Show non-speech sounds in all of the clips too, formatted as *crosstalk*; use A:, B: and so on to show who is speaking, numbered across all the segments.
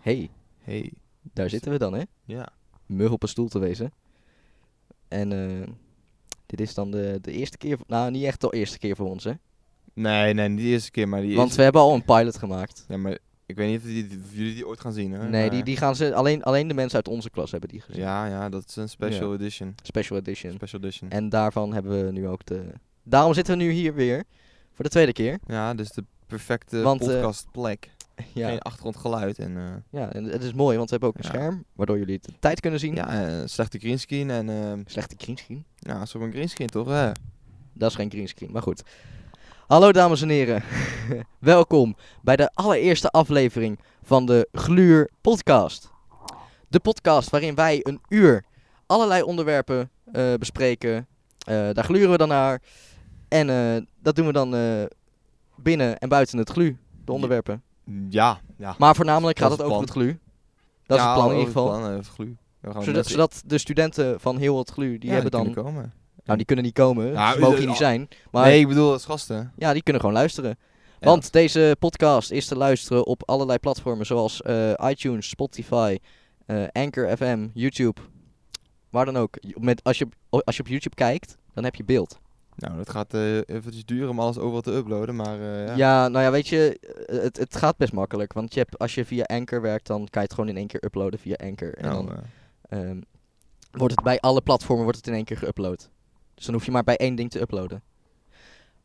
A: hey,
B: Hey.
A: daar zitten we dan, hè?
B: Ja.
A: Mug op een stoel te wezen. En eh, dit is dan de, de eerste keer, nou niet echt de eerste keer voor ons, hè?
B: Nee, nee, niet de eerste keer, maar die
A: Want
B: is...
A: we hebben al een pilot gemaakt.
B: Ja, maar ik weet niet of, die, of jullie die ooit gaan zien, hè?
A: Nee, die,
B: maar-
A: die gaan ze, alleen, alleen de mensen uit onze klas hebben die gezien.
B: Ja, ja, dat is een special edition.
A: Special edition.
B: Special edition.
A: En daarvan hebben we nu ook de... Daarom zitten we nu hier weer, voor de tweede keer.
B: Ja, dus de perfecte
A: Want, eh,
B: podcastplek.
A: Ja,
B: Geen achtergrondgeluid en... eh,
A: ja en het is mooi, want we hebben ook een
B: Ja.
A: scherm, waardoor jullie de tijd kunnen zien.
B: ja, eh, slechte greenscreen en... eh
A: Slechte greenscreen.
B: ja, zo'n greenscreen toch, Eh. hè?
A: Dat is geen greenscreen, maar goed. Hallo dames en heren. *laughs* Welkom bij de allereerste aflevering van de Gluur podcast. De podcast waarin wij een uur allerlei onderwerpen eh, bespreken. Eh, daar gluren we dan naar. En eh, dat doen we dan eh, binnen en buiten het glu, de onderwerpen.
B: Ja, ja.
A: Maar voornamelijk gaat
B: Dat
A: het
B: is
A: over het
B: het
A: glu. Dat is
B: Ja,
A: het plan in ieder
B: over
A: geval.
B: plan, eh, het glu. We gaan
A: Zodat,
B: mensen-
A: zodat de studenten van heel het glu, die
B: Ja,
A: hebben dan...
B: kunnen komen.
A: Nou, die kunnen niet komen,
B: Nou,
A: ze mogen
B: eh,
A: hier niet zijn. Maar
B: Nee, ik bedoel als gasten.
A: Ja, die kunnen gewoon luisteren.
B: Ja.
A: Want deze podcast is te luisteren op allerlei platformen zoals eh, iTunes, Spotify, eh, Anchor FM, YouTube. Waar dan ook. Je- Met, als, je, op- als je op YouTube kijkt, dan heb je beeld.
B: Nou, dat gaat eh eventjes duren om alles overal te uploaden, maar eh,
A: Ja,
B: ja.
A: nou ja, weet je, eh, het, het gaat best makkelijk. Want je hebt, als je via Anchor werkt, dan kan je het gewoon in één keer uploaden via Anchor. En
B: Nou,
A: dan
B: eh,
A: ehm, wordt het bij alle platformen wordt het in één keer geüpload. Dus dan hoef je maar bij één ding te uploaden.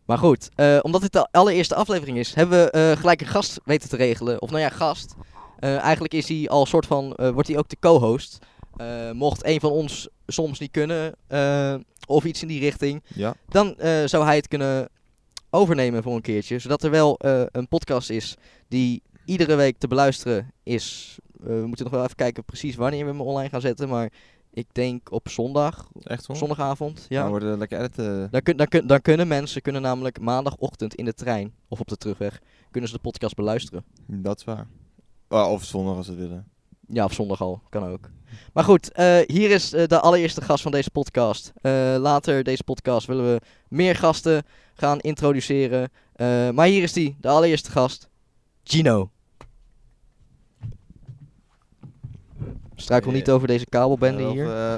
A: Maar goed, eh, omdat dit de allereerste aflevering is, hebben we eh, gelijk een gast weten te regelen. Of nou ja, gast. Eh, eigenlijk is hij al soort van, eh, wordt hij ook de co-host. Eh, mocht een van ons soms niet kunnen, eh, of iets in die richting,
B: ja.
A: dan eh, zou hij het kunnen overnemen voor een keertje. Zodat er wel eh, een podcast is die iedere week te beluisteren is. Eh, we moeten nog wel even kijken precies wanneer we hem online gaan zetten. Maar ik denk op zondag,
B: Echt zo?
A: zondagavond.
B: Ja.
A: Ja.
B: worden we lekker editen.
A: Dan, kun, dan, kun- dan kunnen mensen kunnen namelijk maandagochtend in de trein of op de terugweg kunnen ze de podcast beluisteren.
B: Dat is waar. Ah, of zondag als ze willen.
A: Ja, of zondag al, kan ook. Maar goed, eh, hier is eh, de allereerste gast van deze podcast. Eh, later deze podcast willen we meer gasten gaan introduceren. Eh, maar hier is die, de allereerste gast, Gino. Struikel
B: Eh,
A: niet over deze kabelbende
B: Eh, of,
A: hier.
B: eh,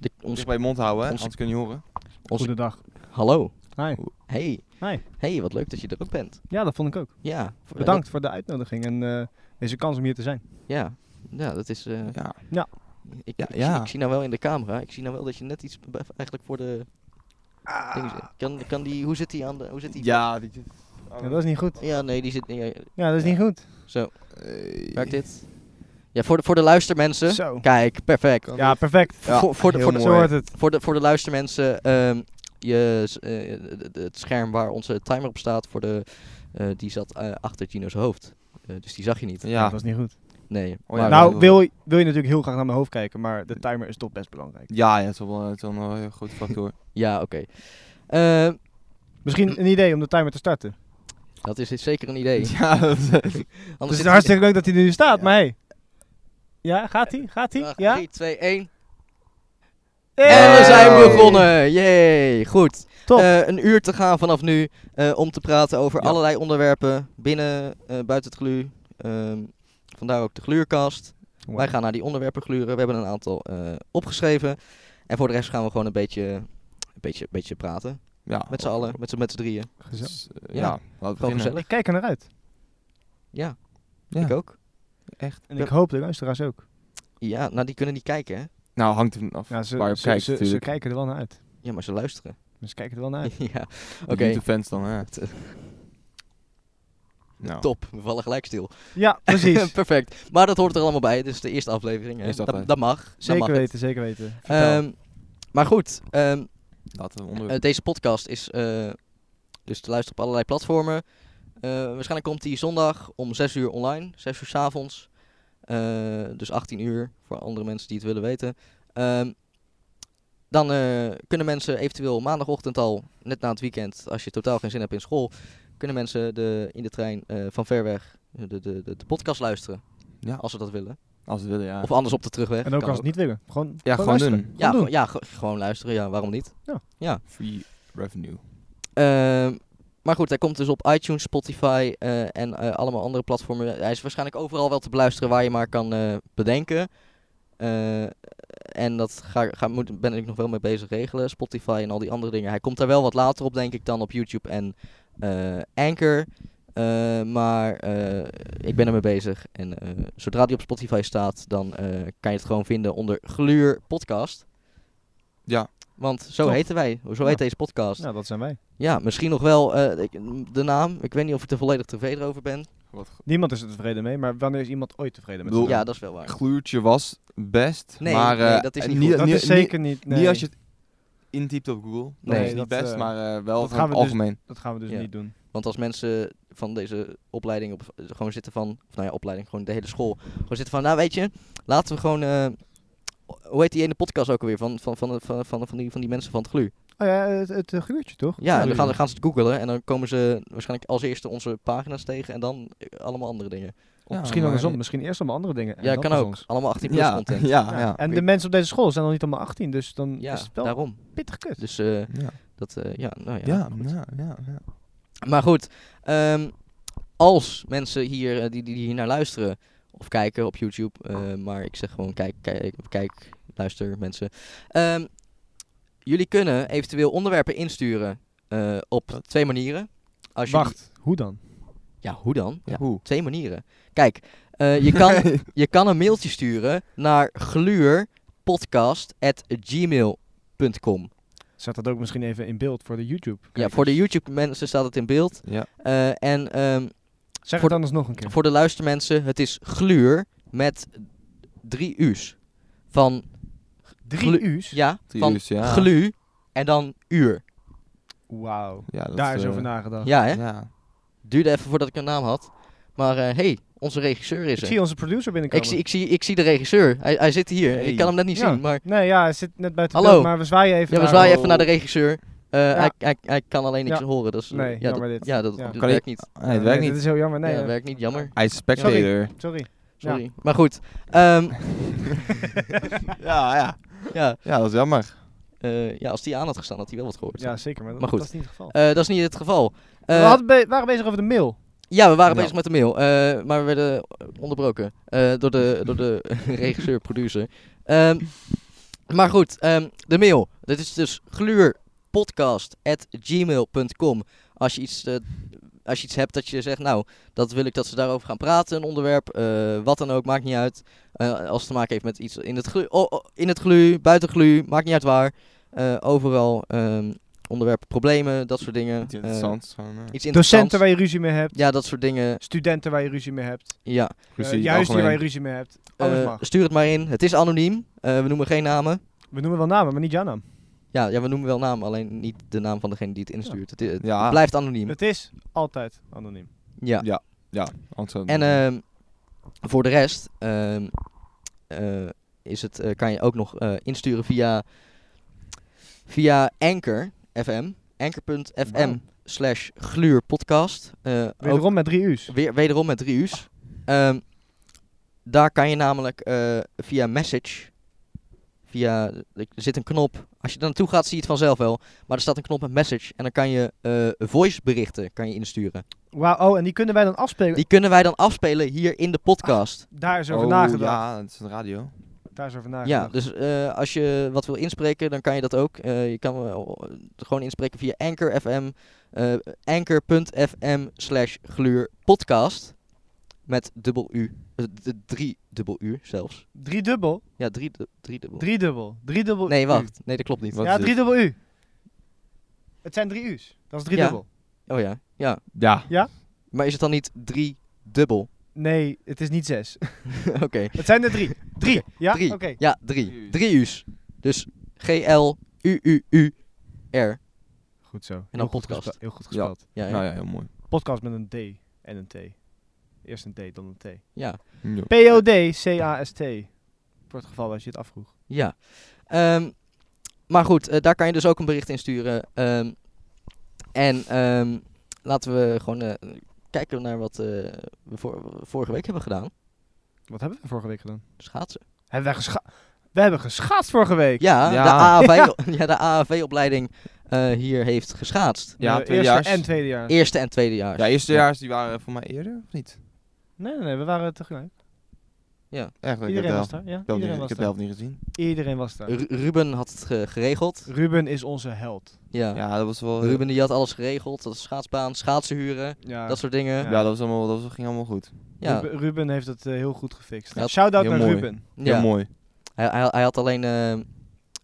A: De- ons,
B: dicht bij je mond houden, hè?
A: ons-
B: anders kun je niet horen.
A: ons-
C: Goedendag.
A: hallo.
C: Hi.
A: Hey.
C: Hi.
A: hey, wat leuk dat je er ook bent.
C: Ja, dat vond ik ook.
A: Ja, voor-
C: Bedankt voor de uitnodiging en eh, deze kans om hier te zijn.
A: ja, ja, dat is... eh,
B: Ja.
A: ik,
B: Ja,
A: ik
B: ja.
A: Zie, ik zie nou wel in de camera, ik zie nou wel dat je net iets be- eigenlijk voor de...
C: Ah.
A: dingen zet. Kan, kan die, hoe zit die aan de... Hoe zit die
B: Ja, die zit...
C: Ja, dat is niet goed.
A: Ja, nee, die zit niet. eh,
C: Ja, dat is niet goed.
A: Zo,
B: Eh,
A: werkt dit? Ja, voor de, voor de luistermensen.
C: Zo.
A: Kijk, perfect.
B: kan
C: Ja,
B: dit?
C: perfect.
B: Ja,
A: voor, voor, de,
B: heel
A: voor, de,
C: Zo
B: mooi.
C: hoort het.
A: voor, de, voor de luistermensen, ehm, je, s- eh, d- d- het scherm waar onze timer op staat, voor de, eh, die zat eh, achter Gino's hoofd. Eh, dus die zag je niet.
C: Dat
B: Ja.
C: was niet goed.
A: Nee.
B: Oh ja,
A: maar-
C: nou, wil, je- wil je natuurlijk heel graag naar mijn hoofd kijken, maar de timer is toch best belangrijk.
B: Ja, ja, het is wel, eh, het is wel een heel goed factor.
A: Ja, oké. Eh,
C: Misschien een idee om de timer te starten.
A: dat is zeker een idee.
B: *laughs* ja, dat is-
C: Dus Het
A: Anders
C: is hartstikke leuk dat hij er nu staat, maar hey. Ja, gaat hij? Gaat hij? Ja? Eh!
A: 3, 2, 1.
C: Hey!
A: En we zijn
B: Hey!
A: begonnen. Yay, goed.
C: Top.
A: Eh, een uur te gaan vanaf nu eh, om te praten over
B: Ja.
A: allerlei onderwerpen binnen, eh, buiten het glu. Ehm, vandaar ook de gluurkast.
C: Wow.
A: Wij gaan naar die onderwerpen gluren. We hebben een aantal eh, opgeschreven. En voor de rest gaan we gewoon een beetje, een beetje, een beetje praten.
B: ja.
A: Met z'n allen, met z'n, met z'n drieën.
C: Gezellig.
B: Dus, eh,
A: Ja.
B: ja, laten we
A: Gewoon
B: beginnen.
A: gezellig.
C: Ik kijk er naar uit.
A: Ja,
B: Ja.
A: ik ook.
B: Echt.
C: En ik hoop de luisteraars ook.
A: Ja, nou die kunnen niet kijken hè.
B: Nou, hangt er vanaf
C: Ja, ze,
B: waar je op
C: ze,
B: kijkt
C: ze- ze
B: natuurlijk.
C: kijken er wel naar uit.
A: Ja, maar ze luisteren.
C: Ze kijken er wel naar uit.
A: *laughs* ja, oké.
B: De YouTube-fans dan, hè?
A: Het, eh,
B: Nou,
A: Top, we vallen gelijk stil.
C: Ja,
A: *laughs*
C: precies.
A: Perfect. Maar dat hoort er allemaal bij. Dit is de eerste aflevering. Hè?
B: Eerste
A: Dat,
B: aflevering.
A: dat mag. Dat mag
C: Zeker
A: het.
C: weten, zeker weten. Vertel.
A: Ehm, maar goed, ehm,
B: Laten we onder...
A: Eh, deze podcast is eh, dus te luisteren op allerlei platformen. Eh, waarschijnlijk komt die zondag om 6 uur online, 6 uur 's avonds. Eh, dus 18 uur voor andere mensen die het willen weten. Ehm, dan eh, kunnen mensen eventueel maandagochtend al, net na het weekend, als je totaal geen zin hebt in school, kunnen mensen de, in de trein eh, van ver weg de, de, de, de podcast luisteren.
B: Ja.
A: Als ze dat willen.
B: Als we willen, ja.
A: Of anders op de terugweg.
C: en ook
A: Kan
C: als ze het niet willen. Gewoon,
B: ja, gewoon
C: luisteren.
B: doen.
A: Ja,
C: doen.
A: gewoon- ja, ge- gewoon luisteren. Ja, waarom niet?
B: Free revenue.
A: Ehm, maar goed, hij komt dus op iTunes, Spotify eh, en eh, allemaal andere platformen. Hij is waarschijnlijk overal wel te beluisteren waar je maar kan eh, bedenken. Eh, en dat ga, ga, moet, ben ik nog wel mee bezig regelen. Spotify en al die andere dingen. Hij komt daar wel wat later op, denk ik, dan op YouTube en eh, Anchor. Eh, maar eh, ik ben ermee bezig. En eh, zodra die op Spotify staat, dan eh, kan je het gewoon vinden onder Gluur Podcast.
B: Ja.
A: Want zo
C: Top.
A: heten wij. Zo heet
C: Ja.
A: deze podcast.
C: Nou, dat zijn wij.
A: Ja, misschien nog wel eh, ik- de naam. Ik weet niet of ik er volledig tevreden over ben.
C: Niemand is er tevreden mee, maar wanneer is iemand ooit tevreden met
B: Bedoel-
C: zijn
A: Ja,
C: naam?
A: dat is wel waar.
B: Gluurtje was best,
A: Nee,
B: maar...
A: nee,
B: eh,
A: dat is
B: eh,
A: niet goed.
C: dat is zeker niet... Nee,
B: Niet als je het intypt op Google. Dat
A: Nee,
B: is niet
C: dat,
B: best,
C: eh,
B: maar eh, wel
C: dat
B: van
C: gaan
B: het
C: we dus-
B: algemeen.
C: Dat gaan we dus
A: Ja.
C: niet doen.
A: Want als mensen van deze opleiding op, gewoon zitten van... Of nou ja, opleiding, gewoon de hele school. Gewoon zitten van, nou weet je, laten we gewoon... eh, hoe heet die ene podcast ook alweer? Van, van, van, van, van, van, die, van die mensen van het GLU.
C: Oh ja, het, het eh, geurtje toch?
A: Ja, en dan
B: Glu.
A: gaan, dan gaan ze het googelen. En dan komen ze waarschijnlijk als eerste onze pagina's tegen. En dan eh, allemaal andere dingen.
C: Of
B: Ja,
C: misschien
B: maar-
C: andersom. Misschien eerst allemaal andere dingen. en
A: ja,
C: dan
A: kan
C: pas
A: ook.
C: ons.
A: Allemaal 18 plus
B: Ja,
A: content. Ja,
B: ja, ja.
C: En de mensen op deze school zijn nog niet allemaal 18, dus dan is het wel
A: daarom.
C: pittig kut.
A: Dus eh,
B: Ja,
A: dat, eh, ja, nou ja.
B: ja, ja, ja, ja.
A: Maar goed, ehm, als mensen hier, eh, die, die hier naar luisteren of kijken op YouTube, eh, maar ik zeg gewoon kijk, kijk, kijk luister mensen. Ehm, jullie kunnen eventueel onderwerpen insturen eh, op
B: Wat?
A: twee manieren. Als jullie-
C: Wacht, hoe dan?
A: ja, hoe dan? Ja,
B: Hoe?
A: twee manieren. Kijk, eh, je, kan, je kan een mailtje sturen naar gluurpodcast.gmail.com.
C: Zet dat ook misschien even in beeld voor de YouTube.
A: Ja, voor de YouTube mensen staat het in beeld.
B: Ja.
A: Eh, en ehm,
C: Zeg
A: voor-
C: het anders nog een keer.
A: Voor de luistermensen, het is gluur met drie u's. Van,
C: Drie
A: glu-
C: u's?
A: ja,
B: Drie
A: van
B: uurtjes, ja.
A: glu en dan uur.
C: Wauw.
B: Ja, dat
C: Daar is
B: eh,
C: over nagedacht.
A: Ja, hè?
B: Ja.
A: Duurde even voordat ik een naam had. Maar hé, hey, onze regisseur is
C: Ik
A: er.
C: zie onze producer
A: ik,
C: binnenkomen.
A: zie, ik, zie, ik zie de regisseur. Hij, hij zit hier.
B: Hey.
A: Ik kan hem net niet
C: Ja.
A: zien, maar
C: Nee, ja, hij zit net buiten
A: Hallo.
C: beeld, maar we zwaaien even
A: ja, we
C: naar-
A: zwaaien
B: Oh.
A: even naar de regisseur. Eh,
C: Ja.
A: hij, hij, hij kan alleen niks
C: Ja.
A: horen. Dus, eh,
C: Nee,
A: ja, dat,
C: jammer dit.
A: ja, dat,
C: Ja.
A: dat
B: Kan
A: werkt
B: je-
A: niet.
B: Nee, het werkt
C: nee,
B: niet.
C: Dit is heel jammer. Nee,
A: Nee, dat
C: eh,
A: werkt niet. Jammer.
B: Hij is spectator.
C: Sorry.
A: Sorry. Maar goed. ehm, *laughs*
B: *laughs* Ja, ja.
A: ja,
B: Ja, dat is jammer.
A: eh, ja, als die aan had gestaan, had hij wel wat gehoord.
C: Ja, zeker, maar, dat-
A: Maar goed.
C: dat is niet het geval.
A: Eh, dat is niet het geval. Eh,
C: we hadden be- waren bezig over de mail.
A: Ja, we waren
B: Ja.
A: bezig met de mail, eh, maar we werden onderbroken eh, door de, door de *laughs* regisseur, producer. Ehm, maar goed, ehm, de mail. Dit is dus gluurpodcast.gmail.com. Als je iets... eh, als je iets hebt dat je zegt, nou, dat wil ik dat ze daarover gaan praten, een onderwerp, eh, wat dan ook, maakt niet uit. Eh, als het te maken heeft met iets in het glu, oh, oh, in het glu buiten glu, maakt niet uit waar. Eh, overal ehm, onderwerpen, problemen, dat soort dingen.
B: Iets
A: Eh,
B: interessants. gewoon, eh,
A: iets interessants.
C: Docenten waar je ruzie mee hebt.
A: Ja, dat soort dingen.
C: Studenten waar je ruzie mee hebt.
A: Ja,
B: Precies,
C: eh, juist die waar je
B: algemeen.
C: ruzie mee hebt. Alles
A: eh,
C: mag.
A: stuur het maar in. Het is anoniem. Eh, we noemen geen namen.
C: We noemen wel namen, maar niet jouw naam.
A: Ja, ja, we noemen wel namen, alleen niet de naam van degene die het instuurt. Het, i- het
B: Ja.
A: blijft anoniem.
C: Het is altijd anoniem.
A: Ja.
B: Ja, ontzettend.
A: En ehm, voor de rest ehm, eh, is het, eh, kan je ook nog eh, insturen via, via Anchor FM. Anchor.fm
C: Wauw.
A: slash gluurpodcast. Eh, ook-
C: Wederom met drie u's.
A: Weer, wederom met drie u's. Ehm, daar kan je namelijk eh, via message, via, er zit een knop. Als je daar naartoe gaat, zie je het vanzelf wel. Maar er staat een knop met message en dan kan je eh voice berichten kan je insturen.
C: Wauw, oh, en die kunnen wij dan afspelen.
A: Die kunnen wij dan afspelen hier in de podcast.
C: Daar is over
B: oh,
C: nagedacht.
B: Ja, het is een radio.
C: Daar is over
A: ja,
C: nagedacht.
A: dus eh, als je wat wil inspreken, dan kan je dat ook. Eh, je kan eh, gewoon inspreken via Anchor FM, eh, anchor.fm slash gluurpodcast. Met dubbel u, eh, d- drie dubbel u zelfs.
C: Drie dubbel.
A: Ja, drie, du- drie dubbel.
C: Drie dubbel. Drie dubbel.
A: nee,
C: u.
A: wacht. Nee, dat klopt niet.
B: Wat is
C: ja,
B: dit?
C: drie dubbel u. Het zijn drie u's. Dat is drie
A: Ja.
C: dubbel.
A: Oh ja, ja.
B: Ja.
A: Maar is het dan niet drie dubbel? *laughs*
C: Nee, het is niet zes.
A: Oké.
C: het zijn er drie.
A: *laughs*
C: Drie. Ja?
A: Drie.
C: Oké.
A: Ja,
B: Drie
A: drie.
B: u's.
A: Drie u's. Dus G-L-U-U-U-R.
C: Goed zo. En
A: dan podcast.
C: Heel goed
B: Ja.
C: gespeeld.
A: Ja,
B: Nou
A: ja.
B: ja, heel mooi.
C: Podcast met een D en een T. Eerst een D, dan een T.
A: ja.
B: Ja.
C: P-O-D-C-A-S-T. Voor het geval als je het afvroeg.
A: ja. Ehm, maar goed, eh, daar kan je dus ook een bericht in sturen. Ehm, en ehm, laten we gewoon eh, kijken naar wat eh, we voor- vorige week hebben gedaan.
C: Wat hebben we vorige week gedaan?
A: Schaatsen.
C: Hebben wij gescha- we hebben geschaatst vorige week.
A: Ja, *laughs*
B: Ja.
A: de AAV, ja. de AAV-opleiding eh, hier heeft geschaatst.
B: Ja,
C: Eh,
B: tweedejaars.
C: Eerste en tweede jaar.
A: Eerste en tweede jaar.
B: Ja, eerstejaars die waren voor mij eerder, of niet?
C: Nee, nee, nee, we waren tegelijk.
B: Eigenlijk, ik heb de
C: Iedereen was
B: helft-
C: daar. Ja,
B: ik heb de
C: iedereen
B: helft niet- ik heb
C: was
B: de helft
C: daar.
B: niet gezien.
C: Iedereen was daar.
A: Ru- Ruben had het ge- geregeld.
C: Ruben is onze held.
A: Ja.
B: Ja, dat was wel...
A: Ruben die had alles geregeld. Dat is schaatsbaan, schaatsen huren,
C: Ja.
A: dat soort dingen.
B: Ja,
A: Ja.
B: dat, was allemaal, dat was, ging allemaal goed.
A: Ja.
C: Ruben, Ruben heeft het eh, heel goed gefixt.
A: Ja.
C: Shout-out
B: Heel
C: naar
B: mooi.
C: Ruben.
B: Heel mooi.
A: Hij, hij, hij had alleen eh,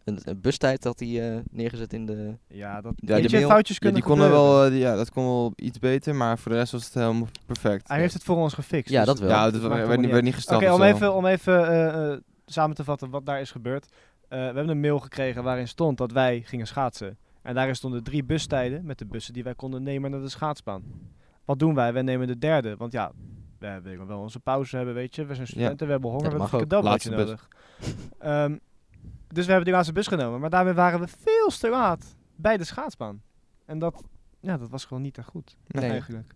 A: een, een bustijd had hij, eh, neergezet in de...
C: Ja, dat
B: Ja,
C: weet
B: die
C: je,
A: mail-
C: foutjes
B: Ja,
C: kunnen
B: die kon er
C: gebeuren.
B: wel, eh, die- ja, dat kon wel iets beter, maar voor de rest was het helemaal perfect.
C: Hij heeft het voor ons gefixt.
A: Ja,
C: dus
A: dat wel.
B: ja, dat
C: maakt
B: werd,
C: allemaal
B: werd, niet- werd niet
C: Oké,
B: gestraft.
C: om
B: of zo.
C: even, om even eh, eh, samen te vatten wat daar is gebeurd. Eh, we hebben een mail gekregen waarin stond dat wij gingen schaatsen. En daarin stonden drie bustijden met de bussen die wij konden nemen naar de schaatsbaan. Wat doen wij? Wij nemen de derde. Want ja, we hebben wel onze pauze hebben, weet je. We zijn studenten, we hebben honger,
A: Ja,
C: we
A: dat
C: hebben een
A: mag
C: cadeaubroodje
B: Laatste
C: nodig. *laughs* Ehm, dus we hebben de laatste bus genomen. Maar daarmee waren we veel te laat bij de schaatsbaan. En dat, ja, dat was gewoon niet echt goed.
A: Nee.
C: Eigenlijk.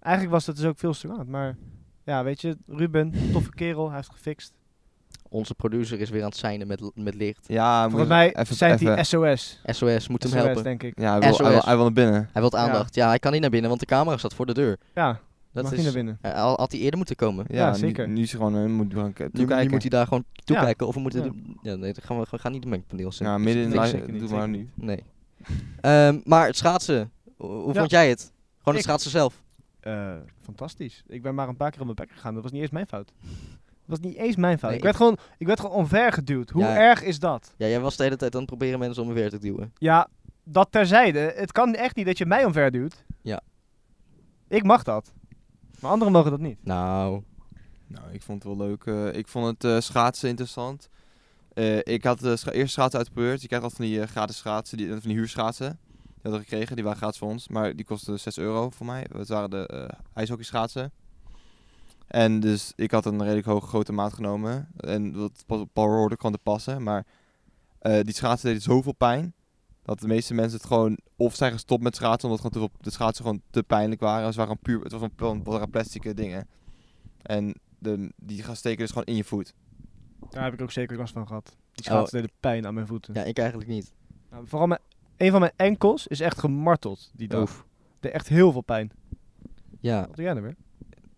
C: Eigenlijk was dat dus ook veel te laat. Maar ja, weet je, Ruben, toffe kerel, hij heeft gefixt.
A: Onze producer is weer aan het zijnen met, met licht.
B: Ja, moet
C: Volgens mij
B: even,
C: zijn
B: even-
C: die SOS.
A: SOS moet hem
C: SOS,
A: helpen.
C: denk ik.
B: Ja, hij wil, hij, wil,
A: SOS.
B: hij wil naar binnen.
A: Hij wil aandacht. Ja. hij kan niet naar binnen, want de camera staat voor de deur.
C: Ja,
A: Dat
C: mag
A: is,
C: niet naar binnen.
A: eh, al- had hij eerder moeten komen.
B: Ja,
C: Ja,
B: nu-
C: zeker.
B: Nu, is hij gewoon, eh, moet gewoon k-
A: Nu, nu
B: toekijken.
A: moet hij daar gewoon toekijken of we moeten...
C: Ja.
A: de- Ja, nee, dat gaan we, we gaan niet de mengpaneel zetten.
B: Ja, midden in de
C: Nee,
B: lijn,
C: zeker niet,
B: doe maar
C: zeker
B: nu.
A: Nee. Ehm, maar het schaatsen, hoe, hoe
C: Ja.
A: vond jij het? Gewoon
C: Ik-
A: het schaatsen zelf.
C: Eh, fantastisch. Ik ben maar een paar keer op mijn bek gegaan. Dat was niet eens mijn fout. Dat was niet eens mijn fout.
A: Nee,
C: ik, werd gewoon, ik werd gewoon omver geduwd. Hoe
A: Ja.
C: erg is dat?
A: Ja, jij was de hele tijd aan het proberen mensen om weer te duwen.
C: Ja, dat terzijde. Het kan echt niet dat je mij omver duwt.
A: Ja.
C: Ik mag dat. Maar anderen mogen dat niet.
A: Nou,
B: Nou, ik vond het wel leuk. eh, ik vond het eh, schaatsen interessant. Eh, ik had eh, scha- eerst schaatsen uitgeprobeerd. Je krijgt altijd van die eh, gratis schaatsen, die, van die huurschaatsen. Die hadden we gekregen, die waren gratis voor ons. Maar die kostten 6 euro voor mij. Het waren de eh ijshockeyschaatsen. En dus ik had een redelijk hoge grote maat genomen. En dat pas op Paul Roorder kwam te passen. Maar eh, die schaatsen deden zoveel pijn. Dat de meeste mensen het gewoon of zijn gestopt met schaatsen. Omdat gewoon te veel, de schaatsen gewoon te pijnlijk waren. Ze waren gewoon puur, het was gewoon het waren plastic eh, dingen. En de, die gaan steken dus gewoon in je voet.
C: Daar heb ik ook zeker last van gehad. Die schaatsen deden pijn aan mijn voeten.
A: ja, ik eigenlijk niet.
C: Nou, vooral mijn, een van mijn enkels is echt gemarteld die dag.
A: Oef.
C: deed echt heel veel pijn.
A: Ja,
C: Wat doe jij nou weer?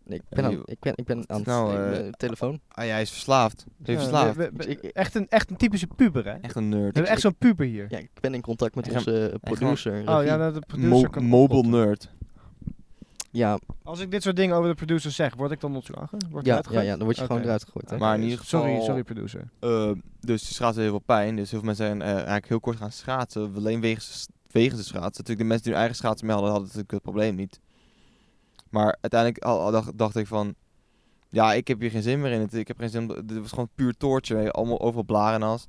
A: ik ben aan, ik ben, ik ben aan het
B: nou,
A: ik
B: eh,
A: ben- telefoon.
B: Ah ja, hij is verslaafd. Hij is
C: Ja,
B: verslaafd.
C: we- we-
A: Ik- ik-
C: echt, een, echt een typische puber, hè? We
B: Echt een nerd.
C: hebben echt zo'n puber hier.
A: Ja, ik ben in contact met
B: Ik ga-
A: onze eh, producer.
C: Oh
A: regie.
C: ja, nou, de
B: Mo-
C: producer kan
B: mobile nerd.
A: ja,
C: Als ik dit soort dingen over de producer zeg, word ik dan ontslagen? Word ik
A: ja, ja,
C: uitgegooid?
A: ja, dan word je gewoon
C: Oké.
A: eruit gegooid. Hè?
B: Maar in ieder geval-
C: Sorry, sorry producer.
B: Eh, dus die schaatsen heel veel pijn. Dus heel veel mensen zijn eh, eigenlijk heel kort gaan schaatsen. Alleen wegens, wegens de schaatsen. Natuurlijk, de mensen die hun eigen schaatsen mee hadden, hadden natuurlijk het probleem niet. Maar uiteindelijk al, al dacht, dacht ik van... Ja, ik heb hier geen zin meer in. Het, ik heb geen zin... om- Dit was gewoon puur toortje. hè, Allemaal overal blaren en as.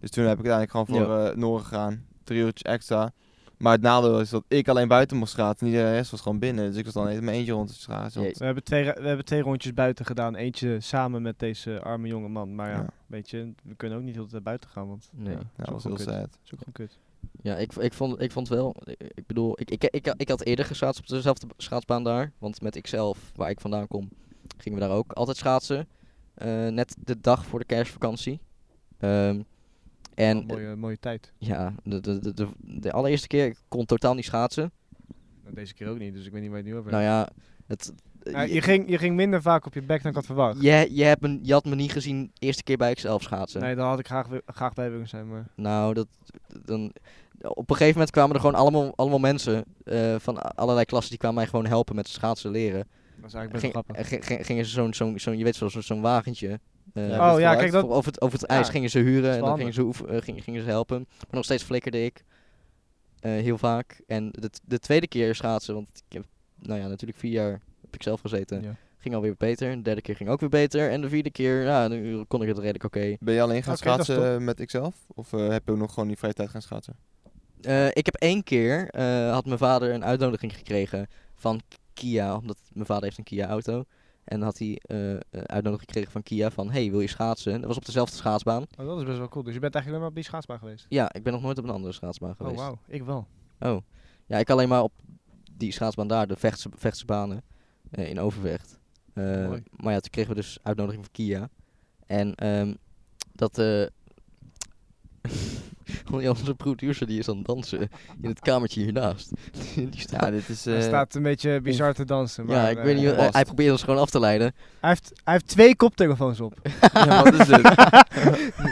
B: Dus toen heb ik uiteindelijk gewoon voor eh Noren gegaan. Drie uurtjes extra. Maar het nadeel is dat ik alleen buiten mocht schaatsen. En iedereen rest was gewoon binnen. Dus ik was dan in mijn eentje rond te schaatsen.
A: Jee.
C: We hebben, twee, ra- we hebben twee rondjes buiten gedaan. Eentje samen met deze arme jonge man. Maar ja,
B: Ja.
C: weet je, we kunnen ook niet heel de tijd buiten gaan, want
A: Nee.
C: ja,
A: Ja,
B: eh, Ja,
C: is
B: dat
C: ook
B: was
C: gewoon
B: heel
C: kut.
B: sad.
C: is ook gewoon kut.
A: Ja, ik, ik, vond, ik vond het wel. eh, Ik bedoel, ik, ik, ik, ik had eerder geschaatst op dezelfde schaatsbaan daar. Want met ikzelf, waar ik vandaan kom, gingen we daar ook altijd schaatsen. Eh, net de dag voor de kerstvakantie. Ehm, en eh,
C: Wel een mooie, mooie tijd.
A: ja, de, de, de, de, de allereerste keer ik kon totaal niet schaatsen.
C: Nou, Deze keer ook niet, dus ik weet niet waar je het nu over
A: Nou
C: hebt.
A: ja, het, eh,
C: Nou, je, ging, je ging minder vaak op je bek dan ik had verwacht.
A: je, je, hebt me, je had me niet gezien de eerste keer bij ikzelf schaatsen.
C: Nee, daar had ik graag, wi- graag bij willen zijn, maar...
A: Nou, dat, dan, op een gegeven moment kwamen er gewoon allemaal, allemaal mensen eh, van a- allerlei klassen die kwamen mij gewoon helpen met schaatsen leren.
C: Dat is eigenlijk best
A: Ging-
C: grappig.
A: eh, ging- ging- Gingen ze zo'n, zo'n, zo'n, je weet zo'n, zo'n wagentje. eh,
B: Ja,
C: oh ja,
B: vooruit.
C: kijk, dat,
A: voor- over het, over het
C: ja,
A: ijs gingen ze huren
C: wel
A: en dan
C: handig.
A: gingen ze, oefen- eh, gingen, gingen ze helpen. Maar nog steeds flikkerde ik eh, heel vaak. En de, t- de tweede keer schaatsen, want ik heb nou ja, natuurlijk vier jaar heb ik zelf gezeten.
C: Ja.
A: Ging alweer beter. De derde keer ging ook weer beter. En de vierde keer, ja, nu kon ik het redelijk oké.
B: Ben je alleen gaan
C: Oké, dat is
B: schaatsen eh, met ikzelf? Of eh, heb je ook nog gewoon die vrije tijd gaan schaatsen?
A: Eh, ik heb één keer, eh, had mijn vader een uitnodiging gekregen van Kia, omdat mijn vader heeft een Kia-auto. En had hij eh, een uitnodiging gekregen van Kia van, hey, wil je schaatsen? Dat was op dezelfde schaatsbaan.
C: Oh, dat is best wel cool. Dus je bent eigenlijk alleen maar op die schaatsbaan geweest?
A: Ja, ik ben nog nooit op een andere schaatsbaan geweest.
C: Oh, wauw. Ik wel.
A: Oh. ja, ik alleen maar op die schaatsbaan daar, de vechtse, vechtse banen eh, in Overvecht. Eh,
C: Mooi.
A: maar ja, *laughs* toen kregen we dus uitnodiging van Kia. En ehm, dat, eh, Want ja, onze producer die is aan het dansen in het kamertje hiernaast. *laughs* die staat...
B: Ja, dit is...
C: Hij
B: eh,
C: staat een beetje bizar te dansen. Maar,
A: ja, ik
C: eh,
A: weet niet,
B: eh,
A: hij, hij
B: past.
A: probeert ons gewoon af te leiden.
C: Hij heeft, hij heeft twee koptelefoons op.
B: *laughs* ja, wat is
C: *laughs*
B: dit?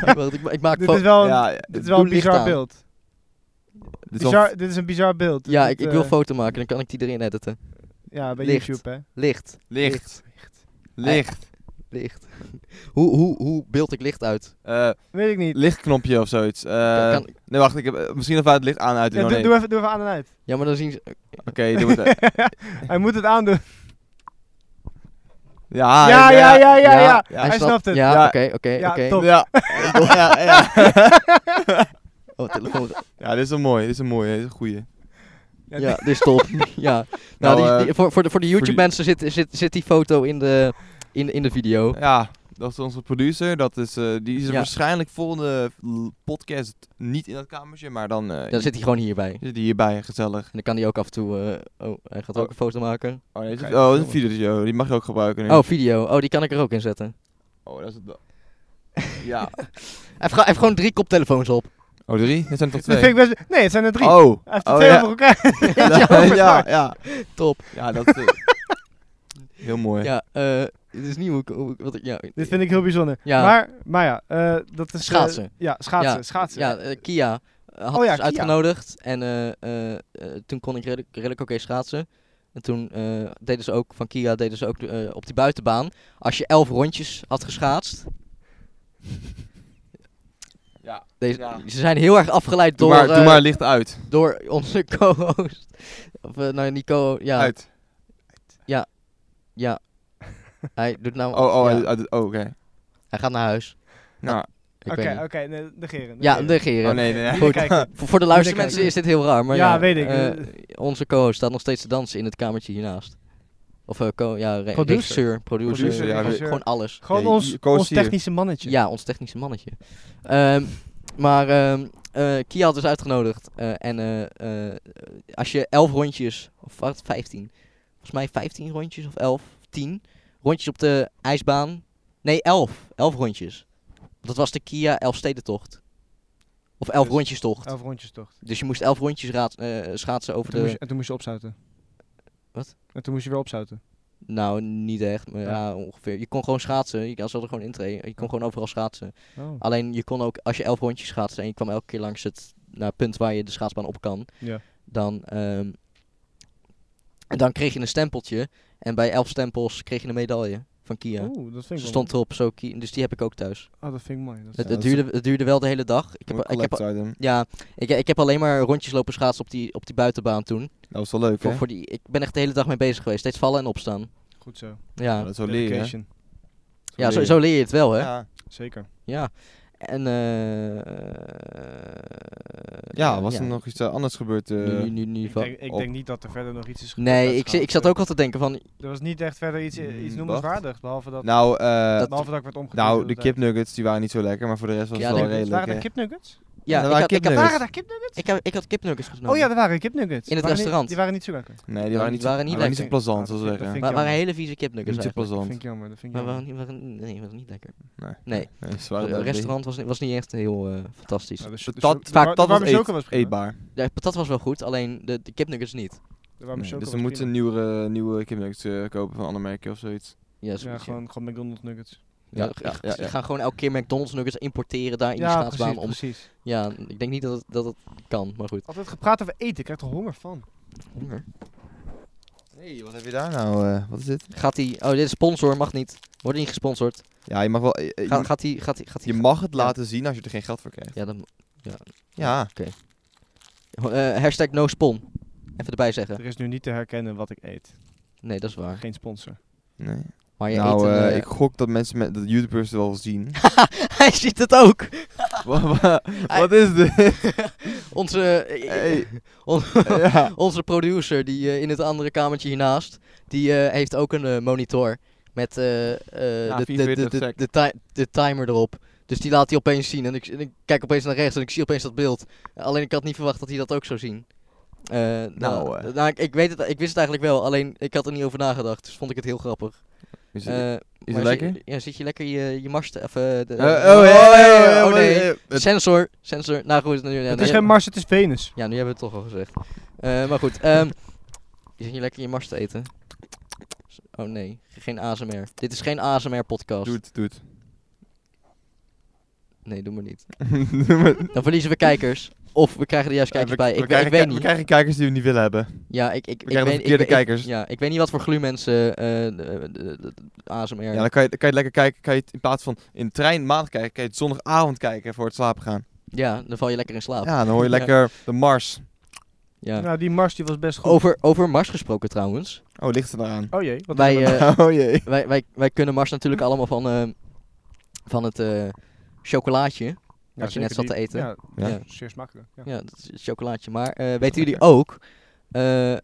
A: Wacht, *laughs* ik, ma- ik maak
C: dit
A: fo-
C: is wel, een-
B: ja,
C: dit is wel een
A: doe licht
C: bizar
A: aan.
C: beeld.
B: dit is wel-
C: Bizar, dit is een bizar beeld.
A: Ja,
C: Dit,
A: ik, ik wil
C: eh,
A: foto maken, dan kan ik die erin editen.
C: Ja, bij
A: licht.
C: YouTube, hè.
A: Licht, Eh,
B: licht. Licht.
A: licht. *laughs* hoe, hoe, hoe beeld ik licht uit?
B: Eh,
C: Weet ik niet.
B: lichtknopje of zoiets.
A: Kan-
B: Eh,
A: kan-
B: Nee, wacht. Ik heb, eh, misschien of wij het licht aan en uit doen.
C: Ja,
B: oh,
C: doe,
B: nee.
C: doe even, doe even aan en
A: *laughs*
C: uit.
A: ja, maar dan zien ze...
B: Oké, doe het. eh.
C: *laughs* hij moet het aandoen.
B: Ah, Ja,
C: ja, ja, ja, ja, ja,
B: ja,
C: Hij snapt het.
A: Ja,
B: Ja.
A: oké, oké,
C: Ja,
A: oké.
C: top.
B: Ja, *laughs* ja, ja.
A: Oh,
C: *laughs*
A: telefoon.
B: Ja, dit is een mooi, dit is een mooie, dit is een goeie.
C: Ja,
A: Ja, dit is top. *laughs* ja. Nou,
B: Nou,
A: die,
B: eh,
A: die- voor, voor de, voor de
B: voor die-
A: YouTube-mensen zit, zit, zit die foto in de, in, in de video.
B: Ja, dat is onze producer. Dat is, eh, die is er
A: Ja.
B: waarschijnlijk volgende l- podcast niet in dat kamertje, maar dan eh,
A: Dan zit hij gewoon hierbij. En
B: zit hij hierbij, gezellig.
A: dan kan hij ook af en toe... eh, oh, hij gaat ook
B: Oh.
A: een foto maken.
B: Oh, nee, dit is-
C: Kijk,
B: oh, dit is
C: jongen.
B: een video, die mag je ook gebruiken nu.
A: Oh, video. Oh, die kan ik er ook in zetten.
B: Oh, dat is het wel. Ja.
A: Hij heeft, gewoon- hij heeft gewoon drie koptelefoons op.
B: *laughs* Oh, drie? Het zijn toch
C: *laughs* Dat
B: twee?
C: vind ik best... Nee, het zijn er drie.
B: Oh.
C: Hij heeft er
B: oh,
C: twee
B: ja.
C: over elkaar.
B: ja, ja, ja.
A: Top.
B: Ja, dat is... eh, *laughs* heel mooi.
A: Ja, eh dit is niet hoe ik... hoe ik- wat ik ja,
C: Dit vind ik heel bijzonder.
A: Ja.
C: Maar, maar ja, eh, dat is... eh,
A: Schaatsen.
C: ja, schaatsen.
A: ja,
C: schaatsen.
A: Ja, eh, Kia eh, had
C: Oh ja,
A: ons
C: Kia.
A: uitgenodigd. En eh, eh, eh, toen kon ik redelijk, redelijk oké schaatsen. En toen eh, deden ze ook, van Kia deden ze ook eh, op die buitenbaan. Als je elf rondjes had geschaatst.
B: Ja.
A: Deze,
B: Ja.
A: Ze zijn heel erg afgeleid
B: Doe,
A: door,
B: maar, doe
A: eh,
B: maar licht uit.
A: door onze *laughs* co-host. Of eh, nou, niet co ja,
B: Uit.
A: ja. Hij doet nou...
B: Oh, oh,
A: ja,
B: uit- uit- oh, oké.
A: Hij gaat naar huis.
B: Nou,
A: Ik
C: Oké,
A: weet
C: oké,
A: niet.
C: nee, negeren.
A: Ja,
C: negeren.
A: negeren.
B: oh nee, nee. nee.
A: Goed.
C: Kijken.
A: Voor, voor de luistermensen
C: kijken.
A: is dit heel raar, maar ja,
C: Ja, weet ik.
A: eh, onze co-host staat nog steeds te dansen in het kamertje hiernaast. Of eh, co ja, re-
C: Producer.
A: regisseur, producer,
B: Producer, ja,
A: gewoon-
B: regisseur.
A: gewoon alles.
C: Gewoon
B: Ja,
C: ons,
B: je koos
C: ons
B: hier.
C: technische mannetje.
A: Ja, ons technische mannetje. Ehm, maar ehm eh, Kia had dus uitgenodigd. eh, en eh, eh, als je 11 rondjes, of wat, 15, volgens mij 15 rondjes of 11, 10 rondjes op de ijsbaan. Nee, 11, 11 rondjes. Dat was de Kia Elfstedentocht. Of 11
C: Dus-
A: rondjes tocht.
C: Elf rondjes toch.
A: Dus je moest 11 rondjes raad, eh, schaatsen over
C: En toen,
A: de.
C: moest je, en toen moest je opzouten.
A: Wat?
C: En toen moest je weer opzouten.
A: Nou, niet echt, maar
C: Ja.
A: ja. ongeveer. Je kon gewoon schaatsen. Je als er gewoon intreden. Je kon gewoon overal schaatsen.
C: Oh.
A: Alleen je kon ook, als je 11 rondjes schaatsen en je kwam elke keer langs het nou, punt waar je de schaatsbaan op kan,
C: Ja.
A: dan, ehm, dan kreeg je een stempeltje. En bij 11 stempels kreeg je een medaille van Kia.
C: Oeh, dat vind
A: Ze
C: ik
A: stond
C: wel
A: erop, zo Kia. Dus die heb ik ook thuis.
C: mooi. Oh, dat vind ik mooi.
A: Het,
C: Dat
B: Ja,
A: het,
B: dat is-
A: duurde, het duurde wel de hele dag. Ik heb, ik heb,
B: Collector item.
A: ja, ik, ik heb alleen maar rondjes lopen schaatsen op die, op die buitenbaan toen.
B: Dat was wel leuk,
A: Voor,
B: hè?
A: voor die, ik ben echt de hele dag mee bezig geweest. Steeds vallen en opstaan.
C: Goed zo.
B: Ja,
A: Ja,
B: dat is wel leren, hè?
C: Dedication.
A: ja zo,
B: leren.
A: zo leer je het wel, hè? Ja.
B: Ja.
C: Zeker.
A: En, eh
B: Ja, was er nog iets eh, anders gebeurd? eh?
A: Nu, nu, nu,
C: Ik
A: va-
C: denk, ik
B: op-
C: denk niet dat er verder nog iets is gebeurd. bij
A: nee,
C: het
A: ik, zi- ik zat
C: schaatsen.
A: ook al te denken van...
C: Er was niet echt verder iets,
B: Mm,
C: iets
B: wacht.
C: noemenswaardig, behalve dat,
B: Nou, eh,
A: Dat-
C: behalve dat ik werd omgekomen.
B: nou, de kipnuggets die waren niet zo lekker, maar voor de rest was
A: Ja,
B: het
A: de
B: wel
A: kipnuggets
B: redelijk.
C: Waren er
B: hè.
C: kipnuggets?
A: Ja,
B: er
A: ik
B: waren
A: had, ik, had,
B: kipnuggets.
C: Waren daar kipnuggets?
A: ik, had, ik had kipnuggets genomen.
C: Oh ja, er waren kipnuggets.
A: In het
C: Waren niet-
A: restaurant.
C: die waren niet zo lekker.
B: Nee, die
A: die
B: waren niet,
A: waren niet
B: niet, waren niet zo
A: lekker.
B: plezant,
C: Ja,
B: zoals
C: dat
B: we
C: vind
B: zeggen.
C: ik-
A: Wa- waren
C: jammer.
A: hele vieze kipnuggets
B: Niet zo
A: eigenlijk.
C: Dat
B: plezant.
C: vind ik jammer, dat vind ik
A: Maar
C: jammer.
A: waren, niet- waren, nee, waren niet lekker.
B: Nee.
A: Nee,
B: Nee, ze waren
A: het
B: wel
A: restaurant was, ni- was niet echt heel eh, fantastisch.
C: Nou, de s- de
B: Dat-
C: so- de
B: vaak
C: war-
B: dat
C: de warme
B: was eet-
C: choco was
B: beetje
C: prima.
B: Eetbaar.
A: De patat was wel goed, alleen de, de kipnuggets niet.
C: De warme
B: Nee,
C: choco
B: Dus
C: was
B: we moeten
C: prima.
B: nieuwe, nieuwe kipnuggets eh, kopen van een ander merkje of zoiets.
A: Ja, zoiets,
C: Ja,
A: ja.
C: gewoon, gewoon McDonald's nuggets.
A: Ja,
B: Ja,
A: g-
B: ja,
A: g-
B: ja,
A: ze
B: ja.
A: gaan gewoon elke keer McDonald's nuggets importeren daar in die
C: ja,
A: schaatsbaan.
C: precies,
A: om,
C: precies.
A: ja, ik denk niet dat het, dat het kan, maar goed.
C: Altijd gepraat over eten, ik krijg er honger van.
A: Honger.
B: hey, wat heb je daar nou? eh, wat is dit?
A: Gaat hij. Oh, dit is sponsor, mag niet. Wordt niet gesponsord.
B: Ja, je mag wel... eh, eh,
A: Ga-
B: je,
A: gaat hij. Gaat hij. Gaat
B: je
A: hij.
B: mag het laten zien als je er geen geld voor krijgt.
A: Ja, dan.
B: Ja.
A: eh, hashtag no spon. Even erbij zeggen.
C: Er is nu niet te herkennen wat ik eet.
A: Nee, dat is waar.
C: Geen sponsor.
B: Nee.
A: Maar je
B: Nou,
A: eet. Een,
B: eh,
A: eh,
B: ik gok dat mensen met... Dat YouTubers het wel *laughs* zien.
A: *laughs* Hij ziet het ook.
B: Wa- wa- wat is dit?
A: *laughs* Onze. *laughs* eh,
B: Hey.
A: on-
B: *laughs* ja.
A: onze producer die eh, in het andere kamertje hiernaast. Die eh, heeft ook een eh, monitor. Met eh, eh,
B: Ja,
A: de, de, de,
B: 44
A: de,
B: sec.
A: de ti- de timer erop. Dus die laat hij opeens zien. En ik, en ik kijk opeens naar rechts en ik zie opeens dat beeld. Alleen ik had niet verwacht dat hij dat ook zou zien. Eh, nou,
B: Nou, eh.
A: nou, ik, ik weet het, ik wist het eigenlijk wel, alleen ik had er niet over nagedacht, dus vond ik het heel grappig.
B: Is-
A: Eh,
B: Is
A: Maar
B: het
A: zit-
B: lekker?
A: Ja, zit je lekker je, je mars te... Of, eh, de- de-
B: Eh, oh, hey, hey, hey, hey,
A: oh,
B: hey,
A: nee.
B: hey, eh, het-
A: Sensor, sensor. Nou goed, nu, ja,
C: het
A: nu-
C: is geen Mars, het is Venus.
A: Ja, nu hebben we het toch al gezegd. Eh, maar goed, ehm, *laughs* je zit hier lekker je mars te eten. Oh nee, geen ASMR. Dit is geen ASMR-podcast.
B: Doe het, doe het.
A: Nee, doe maar niet.
B: *laughs* Doe maar.
A: Dan verliezen we kijkers. Of we krijgen er juist
B: Ja,
A: kijkers
B: we-
A: bij.
B: we
A: Ik, we,
B: krijgen
A: ik
B: ki-
A: weet
B: We
A: niet.
B: krijgen kijkers die we niet willen hebben.
A: Ja, ik, ik, ik,
B: krijgen de
A: weet,
B: verkeerde
A: ik, weet- ik-
B: kijkers.
A: ja, ik weet niet wat voor gluwmensen eh eh, de- de- de- de ASMR...
B: Ja, dan kan je, kan je lekker kijken. Kan je het in plaats van in de trein maandag kijken, kan je het zondagavond kijken voor het slapen gaan.
A: Ja, dan val je lekker in slaap.
B: Ja, dan hoor je lekker de Mars.
A: Ja.
C: Nou, die Mars die was best goed.
A: Over, over Mars gesproken trouwens.
B: Oh, ligt er eraan.
C: Oh jee, wat
A: Wij,
C: hebben we
A: eh,
B: *laughs* oh jee.
A: wij, wij, wij kunnen Mars natuurlijk allemaal van, eh, van het eh, chocolaatje.
C: nou?
A: je net
C: zeker
A: zat
C: die-
A: te eten.
C: Ja,
B: Ja.
C: dat is zeer smakelijk. Ja.
A: Ja, dat is het chocolaatje. Maar eh, weten jullie ook eh, eh,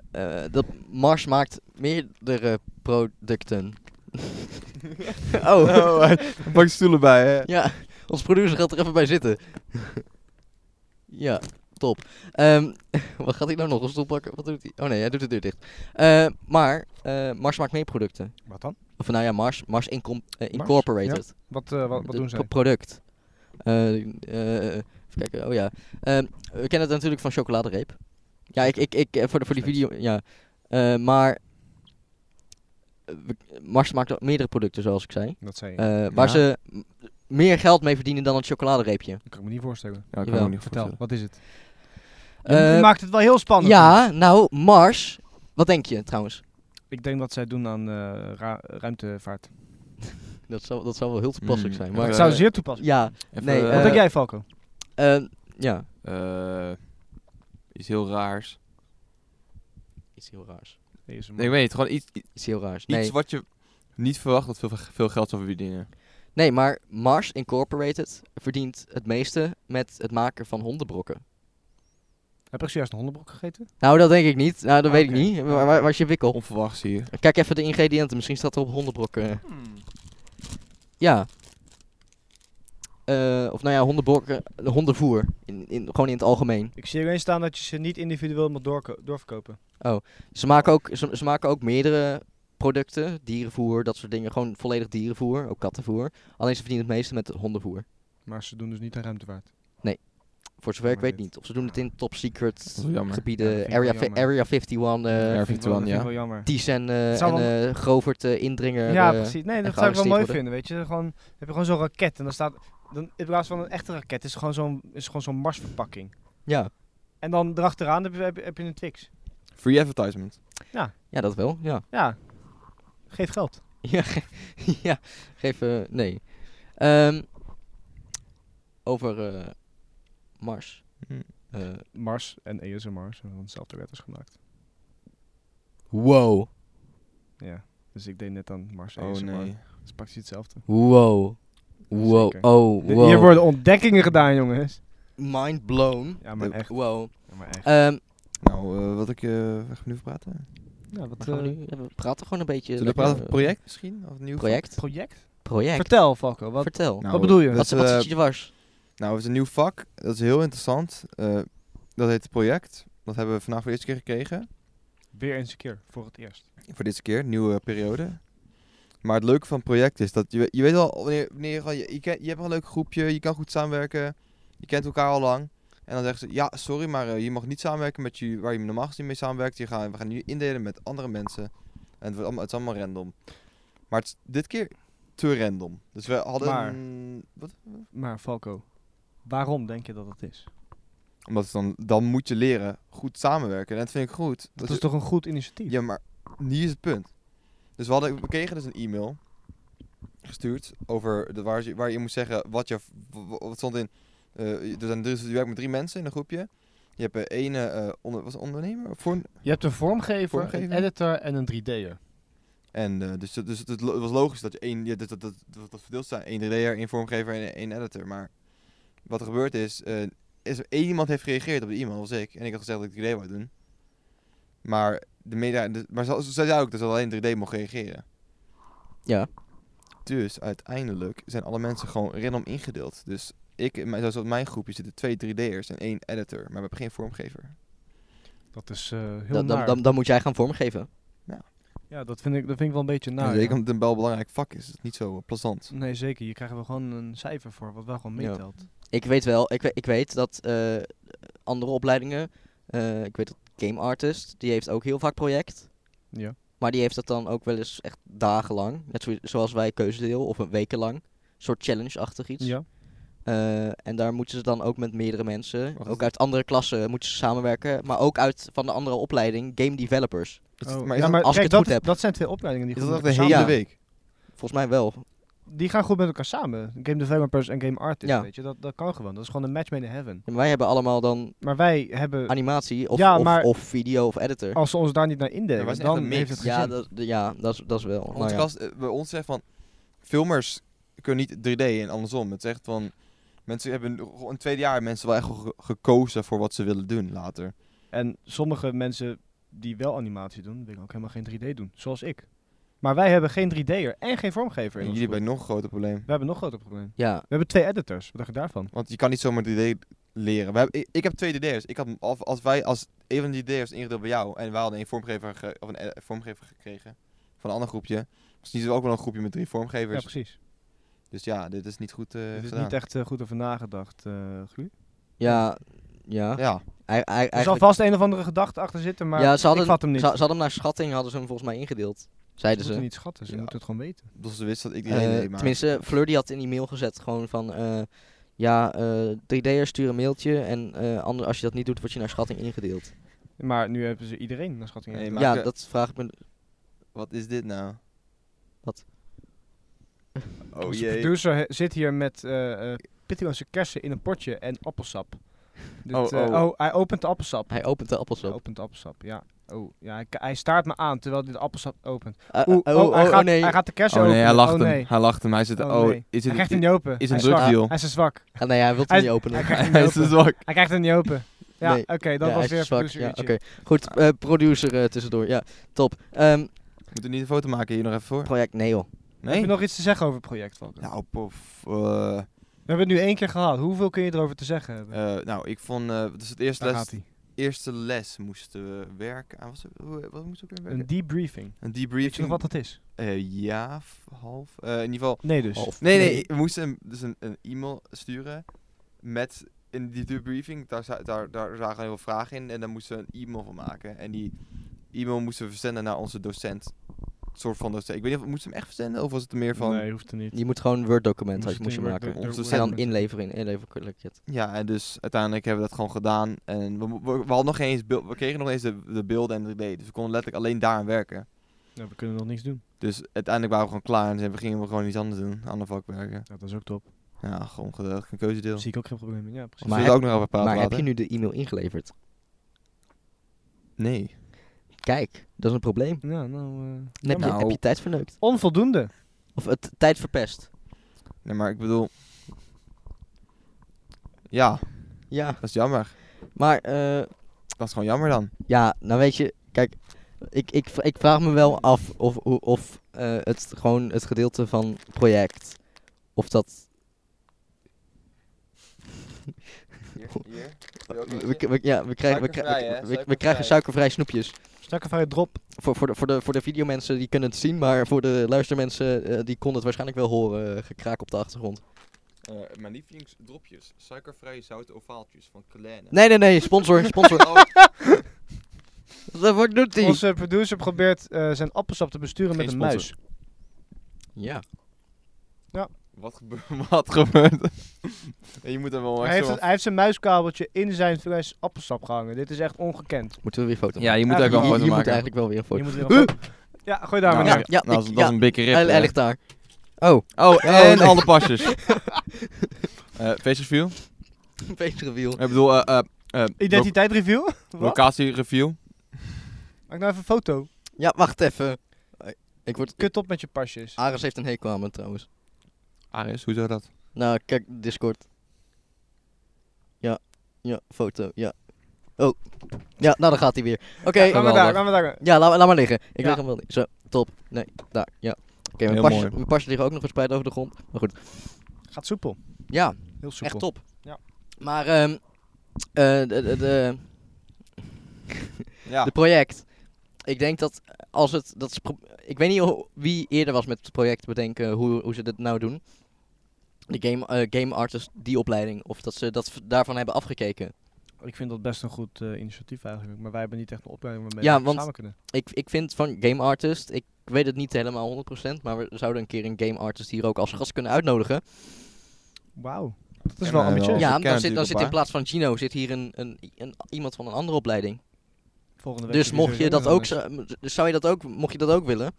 A: dat Mars maakt meerdere producten? oh,
B: Oh, een pak stoelen bij, hè.
A: ja. Ons producer gaat er even bij zitten. ja, top. Ehm, *laughs* wat gaat hij nou nog? Een stoel pakken? Wat doet hij? Oh nee, hij doet de deur dicht. Eh, maar eh, Mars maakt meer producten.
C: Wat dan?
A: Of nou ja, Mars, Mars, Incom- eh, Incorporated.
C: Wat, eh, wat, wat
A: Het
C: doen ze?
A: pro- product. Eh, eh, even kijken, oh ja. Ehm, we kennen het natuurlijk van chocoladereep. Ja, ik, ik, ik, eh, voor, de, voor die video, ja. Eh, maar eh, we- Mars maakt ook meerdere producten, zoals ik zei.
C: Dat zei je.
A: Eh, waar
B: Ja.
A: ze m- meer geld mee verdienen dan het chocoladereepje.
C: dat kan ik me niet voorstellen.
B: Ja, ik kan
A: Jawel,
B: me ook niet
C: Vertel,
B: vertellen.
C: wat is het? Je
A: Eh,
C: maakt het wel heel spannend.
A: ja, nou, Mars. Wat denk je trouwens?
C: Ik denk dat zij doen aan eh, ra-
A: Eh,
C: ruimtevaart.
A: Dat zou, dat zou wel heel toepasselijk
B: Mm,
A: zijn.
B: ja,
A: Maar,
C: Dat
B: Eh,
C: zou zeer toepasselijk
A: ja, nee,
C: zijn.
A: eh,
C: Wat denk jij, Falco?
A: eh, ja.
B: eh, iets heel raars.
A: Iets heel raars.
B: Nee, ik weet niet, gewoon iets, i-
A: Iets heel raars.
B: iets
A: Nee.
B: wat je niet verwacht dat veel, veel geld zou verdienen.
A: Nee, maar Mars Incorporated verdient het meeste met het maken van hondenbrokken.
C: Heb ik zojuist een hondenbrok gegeten?
A: Nou, dat denk ik niet. Nou, dat weet
C: Oké.
A: ik niet. Waar, waar, waar is je wikkel?
B: Onverwachts hier.
A: Kijk even de ingrediënten. Misschien staat er op hondenbrokken.
B: Hmm.
A: Ja. Eh, of nou ja, hondenbrokken, hondenvoer. In, in, gewoon in het algemeen.
C: Ik zie alleen staan dat je ze niet individueel mag doorko- doorverkopen.
A: Ze maken ook, ze, ze maken ook meerdere producten. Dierenvoer, dat soort dingen. Gewoon volledig dierenvoer. Ook kattenvoer. Alleen ze verdienen het meeste met hondenvoer.
C: Maar ze doen dus niet aan ruimtevaart.
A: Voor zover ik
C: Maar
A: weet
C: dit-
A: niet. Of ze doen het in top secret
B: Dat is wel jammer.
A: gebieden.
C: Ja, dat vind ik wel
A: area, fi-
C: jammer.
A: area 51. eh,
B: Ja,
C: vind ik
B: virtueel,
C: wel, dat vind ik
B: ja.
C: wel jammer.
A: Ties en, eh,
C: Het zou
A: en
C: wel-
A: eh, Govert eh, indringer.
C: Ja,
A: eh,
C: precies. Nee,
A: en
C: dat zou ik wel mooi
A: gearresteerd
C: vinden, weet je. Gewoon, heb je gewoon zo'n raket en dan staat... Dan, in plaats van een echte raket is het gewoon zo'n is het gewoon zo'n Marsverpakking.
A: Ja.
C: En dan erachteraan heb je, heb je, heb je een Twix.
B: Free advertisement.
A: ja, dat wel. Ja, *laughs*
C: Ja. Geef geld.
A: ja, ge- *laughs* ja geef. eh, nee. Ehm, over eh, Mars.
B: Hm.
A: Eh,
C: Mars en E ESMR zijn van dezelfde letters gemaakt.
A: wow.
C: Ja. Dus ik deed net aan Mars en E
B: Oh
C: ASMR.
B: nee.
C: Het is praktisch hetzelfde.
A: Wow. Wow.
C: Zeker.
A: Oh, wow.
C: Hier worden ontdekkingen gedaan, jongens.
A: Mind blown.
C: Ja, maar
B: De-
C: echt.
A: Wow.
C: Ja, maar echt.
A: Ehm
B: Nou, eh, wat ik... eh waar gaan we nu over praten?
C: Ja, wat
A: we, gaan
C: eh,
A: nu, ja, we praten gewoon een beetje.
B: Zullen we
A: lekker,
B: praten over
A: eh,
B: het project misschien? Of een nieuw
A: Project.
C: project?
A: Project.
C: Vertel, Falco. Wat,
A: Vertel.
B: Nou,
C: wat bedoel je?
B: dat
A: wat
B: is,
A: wat
B: eh,
A: zit je dwars?
B: Nou, het is een nieuw vak. Dat is heel interessant. Eh, dat heet het project. Dat hebben we vandaag voor de eerste keer gekregen.
C: Weer eens een keer, voor het eerst.
B: Voor deze keer, nieuwe periode. Maar het leuke van het project is dat je, we- je weet al, wanneer, wanneer je, gewoon- je, je, ken- je hebt wel een leuk groepje, je kan goed samenwerken, je kent elkaar al lang. En dan zeggen ze, ja, sorry, maar eh, je mag niet samenwerken met je, waar je normaal gezien mee samenwerkt. Je gaan, we gaan nu indelen met andere mensen. En het, wordt allemaal, het is allemaal random. Maar het is dit keer te random. Dus we hadden...
C: Maar-
B: een- wat?
C: Maar Falco, waarom denk je dat dat is?
B: Omdat het dan, dan moet je leren goed samenwerken. En dat vind ik goed. Dat,
C: Dat
B: is-
C: is toch een goed initiatief?
B: Ja, maar hier is het punt. Dus we, hadden, we kregen dus een e-mail gestuurd over de, waar, je, waar je moest zeggen wat je... w- w- Wat stond in... eh, er zijn drie, je werkt met drie mensen in een groepje. Je hebt eh, één eh, onder, was het ondernemer of voor,
C: Je hebt een vormgever,
B: Vormgever?
C: een editor en een 3D'er.
B: en eh, dus, dat- dus het lo- was logisch dat je één, ja, dat, dat, dat, dat, dat verdeeld zijn, één 3D'er, één vormgever en één editor. Maar wat er gebeurd is, eh, is er één iemand heeft gereageerd op die e-mail, dat was ik. En ik had gezegd dat ik 3D wou doen. Maar de media, de- maar ze ze zei ook dat ze alleen 3D mocht reageren.
A: Ja.
B: Dus uiteindelijk zijn alle mensen gewoon random ingedeeld. Dus ik, in mijn- zoals op mijn groepje zitten twee 3D'ers en één editor, maar we hebben geen vormgever.
C: Dat is eh, heel
A: Dan, dan,
C: naar.
A: dan, dan moet jij gaan vormgeven.
C: Ja, dat vind ik, dat vind ik wel een beetje naar.
B: zeker omdat een bel belangrijk vak is. Het is niet zo eh, plezant.
C: Nee, zeker. Je krijgt wel gewoon een cijfer voor, wat wel gewoon
A: Ja.
C: meetelt.
A: Ik weet wel, ik, we- ik weet dat eh, andere opleidingen, eh, ik weet dat Game Artist, die heeft ook heel vaak project.
C: Ja.
A: Maar die heeft dat dan ook wel eens echt dagenlang. Net zo- zoals wij keuzedeel of een wekenlang. Een soort challenge-achtig iets.
C: Ja.
A: Eh, en daar moeten ze dan ook met meerdere mensen,
B: Wacht,
A: ook
B: dat-
A: uit andere klassen, moeten ze samenwerken. Maar ook uit van de andere opleiding, game developers.
B: Het-
C: Oh,
B: maar is
C: ja,
B: dat-
C: maar
A: als ik
C: kijk,
A: het
C: dat,
A: goed
C: is-
A: heb.
C: dat zijn twee opleidingen die
B: is
C: goed
B: dat echt
C: met
B: de
C: elkaar
B: hele
A: Ja.
C: samen-
B: week?
A: Volgens mij wel.
C: Die gaan goed met elkaar samen. Game developers en game artists,
A: Ja.
C: weet je. Dat, dat kan gewoon. Dat is gewoon een match made in heaven.
A: En wij hebben allemaal dan
C: Maar wij hebben,
A: animatie of,
C: Ja,
A: of,
C: maar-
A: of video of editor.
C: als ze ons daar niet naar indelen,
B: Ja, wij zijn echt
C: dan
B: een mix.
C: heeft het gezin.
A: ja, dat, ja dat, is, dat is wel. Nou
B: Onze
A: ja.
B: gast, eh, bij ons zegt van, filmers kunnen niet 3D en andersom. Het is echt van, mensen hebben in het tweede jaar mensen wel echt ge- gekozen voor wat ze willen doen later.
C: En sommige mensen die wel animatie doen, willen ook helemaal geen 3D doen. Zoals ik. Maar wij hebben geen 3D'er en geen vormgever in
B: En
C: ons
B: jullie
C: groep.
B: hebben nog een groter probleem.
C: We hebben nog een groter probleem.
A: ja,
C: We hebben twee editors. Wat dacht je daarvan?
B: Want je kan niet zomaar 3D leren. We hebben, ik, ik heb twee 3D'ers. Ik had, als, als wij, als een van die 3D'ers ingedeeld bij jou en wij hadden een vormgever, ge- of een eh, vormgever gekregen van een ander groepje. Was niet ook wel een groepje met drie
C: Ja,
B: vormgevers.
C: precies.
B: dus ja, dit is niet goed eh,
C: Het is
B: gedaan.
C: niet echt eh, goed over nagedacht, eh Guus.
A: ja, ja.
B: Ja,
A: Ei- ei-
C: Er zal
A: eigenlijk-
C: vast een of andere gedachte achter zitten, maar
A: ja, ze hadden,
C: ik vat hem niet.
A: Ze, ze hadden hem naar schatting hadden ze hem volgens mij ingedeeld.
C: ze
A: Zeiden ze.
C: moeten niet schatten, ze
B: Ja.
C: moeten het gewoon weten.
B: dus ze wist dat ik die
A: Eh,
B: hele idee maakte.
A: tenminste, Fleur die had in die mail gezet gewoon van... eh, ja, eh 3D'ers sturen een mailtje en eh, ander, als je dat niet doet, word je naar schatting ingedeeld.
C: Maar nu hebben ze iedereen naar schatting.
B: Nee,
C: ingevuld.
B: maar-
A: ja,
B: ik, eh,
A: dat vraag ik me...
B: Wat is dit nou?
A: Wat?
B: Oh
C: Onze
B: jee.
C: producer he- zit hier met eh eh, pittigloze kersen in een potje en appelsap. Dit,
B: Oh,
C: eh,
B: oh.
C: hij opent de appelsap.
A: Hij opent de appels
C: Hij
A: op.
C: opent de appelsap, ja. Oh, ja, hij, hij staart me aan terwijl hij de appelsap opent.
A: Eh, eh,
C: Oeh, oh, hij, gaat,
A: nee.
C: hij gaat de kersen
B: Oh nee,
C: openen.
B: hij lacht
C: oh,
B: hem.
C: nee.
B: Hij lacht hem. Hij zit.
C: Oh,
B: Oh,
C: nee.
B: is
C: Hij
B: het, *laughs*
C: krijgt hem niet open.
B: is
C: hij
B: een
C: zwak.
B: drugdeal.
C: Hij is te zwak.
A: Ah, nee, hij wil het
C: Hij-
A: niet openen.
C: Hij krijgt
A: *laughs*
C: hem
B: Hij
C: niet
B: is te
C: open.
B: zwak.
C: Hij krijgt hem niet open. Ja,
A: Nee.
C: oké, dat
A: Ja,
C: was
A: hij is
C: weer
A: zwak.
C: producer
A: Ja,
C: Uurtje.
A: oké. Goed, eh, producer eh, tussendoor. Ja, top. Ehm,
B: We moeten niet een foto maken hier nog even voor.
A: project Neo.
C: Heb
B: Nee?
C: je nog iets te zeggen over het project, Valken?
B: Nou, pof. eh,
C: We hebben het nu één keer gehad. Hoeveel kun je erover te zeggen hebben?
B: eh, nou, ik vond. eh dus het eerste
C: Daar
B: les,
C: gaat hij.
B: eerste les moesten we werken. aan. was het- hoe- wat moest ik weer werken?
C: Een debriefing.
B: Een
C: Weet je nog
B: debriefing.
C: wat dat is?
B: Eh, ja, f- half. Eh, in ieder geval.
C: Nee dus.
A: Half.
B: Nee, nee, we moesten hem dus een, een e-mail sturen met in die debriefing, daar, za- daar, daar zagen heel veel vragen in en daar moesten we een e-mail van maken. En die e-mail moesten we verzenden naar onze docent, soort van docent. Ik weet niet of moesten we hem echt verzenden of was het meer van,
C: Nee, hoeft er niet.
A: Je moet gewoon een Word-document
C: Moest
A: had je
C: het
A: moest je
C: in Word-
A: maken.
B: Onze
C: Word-
A: En dan
B: Word-
A: inleveren in inleverklikket.
B: ja, en dus uiteindelijk hebben we dat gewoon gedaan. En we, mo- we, we hadden nog geen eens, beeld- we kregen nog niet eens de, de beelden en 3D, dus we konden letterlijk alleen daaraan werken.
C: Nou, we kunnen nog niks doen.
B: Dus uiteindelijk waren we gewoon klaar en zijn- we gingen we gewoon iets anders doen, ander vak werken.
C: Ja, dat is ook top.
B: Ja, gewoon geweldig, een keuzedeel.
C: Daar zie ik ook geen probleem in. Ja, precies.
B: Maar
A: Maar
B: we
A: heb-
B: ook nog over praten
A: Maar heb
B: later.
A: je nu de e-mail ingeleverd?
B: Nee.
A: Kijk, dat is een probleem.
C: Ja, nou... eh,
A: Dan heb,
C: jammer.
A: je, heb je tijd verneukt.
C: Onvoldoende.
A: Of het tijd verpest.
B: Nee, maar ik bedoel. Ja,
A: Ja,
B: dat is jammer.
A: maar eh,
B: Dat is gewoon jammer dan.
A: ja, nou weet je, kijk, ik, ik, v- ik vraag me wel af of, hoe- of eh, het gewoon het gedeelte van project, of dat... We, we- ja, we krijgen, we,
B: Suikervrij, hè?
A: krijgen, we- we, we
B: Suikervrij.
A: krijgen suikervrij snoepjes.
C: Stakkenvrije drop.
A: Voor, voor, de, voor, de, voor de videomensen die kunnen het zien, maar voor de luistermensen eh, die konden het waarschijnlijk wel horen, eh, gekraak op de achtergrond.
B: Eh, mijn lievelingsdropjes: suikervrije zouten ovaaltjes van Kleine.
A: Nee, nee, nee, sponsor, sponsor. *laughs*
B: Oh,
A: Wat wat doet hij?
C: Onze producer probeert eh, zijn appelsap te besturen
B: Geen
C: met een
B: sponsor.
C: muis.
A: Ja.
B: wat, gebeurt, *laughs* wat gebeurt er? En je moet hem wel
C: Hij
B: echt
C: heeft,
B: zo-
C: het- hij heeft zijn muiskabeltje in zijn fles appelsap gehangen. Dit is echt ongekend.
A: Moeten we weer foto
B: Ja, je moet
C: Eigenlijk-
B: eigenlijk wel
A: Je-
B: een
A: je, moet
B: foto maken.
A: eigenlijk wel weer een
C: Je
A: foto.
C: moet weer een- Ja, gooi daar maar
B: Nou,
A: ja,
C: neer.
B: ja,
A: ja,
B: nou, dat is-
A: ik-
B: dat is
A: ja.
B: een dikke rip.
A: Hij, hij
B: eh.
A: ligt daar. Oh,
B: Oh,
A: Oh,
B: en
A: nee.
B: alle *laughs* pasjes. Eh face review.
A: face reveal.
B: Ik bedoel, eh, eh, eh, lo-
C: Identiteit review? *laughs* Wat?
B: locatie review.
C: Maak nou even een foto.
A: Ja, wacht even. Ik word...
C: Kut op met je pasjes.
A: Ares heeft een hekel aan me trouwens.
B: Aris, hoezo dat?
A: Nou, kijk, Discord. Ja, ja, foto, ja. Oh, ja, nou dan gaat hij weer. Oké,
C: gaan we daar,
A: geweldig.
C: gaan we daar.
A: Ja, laat, laat maar liggen. Ik
C: Ja.
A: leg hem wel niet. Zo, top. Nee, daar, ja. Oké, mijn,
B: Heel
A: pasjes-
B: mooi.
A: mijn pasjes liggen ook nog verspreid over de grond. Maar goed,
C: Gaat soepel.
A: ja,
C: Heel soepel.
A: echt top.
C: Ja.
A: Maar, ehm eh, de, de, de,
B: Ja. Ah.
A: de project. Ik denk dat eh, als het, dat is pro- ik weet niet hoe- wie eerder was met het project bedenken hoe, hoe ze dit nou doen. De game, eh, game artist, die opleiding. Of dat ze dat v- daarvan hebben afgekeken.
C: Ik vind dat best een goed eh, initiatief eigenlijk. Maar wij hebben niet echt een opleiding waarmee
A: Ja,
C: we
A: want-
C: samen kunnen.
A: Ik, ik vind van game artist, ik weet het niet helemaal 100%, maar we zouden een keer een game artist hier ook als gast kunnen uitnodigen.
C: Wauw. Dat is
B: En,
C: wel
B: eh, wel-
C: ambitieus.
B: we
A: ja,
B: kennen
A: dan zit, dan
B: natuurlijk
A: zit in
B: een paar.
A: plaats van Gino zit hier een, een, een- iemand van een andere opleiding.
C: Volgende week
A: Dus
C: heb sowieso
A: mocht je
C: weer
A: dat
C: een
A: ook,
C: les.
A: zo- dus zou je dat ook, mocht je dat ook willen,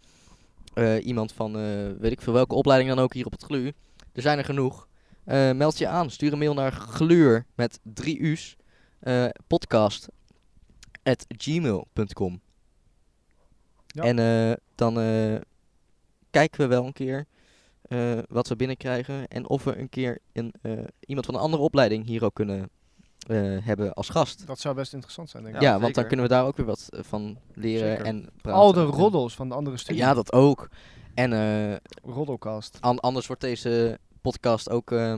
A: eh, iemand van eh, weet ik veel welke opleiding dan ook hier op het glu, er zijn er genoeg. Eh, meld je aan, stuur een mail naar gluur met 3 u's eh, podcast at gmail.com.
C: Ja.
A: En eh, dan eh, kijken we wel een keer eh, wat we binnenkrijgen en of we een keer een, eh, iemand van een andere opleiding hier ook kunnen eh, hebben als gast.
C: Dat zou best interessant zijn, denk
A: Ja,
C: ik.
B: Ja,
A: want dan
B: zeker.
A: kunnen we daar ook weer wat eh, van leren
B: Zeker.
A: en praten.
C: Al de
A: En-
C: roddels van de andere studie.
A: Ja, dat ook. En eh,
C: Roddelcast.
A: an- anders wordt deze podcast ook eh,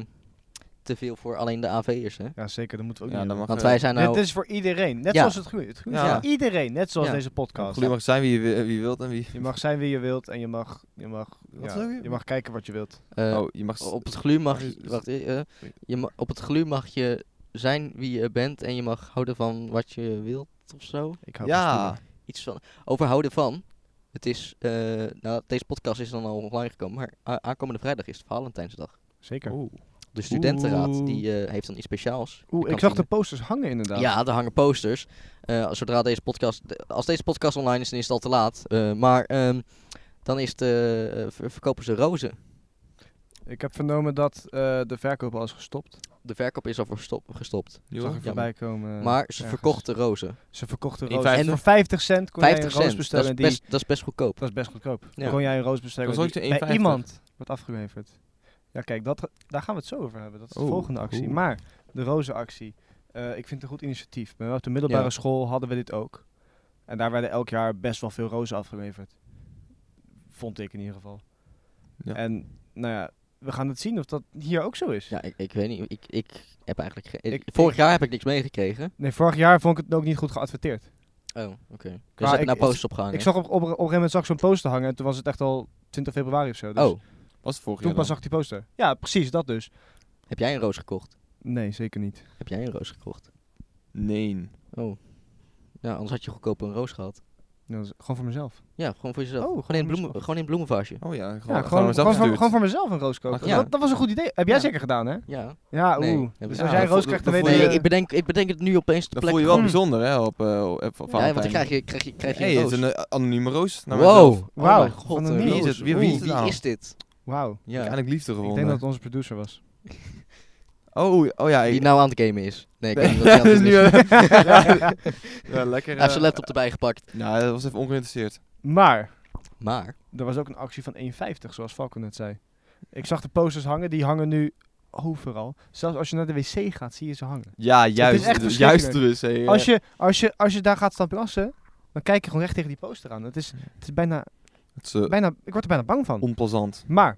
A: te veel voor alleen de AV'ers, hè?
C: Ja, zeker. Dat moeten we ook
B: Ja,
C: niet
B: dan mag
C: doen.
A: Want
B: eh,
A: wij zijn nou...
C: Dit is dus voor iedereen. Net
A: Ja.
C: zoals het groeit. Het groeit
B: Ja.
C: voor iedereen. Net zoals
A: Ja.
C: deze podcast.
B: Gelukkig mag zijn wie je wi- wie wilt en wie...
C: Je mag zijn wie je wilt en je mag, je mag,
B: Wat
C: ja,
B: wil je?
C: je mag kijken wat je wilt.
A: eh,
B: oh, je mag... s-
A: op het glu mag
B: Mag
A: je...
B: je-
A: Wacht, eh, eh,
B: Sorry.
A: je ma- op het glu mag je zijn wie je bent en je mag houden van wat je wilt of zo.
C: Ik hou van
B: ja.
C: stoelen.
A: Iets van... Over houden van... Het is... eh, nou, deze podcast is dan al online gekomen, maar a- aankomende vrijdag is het Valentijnsdag.
C: Zeker.
B: Oeh.
A: De studentenraad
B: Oeh.
A: die eh, heeft dan iets speciaals.
C: Oeh, ik zag de posters hangen inderdaad.
A: Ja, er hangen posters. Eh, zodra deze podcast, de- als deze podcast online is, dan is het al te laat. Eh, maar ehm, dan is het, eh, eh, ver- verkopen ze rozen.
C: Ik heb vernomen dat eh, de verkoop al is gestopt.
A: De verkoop is al voor stop, gestopt.
C: Ik zag er voorbij komen. eh,
A: maar ze
C: ergens.
A: verkochten rozen.
C: Ze verkochten
B: In
C: roos.
B: vijf-
C: En voor 50 cent kon
A: 50
C: jij een roos
A: cent. Dat
C: bestellen.
A: is,
C: die,
A: best, dat is best goedkoop.
C: dat is best goedkoop.
A: Ja.
C: Kon jij een roos bestellen
B: Dat was
C: die
B: ook de
C: bij
B: 1,50.
C: iemand wordt afgeleverd. Ja, kijk, dat, daar gaan we het zo over hebben. Dat is de
A: Oh,
B: Oeh,
C: volgende actie.
B: oeh.
C: Maar de rozenactie. eh, ik vind het een goed initiatief. Maar op de middelbare
A: Ja.
C: school hadden we dit ook. En daar werden elk jaar best wel veel rozen afgeleverd. Vond ik in ieder geval.
B: Ja.
C: En nou ja, we gaan het zien of dat hier ook zo is.
A: Ja, ik, ik weet niet. Ik, ik heb eigenlijk... ge-
C: Ik-
A: vorig
C: ik-
A: jaar heb ik niks meegekregen.
C: Nee, vorig jaar vond ik het ook niet goed geadverteerd.
A: Oh, oké. Dus ze
C: Maar
A: hebben
C: ik-
A: nou posters opgehangen.
C: Ik zag op, op, op een gegeven moment zag ik zo'n poster hangen en toen was het echt al 20 februari of zo. Dus
A: Oh,
B: Was het vorig
C: toen
B: jaar
C: pas
B: dan?
C: zag ik die poster. Ja, precies, dat dus.
A: heb jij een roos gekocht?
C: Nee, zeker niet.
A: Heb jij een roos gekocht?
B: Nee.
A: Oh. Ja, anders had je goedkoop een roos gehad.
C: Dat is gewoon voor mezelf.
A: Ja, gewoon voor jezelf.
C: Oh,
A: gewoon,
C: gewoon
A: in
C: voor
A: bloemen,
C: mezelf.
A: gewoon in een bloemenvaasje.
B: Oh ja, gewoon,
C: Ja,
B: gewoon,
C: gewoon, gewoon, voor,
B: gewoon,
C: gewoon voor mezelf een roos kopen.
A: Ja.
C: Dat, dat was een goed idee. Heb jij
A: Ja.
C: zeker gedaan, hè?
A: Ja.
C: Ja,
A: Nee,
C: oeh.
A: heb ik
C: dus
A: niet.
C: als
A: Ja,
C: jij een
B: dat
C: roos
B: voel-
C: krijgt, dan
B: dat
C: weet
B: voel
A: Nee,
B: je-
C: je...
A: ik bedenk, ik bedenk het nu opeens de
B: Dat
A: plek.
B: voel je wel
C: Mm.
B: bijzonder, hè, op, eh op, op Valentijn.
A: Ja, want dan krijg je, krijg je, krijg je
B: Hey,
A: een
B: het Nou, is
A: roos.
B: een eh, anonieme roos. naar
A: wow.
B: mijzelf.
A: Oh
C: Wauw,
A: mijn god,
C: van
A: een
C: een
B: wie is
A: roos.
B: het? Wie-
A: Oeh,
B: wie is het nou?
A: is dit?
C: Wauw.
A: Ja.
B: *laughs* Eindelijk liefde
C: Ik
B: gevonden.
C: denk dat het onze producer was.
B: Oh, oh ja.
A: Die
B: ik-
A: nou aan het gamen is. Nee, ik weet niet wat hij
B: Ja,
C: *laughs*
A: aan het
B: dus
A: doen
B: nu...
A: is.
C: eh,
A: Hij
B: ja, ja, lekker.
A: heeft
B: eh,
A: zijn laptop erbij gepakt.
B: Ja, dat was even ongeïnteresseerd.
C: Maar,
A: Maar,
C: er was ook een actie van 1,50, zoals Falco net zei. Ik zag de posters hangen, die hangen nu overal. Zelfs als je naar de wc gaat, zie je ze hangen.
B: Ja, juist.
C: echt
B: dus
C: verschrikkelijk.
B: juist dus. hè, eh.
C: Als je, als, je, als je daar gaat staan plassen, dan kijk je gewoon recht tegen die poster aan. Het is, het is bijna,
B: Het is eh,
C: bijna, ik word er bijna bang van.
B: onplezant.
C: Maar,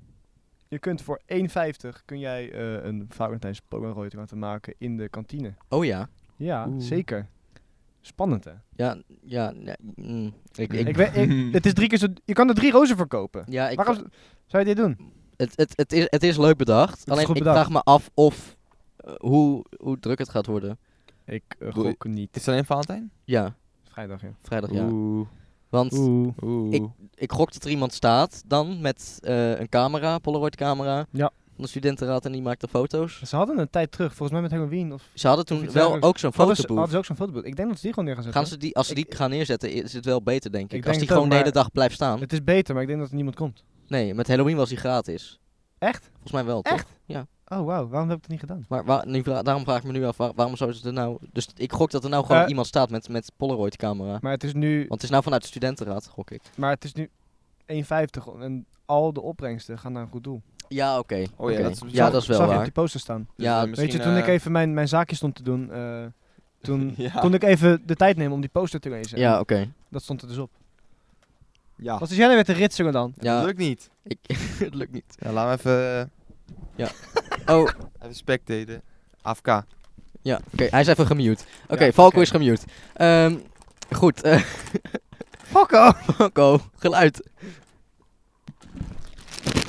C: je kunt voor 1,50 kun jij eh, een Valentijns Polaroid laten maken in de kantine.
A: oh ja.
C: Ja,
B: Oeh.
C: zeker. Spannend hè?
A: Ja, ja. ja, mm, ik,
C: Ik
A: ik,
C: weet,
B: Hmm.
C: ik- het is drie keer zo, je kan er drie rozen verkopen.
A: ja, Hm. ik,
C: Waarom zou je dit doen?
A: het, het, het, is, het is leuk bedacht.
C: is
A: Alleen
C: goed
A: ik
C: bedacht.
A: vraag me af of eh, hoe, hoe druk het gaat worden.
C: Ik eh,
B: Doe-
C: gok niet.
B: Is het alleen Valentijn?
A: Ja,
C: Vrijdag ja.
A: vrijdag ja.
B: Oeh.
A: Want
C: Oeh.
B: Oeh.
A: Ik- ik gok dat er iemand staat dan met eh, een camera, Polaroid camera.
C: Ja.
A: Van de studentenraad en die maakt de foto's.
C: Ze hadden een tijd terug, volgens mij met Halloween of...
A: Ze hadden
C: Of
A: toen
C: iets
A: wel
C: dergelijks.
A: ook zo'n
C: Hadden ze,
A: fotoboek.
C: hadden ze ook zo'n fotoboek. Ik denk dat ze die gewoon neer gaan zetten.
A: Gaan ze die, als ze die
C: Ik-
A: gaan neerzetten, is het wel beter, denk ik.
C: denk
A: als die
C: het
A: gewoon
C: ook,
A: de hele
C: maar-
A: dag blijft staan.
C: Het is beter, maar ik denk dat er niemand komt.
A: Nee, met Halloween was die gratis.
C: Echt?
A: Volgens mij wel, toch?
C: Echt?
A: Ja.
C: Oh wauw, waarom heb ik dat niet gedaan?
A: Maar waar, nu, vra- daarom vraag ik me nu af, waar- waarom zouden ze er nou... Dus ik gok dat er nou gewoon
C: Eh.
A: iemand staat met, met Polaroid-camera.
C: Maar het is nu
A: Want het is nou vanuit de studentenraad, gok ik.
C: Maar het is nu 1,50 en al de opbrengsten gaan naar een goed doel.
A: Ja, oké.
B: Oh ja,
A: Oké.
B: dat is-
A: ja,
B: zag-
A: dat is wel
C: Zag je op
A: waar.
C: die poster staan.
B: Dus,
A: ja,
B: eh,
A: weet
C: Weet je,
B: misschien,
C: toen ik
B: eh,
C: even mijn, mijn zaakje stond te doen, eh,
B: *laughs*
C: toen
B: Ja.
C: kon ik even de tijd nemen om die poster te lezen. En
A: Ja, Ah. oké.
C: Dat stond er dus op.
B: Ja.
C: Wat is jij nou weer te ritselen
A: *laughs*
C: dan?
A: Ja.
B: Dat lukt niet.
A: Ik, *laughs* het lukt
C: *laughs*
A: niet.
B: Ja, laat me even,
A: eh, Oh,
B: eh, even spectaten. AFK.
A: Ja, oké, hij is even gemute. Oké,
C: Ja,
A: Falco
C: oké.
A: is gemute. Ehm, goed, eh,
C: Fokko!
A: Ko, geluid.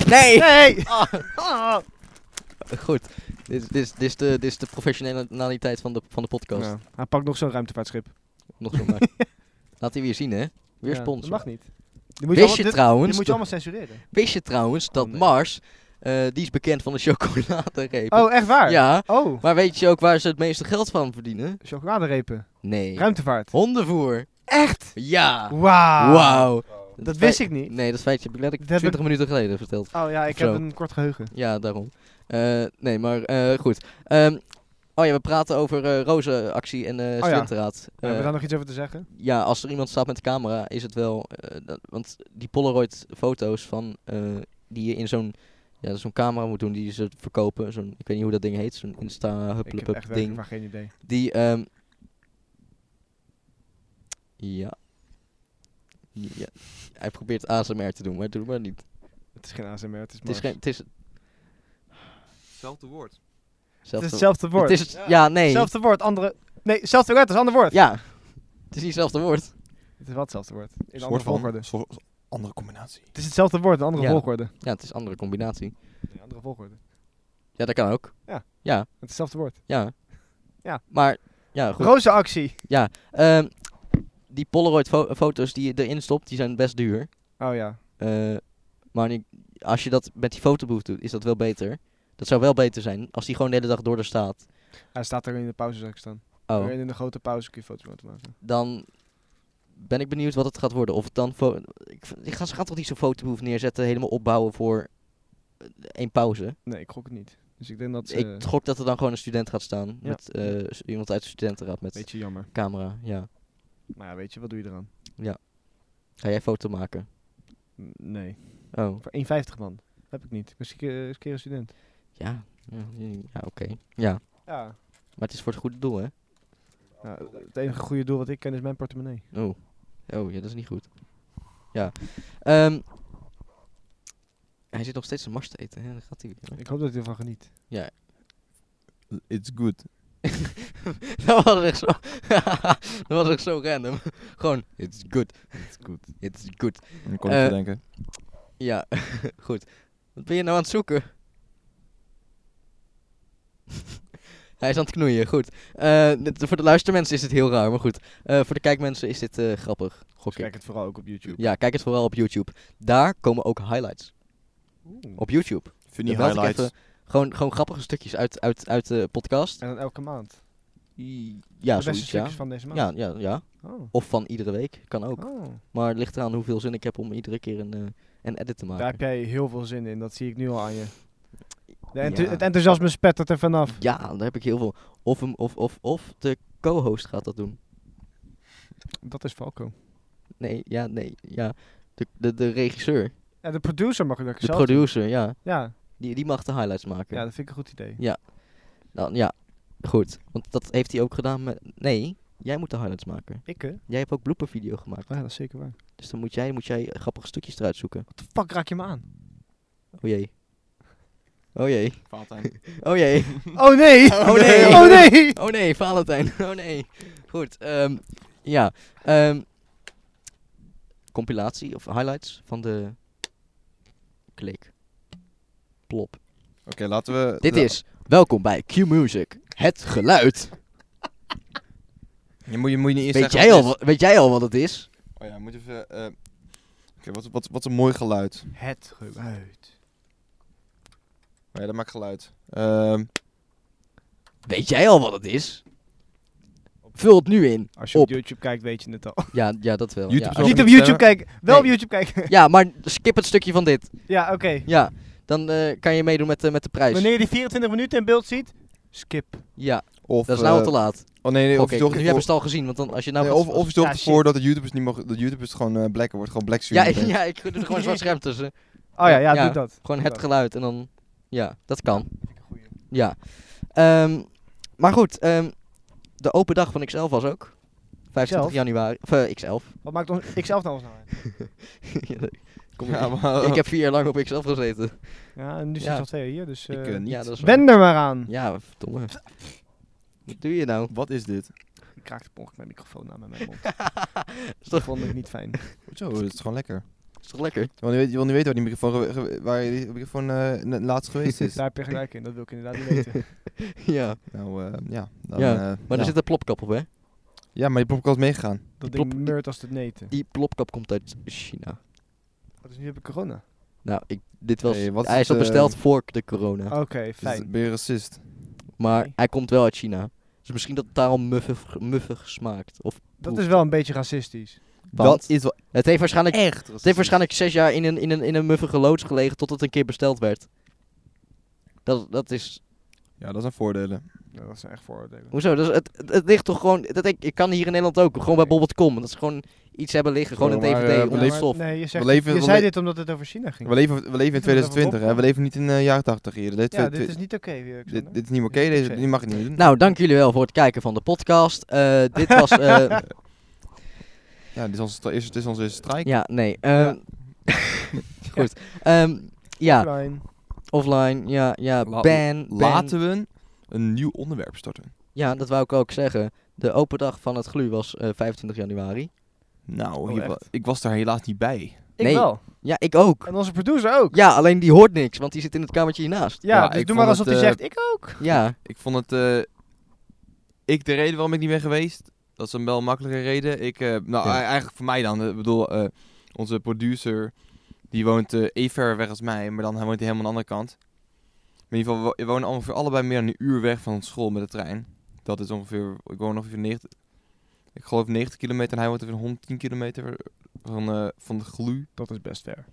A: Nee!
C: Nee! Ah.
A: Goed. Dit, is- dit, is- dit, is de, dit is de professionele naliteit van de, van de podcast.
B: Ja.
C: Nou, Hij pakt nog zo'n ruimtevaartschip.
A: Nog
C: *laughs*
A: zo maar. Laat die weer zien, hè? Weer
C: Ja,
A: sponsor.
C: Dat mag niet.
A: Wist
C: Die moet je, allemaal,
A: je
C: dit-
A: trouwens
C: die
A: dat-
C: moet je allemaal censureren.
A: Wist je trouwens dat
C: Oh, nee.
A: Mars, eh, die is bekend van de chocoladerepen.
C: Oh, echt waar?
A: Ja,
C: Oh,
A: maar weet je ook waar ze het meeste geld van verdienen?
C: chocoladerepen.
A: Nee.
C: Ruimtevaart.
A: Hondenvoer.
C: Echt?
A: Ja.
C: Wauw.
A: Ah. Wauw.
C: Dat wist ik niet.
A: Nee, dat feitje heb ik letterlijk
C: Dat heb
A: 20 minuten geleden verteld.
C: Oh ja, ik
A: Zo.
C: heb een kort geheugen.
A: Ja, daarom. Eh, nee, maar eh, goed. Ehm, oh ja, we praten over eh rozenactie en eh
C: Oh ja.
A: studenteraad.
C: Hebben we
A: Eh,
C: daar nog iets over te zeggen?
A: ja, als er iemand staat met de camera, is het wel. eh, dat- want die Polaroid-foto's van eh, die je in zo'n ja, zo'n camera moet doen, die ze verkopen. Zo'n, ik weet niet hoe dat ding heet, zo'n insta
C: Ik heb
A: hupplepup
C: echt werkelijk
A: ding.
C: maar geen idee.
A: Die. ehm ja. ja. Hij probeert ASMR te doen, maar doe maar niet.
C: Het is geen ASMR, het is
A: Het is,
C: Mars.
A: geen, het is
B: Hetzelfde woord.
C: Het is
A: hetzelfde
C: hetzelfde woord.
A: Het is het- ja, nee.
C: Hetzelfde woord, andere... Nee, hetzelfde letters, ander woord.
A: Ja. Het is niet hetzelfde woord.
C: Het is wel hetzelfde woord. In een
B: Soort
C: andere volgorde.
A: dus.
B: van. soort- Andere combinatie.
C: Het is hetzelfde woord, een andere
A: Ja.
C: volgorde.
A: Ja, het is een andere combinatie.
C: Nee, andere volgorde.
A: Ja, dat kan ook.
C: Ja.
A: Ja,
C: Het is hetzelfde woord.
A: ja.
C: Ja.
A: Maar, ja, goed.
C: Roze actie.
A: Ehm, die Polaroid-foto's die je erin stopt, die zijn best duur.
C: Oh ja.
A: Eh, maar nu- als je dat met die fotoboef doet, is dat wel beter. Dat zou wel beter zijn als die gewoon de hele dag door er staat.
C: Hij staat er in de pauzezak staan.
A: Oh.
C: En in de grote pauze kun je foto's laten maken.
A: dan ben ik benieuwd wat het gaat worden. Of het dan. fo- Ik, v- ik ga, ze gaan toch niet zo'n fotoboef neerzetten, helemaal opbouwen voor eh, één pauze.
C: Nee, ik gok het niet. Dus ik denk dat ze...
A: ik gok dat er dan gewoon een student gaat staan.
C: Ja.
A: Met, eh, s- iemand uit de studentenraad met
C: Beetje jammer.
A: camera. Ja.
C: Maar ja, weet je, wat doe je eraan?
A: Ga jij foto maken?
C: M- Nee.
A: Oh,
C: Voor 1,50 man. Heb ik niet. Misschien eh, een keer een student.
A: ja. Ja, ja, oké. Ja,
C: Ja.
A: maar het is voor het goede doel, hè?
C: Nou, het enige goede doel wat ik ken is mijn portemonnee.
A: Oh, oh ja, dat is niet goed. Ja. Ehm, hij zit nog steeds een mars te eten, hè? Dat gaat hij weer.
C: Ik hoop dat je ervan geniet.
B: It's good.
A: *laughs* dat was echt zo. *laughs* dat was echt zo random. Gewoon, it's good,
C: Is goed.
A: it's good.
B: Dan kon
A: Eh,
B: ik denken.
A: Ja, *laughs* goed. Wat ben je nou aan het zoeken? *laughs* Hij is aan het knoeien, goed. Eh, dit- voor de luistermensen is het heel raar, maar goed. Eh, voor de kijkmensen is dit eh, grappig. Gok ik.
C: Dus kijk het vooral ook op YouTube.
A: Ja, kijk het vooral op YouTube. Daar komen ook highlights. Op YouTube.
B: Funny
A: Dan meld ik
B: highlights.
A: even- Gewoon, gewoon grappige stukjes uit, uit, uit de podcast.
C: En dan elke maand.
A: Ja,
C: de beste
A: zoiets, ja.
C: stukjes van deze maand.
A: Ja, ja, ja.
C: Oh.
A: Of van iedere week, kan ook.
C: Oh.
A: Maar het ligt eraan hoeveel zin ik heb om iedere keer een, eh, een edit te maken.
C: Daar heb jij heel veel zin in, dat zie ik nu al aan je. De
A: Ja.
C: enth- Het enthousiasme spettert er vanaf.
A: Ja, daar heb ik heel veel. Of, hem, of, of, of de co-host gaat dat doen.
C: Dat is Falco.
A: Nee, ja, nee, ja. De, de, de regisseur,
C: Ja, de producer mag ik
A: de
C: lekker zelf doen.
A: producer, ja.
C: Ja,
A: Die, die mag de highlights maken.
C: ja,
A: Ja.
C: dat vind ik een goed idee.
A: Dan, ja, goed. Want dat heeft hij ook gedaan met... Nee, jij moet de highlights maken.
C: Ik, hè? Oh
A: Jij hebt ook bloopervideo gemaakt.
C: ja, dat is zeker waar.
A: Dus dan moet jij, moet jij grappige stukjes eruit zoeken.
C: Wat de fuck raak je me aan?
A: Oh jee. Oh jee.
B: Valentijn.
A: Oh jee.
C: *laughs* *laughs* Oh nee!
A: Oh, nee.
C: Oh nee!
A: Oh nee, Valentijn. Oh nee. Goed. ehm, ja. ehm, compilatie of highlights van de klik. Plop.
B: Oké, laten we...
A: Dit
B: la-
A: is welkom bij Q Music. Het geluid.
B: Je moet, je moet je niet eerst
A: Weet
B: zeggen
A: jij, al,
B: het
A: wa- weet jij al wat het is?
B: is. Oh ja, moet je even... eh, Oké, wat, wat, wat een mooi geluid.
C: Het geluid.
B: Oh ja, dat maakt geluid. Ehm,
A: Weet jij al wat het is? Vul het nu in.
C: Als je op,
A: Op.
C: YouTube kijkt, weet je het al.
A: Ja, ja dat wel.
B: YouTube
A: ja.
B: is
C: Als
B: Zal
C: je
B: ik
C: niet op
B: niet
C: YouTube kijkt, wel op
A: Nee.
C: YouTube kijken. *laughs*
A: ja, maar skip het stukje van dit.
C: ja, oké.
A: Ja, dan eh, kan je meedoen met, de- met de prijs.
C: Wanneer je die 24 minuten in beeld ziet, skip.
A: Ja,
B: of,
A: dat is nou al
B: eh,
A: te laat.
B: Oh nee, nee,
A: Oké,
B: of je zorgt
A: nu
B: ervoor-
A: hebben ze het al gezien. Want dan, als je nou
B: nee,
A: gaat-
B: of, of je zorgt
C: Ja,
B: ervoor
C: shit.
B: dat de YouTubers niet mogen... Dat YouTubers gewoon eh blacker wordt. Gewoon black
A: *laughs* Ja,
B: streaming.
A: *laughs* ja, ik doe er gewoon een zwart scherm tussen.
C: Oh ja, ja,
A: Ja.
C: doe dat.
A: Gewoon
C: Doe
A: het
C: dat.
A: geluid en dan... Ja, dat kan.
C: Vind ik een goeie.
A: Ja. Ehm, maar goed, ehm, de open dag van XL was ook. 25
C: Zelf?
A: januari. Of eh, XL.
C: Wat maakt ons, ikzelf nou ons nou uit?
A: *laughs* Kom
B: Ja,
A: ik-
B: maar-
A: Ik heb vier jaar lang op XL gezeten.
C: Ja, en nu
A: Ja.
C: zit al twee hier, dus...
B: Ik,
C: eh,
B: eh, niet.
A: Ja, dat is waar.
C: Ben er maar aan.
A: Ja, verdomme. Wat doe je nou?
B: Wat is dit?
C: Ik raakte per ongeluk mijn microfoon aan met *laughs* mijn mond. Dus
A: is
C: Dat
A: toch,
C: vond ik niet fijn.
B: Hoezo, dat is gewoon lekker.
A: is toch lekker? *laughs*
B: Je wil niet weten, je wil niet weten waar die microfoon, ge- ge- waar die microfoon eh, na- laatst
A: *laughs*
B: geweest is.
C: *laughs* Daar heb je gelijk in, dat wil ik inderdaad niet *laughs* weten.
A: ja.
B: nou, eh, ja. Dan,
A: Ja,
B: eh,
A: Maar
B: ja.
A: er zit een plopkap op, hè?
B: ja, maar die popcorn is meegegaan.
C: Dat
A: Die
C: ding
A: plop-
C: meurt als het neten.
A: Die plopkap komt uit China.
C: Oh, dus nu heb ik corona.
A: Nou, ik, dit was,
B: Hey, wat
A: hij
B: is
A: is al
B: het, eh,
A: besteld voor de corona.
C: Oké,
B: Dus
C: fijn.
B: ben je racist?
A: Maar
C: Oké.
A: hij komt wel uit China. Dus misschien dat het daarom muffig, muffig smaakt. Of
C: Dat is wel een beetje racistisch.
A: Want
B: dat is wel
A: het heeft waarschijnlijk,
B: echt
A: het heeft waarschijnlijk zes jaar in een, in, een, in een muffige loods gelegen totdat het een keer besteld werd. Dat, dat is...
B: Ja, dat zijn voordelen.
C: Nou, dat zijn echt vooroordelen.
A: Hoezo? Dat is, het, het, het ligt toch gewoon... Dat ik, ik kan hier in Nederland ook. Gewoon bij bob.com. Dat ze gewoon iets hebben liggen. Gewoon een
B: Ja, maar, eh,
A: DVD
B: we
A: onder
B: leven-
A: de stof.
C: Nee, je, zegt,
B: We leven-
C: je
B: we
C: zei
B: le-
C: dit omdat het over China ging.
B: We leven, we leven in
C: Ik vind het
B: 2020, hè?
C: wel
B: We leven niet in de jaren 80 hier. Dit,
C: ja,
B: dit,
C: dit is niet oké weer.
B: dit,
C: Alexander.
B: dit is niet meer oké,
C: Dit is niet
B: deze
C: oké.
B: die mag je niet doen.
A: Nou, dank jullie wel voor het kijken van de podcast. *laughs* Eh, dit was... eh,
B: Ja, dit is onze, dit is, dit is onze eerste strijk.
A: ja, nee. ehm, *laughs* Goed. Ehm,
B: ah.
A: ja,
C: Fijn.
A: offline. Ja, ja.
B: La-
A: ban, ban.
B: Laten we een nieuw onderwerp starten.
A: Ja, dat wou ik ook zeggen. De open dag van het GLU was eh, 25 januari.
B: Nou,
C: Oh,
B: hier wa-
C: echt?
B: ik was daar helaas niet bij.
C: Ik
A: Nee.
C: wel.
A: Ja, ik ook.
C: En onze producer ook.
A: Ja, alleen die hoort niks, want die zit in het kamertje hiernaast.
C: Ja,
B: Ja,
C: dus
B: ik
C: doe maar
B: vond
C: alsof
B: het,
C: hij
B: eh,
C: zegt, ik ook.
A: Ja,
B: Ik vond het... eh, ik, de reden waarom ik niet ben geweest, dat is een wel makkelijke reden. Ik, eh, nou,
A: Ja.
B: e- eigenlijk voor mij dan. eh, Ik bedoel, eh, onze producer, die woont eh even ver weg als mij, maar dan hij woont hij helemaal aan de andere kant. Maar in ieder geval, we wonen ongeveer allebei meer dan een uur weg van school met de trein. Dat is ongeveer, ik woon ongeveer 90, ik geloof 90 kilometer en hij woont ongeveer 110 kilometer van, eh, van de glu.
C: Dat is best ver.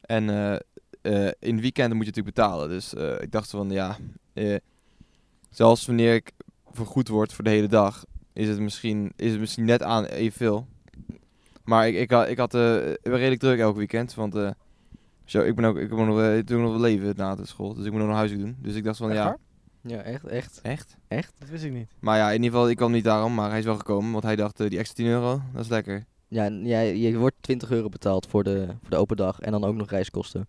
B: En eh, eh, in weekenden moet je natuurlijk betalen. Dus eh, ik dacht van ja, eh, zelfs wanneer ik vergoed word voor de hele dag, is het misschien, is het misschien net aan evenveel. Maar ik, ik, had- ik had eh, redelijk druk elk weekend, want eh, zo, ik ben ook, ik moet nog, eh, ik doe nog wel leven na de school, dus ik moet nog naar huis doen. Dus ik dacht van
C: Echt
B: ja,
C: waar?
A: ja echt, echt.
B: echt?
C: Dat wist ik niet.
B: Maar ja, in ieder geval, ik kwam niet daarom, maar hij is wel gekomen, want hij dacht eh, die extra 10 euro, dat is lekker.
A: Ja, n- ja, je wordt 20 euro betaald voor de, voor de open dag en dan ook nog reiskosten.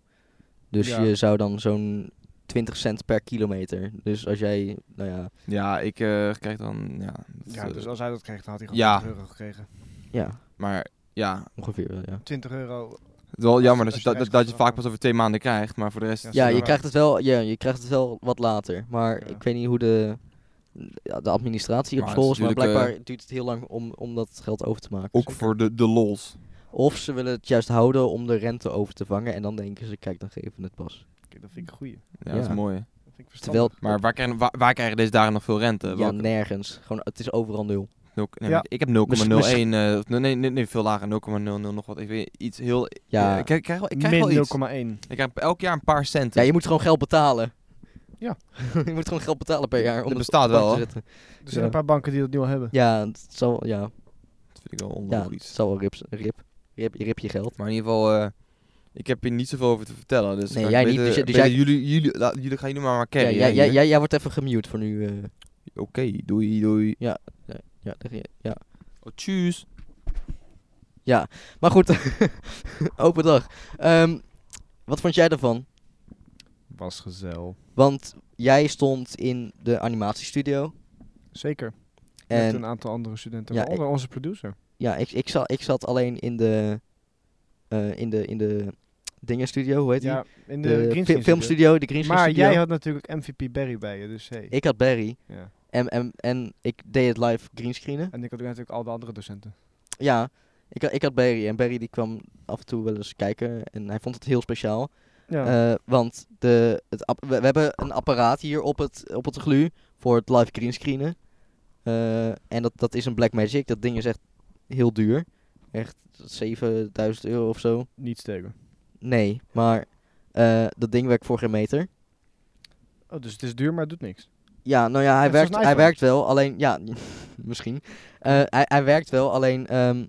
A: Dus
C: Ja.
A: je zou dan zo'n 20 cent per kilometer. Dus als jij, nou ja,
B: Ja, ik eh, krijg dan, ja. dat,
C: Ja,
B: eh,
C: dus als hij dat kreeg, dan had hij
B: gewoon ja.
C: gewoon
B: 20
C: 20 euro gekregen.
A: ja
B: Maar ja,
A: ongeveer wel, ja.
C: 20 euro.
B: Het is wel
C: Als-
B: jammer dat
C: als
B: je,
C: je
B: dat, dat,
C: reiskosten
B: dat je vaak
C: afgaat.
B: pas over twee maanden krijgt, maar voor de rest... eh,
C: Ja,
A: Ja,
C: zo
A: je
C: waar.
A: krijgt het wel, ja, je krijgt het wel wat later. Maar
C: Ja.
A: ik weet niet hoe de, ja, de administratie op
B: Maar het
A: school
B: is
A: is, maar
B: natuurlijk, eh,
A: blijkbaar duurt het heel lang om, om dat geld over te maken. Dus
B: ook voor de, de lols.
A: Of ze willen het juist houden om de rente over te vangen. En dan denken ze, kijk, dan geven we het pas.
C: Kijk, dat vind ik een goeie.
B: Ja, dat
A: Ja.
B: is mooi.
C: Dat vind ik
A: Terwijl,
C: verstandig.
B: Maar waar krijgen, waar, waar krijgen deze dagen nog veel rente?
A: ja,
B: Welke-
A: nergens. Gewoon, het is overal nul.
B: nul- nee,
C: Ja.
B: maar Ik heb 0,01, eh, of nee, nee, nee, nee, veel lager, 0,00 nog wat. Ik weet iets heel... eh,
A: Ja.
B: Ik, krijg- ik krijg wel, ik krijg wel iets.
C: Min 0,1.
B: Ik krijg elk jaar een paar
A: Ja,
B: centen.
A: je moet gewoon geld betalen.
C: Ja.
A: *laughs* je moet gewoon geld betalen per jaar. Om
B: Dat
A: het
B: bestaat
A: op de bank
B: wel,
A: te
B: hè?
A: zetten.
C: Er zijn
A: Ja.
C: een paar banken die dat nu al hebben.
A: Ja, het zal, ja,
B: Dat vind ik wel
A: ja, het
B: onlogisch.
A: zal wel rips, rip, rip, rip je geld.
B: Maar in ieder geval, eh, ik heb hier niet zoveel over te vertellen. Dus
A: Nee,
B: kan
A: jij
B: ik
A: niet,
B: beter-
A: dus jij- dus
B: beter
A: jij-
B: jullie, jullie, laat- jullie gaan jullie maar maar
A: Ja,
B: carry.
A: jij,
B: hè,
A: jij,
B: hier.
A: jij, jij wordt even gemute voor nu. eh.
B: Oké, doei, doei.
A: ja, daar ging je- ja.
B: Oh, tjus.
A: Maar goed, *laughs* open dag. Ehm, wat vond jij ervan?
C: Was gezel.
A: Want jij stond in de animatiestudio.
C: Zeker. Met
A: En
C: een aantal andere studenten.
A: Ja,
C: waaronder onze producer.
A: Ja, ik, ik, zat, ik zat alleen in de, eh, in de, in de dingenstudio, hoe heet die?
C: Ja, in de,
A: de
C: Green
A: fi-
C: Screen Studio.
A: filmstudio, de Green Screen
C: Maar
A: Studio.
C: jij had natuurlijk MVP Barry bij je, dus hey.
A: Ik had Barry
C: Ja.
A: en, en, en ik deed het live greenscreenen.
C: En ik had ook natuurlijk al de andere docenten.
A: Ja, ik, had- ik had Barry en Barry die kwam af en toe wel eens kijken en hij vond het heel speciaal.
C: Ja.
A: Eh, want de, het, app- we, we hebben een apparaat hier op het, op het glu voor het live greenscreenen. Eh en dat, dat is een Blackmagic, dat ding is echt heel duur. Echt 7000 euro of zo.
C: Niets tegen.
A: Nee, maar eh, dat ding werkt voor geen meter.
C: Oh, dus het is duur, maar het doet niks.
A: Ja, nou ja, hij,
C: Net
A: werkt,
C: zoals een
A: hij
C: iPhone.
A: werkt wel, alleen... Ja, *laughs* misschien. Eh, hij, hij werkt wel, alleen ehm,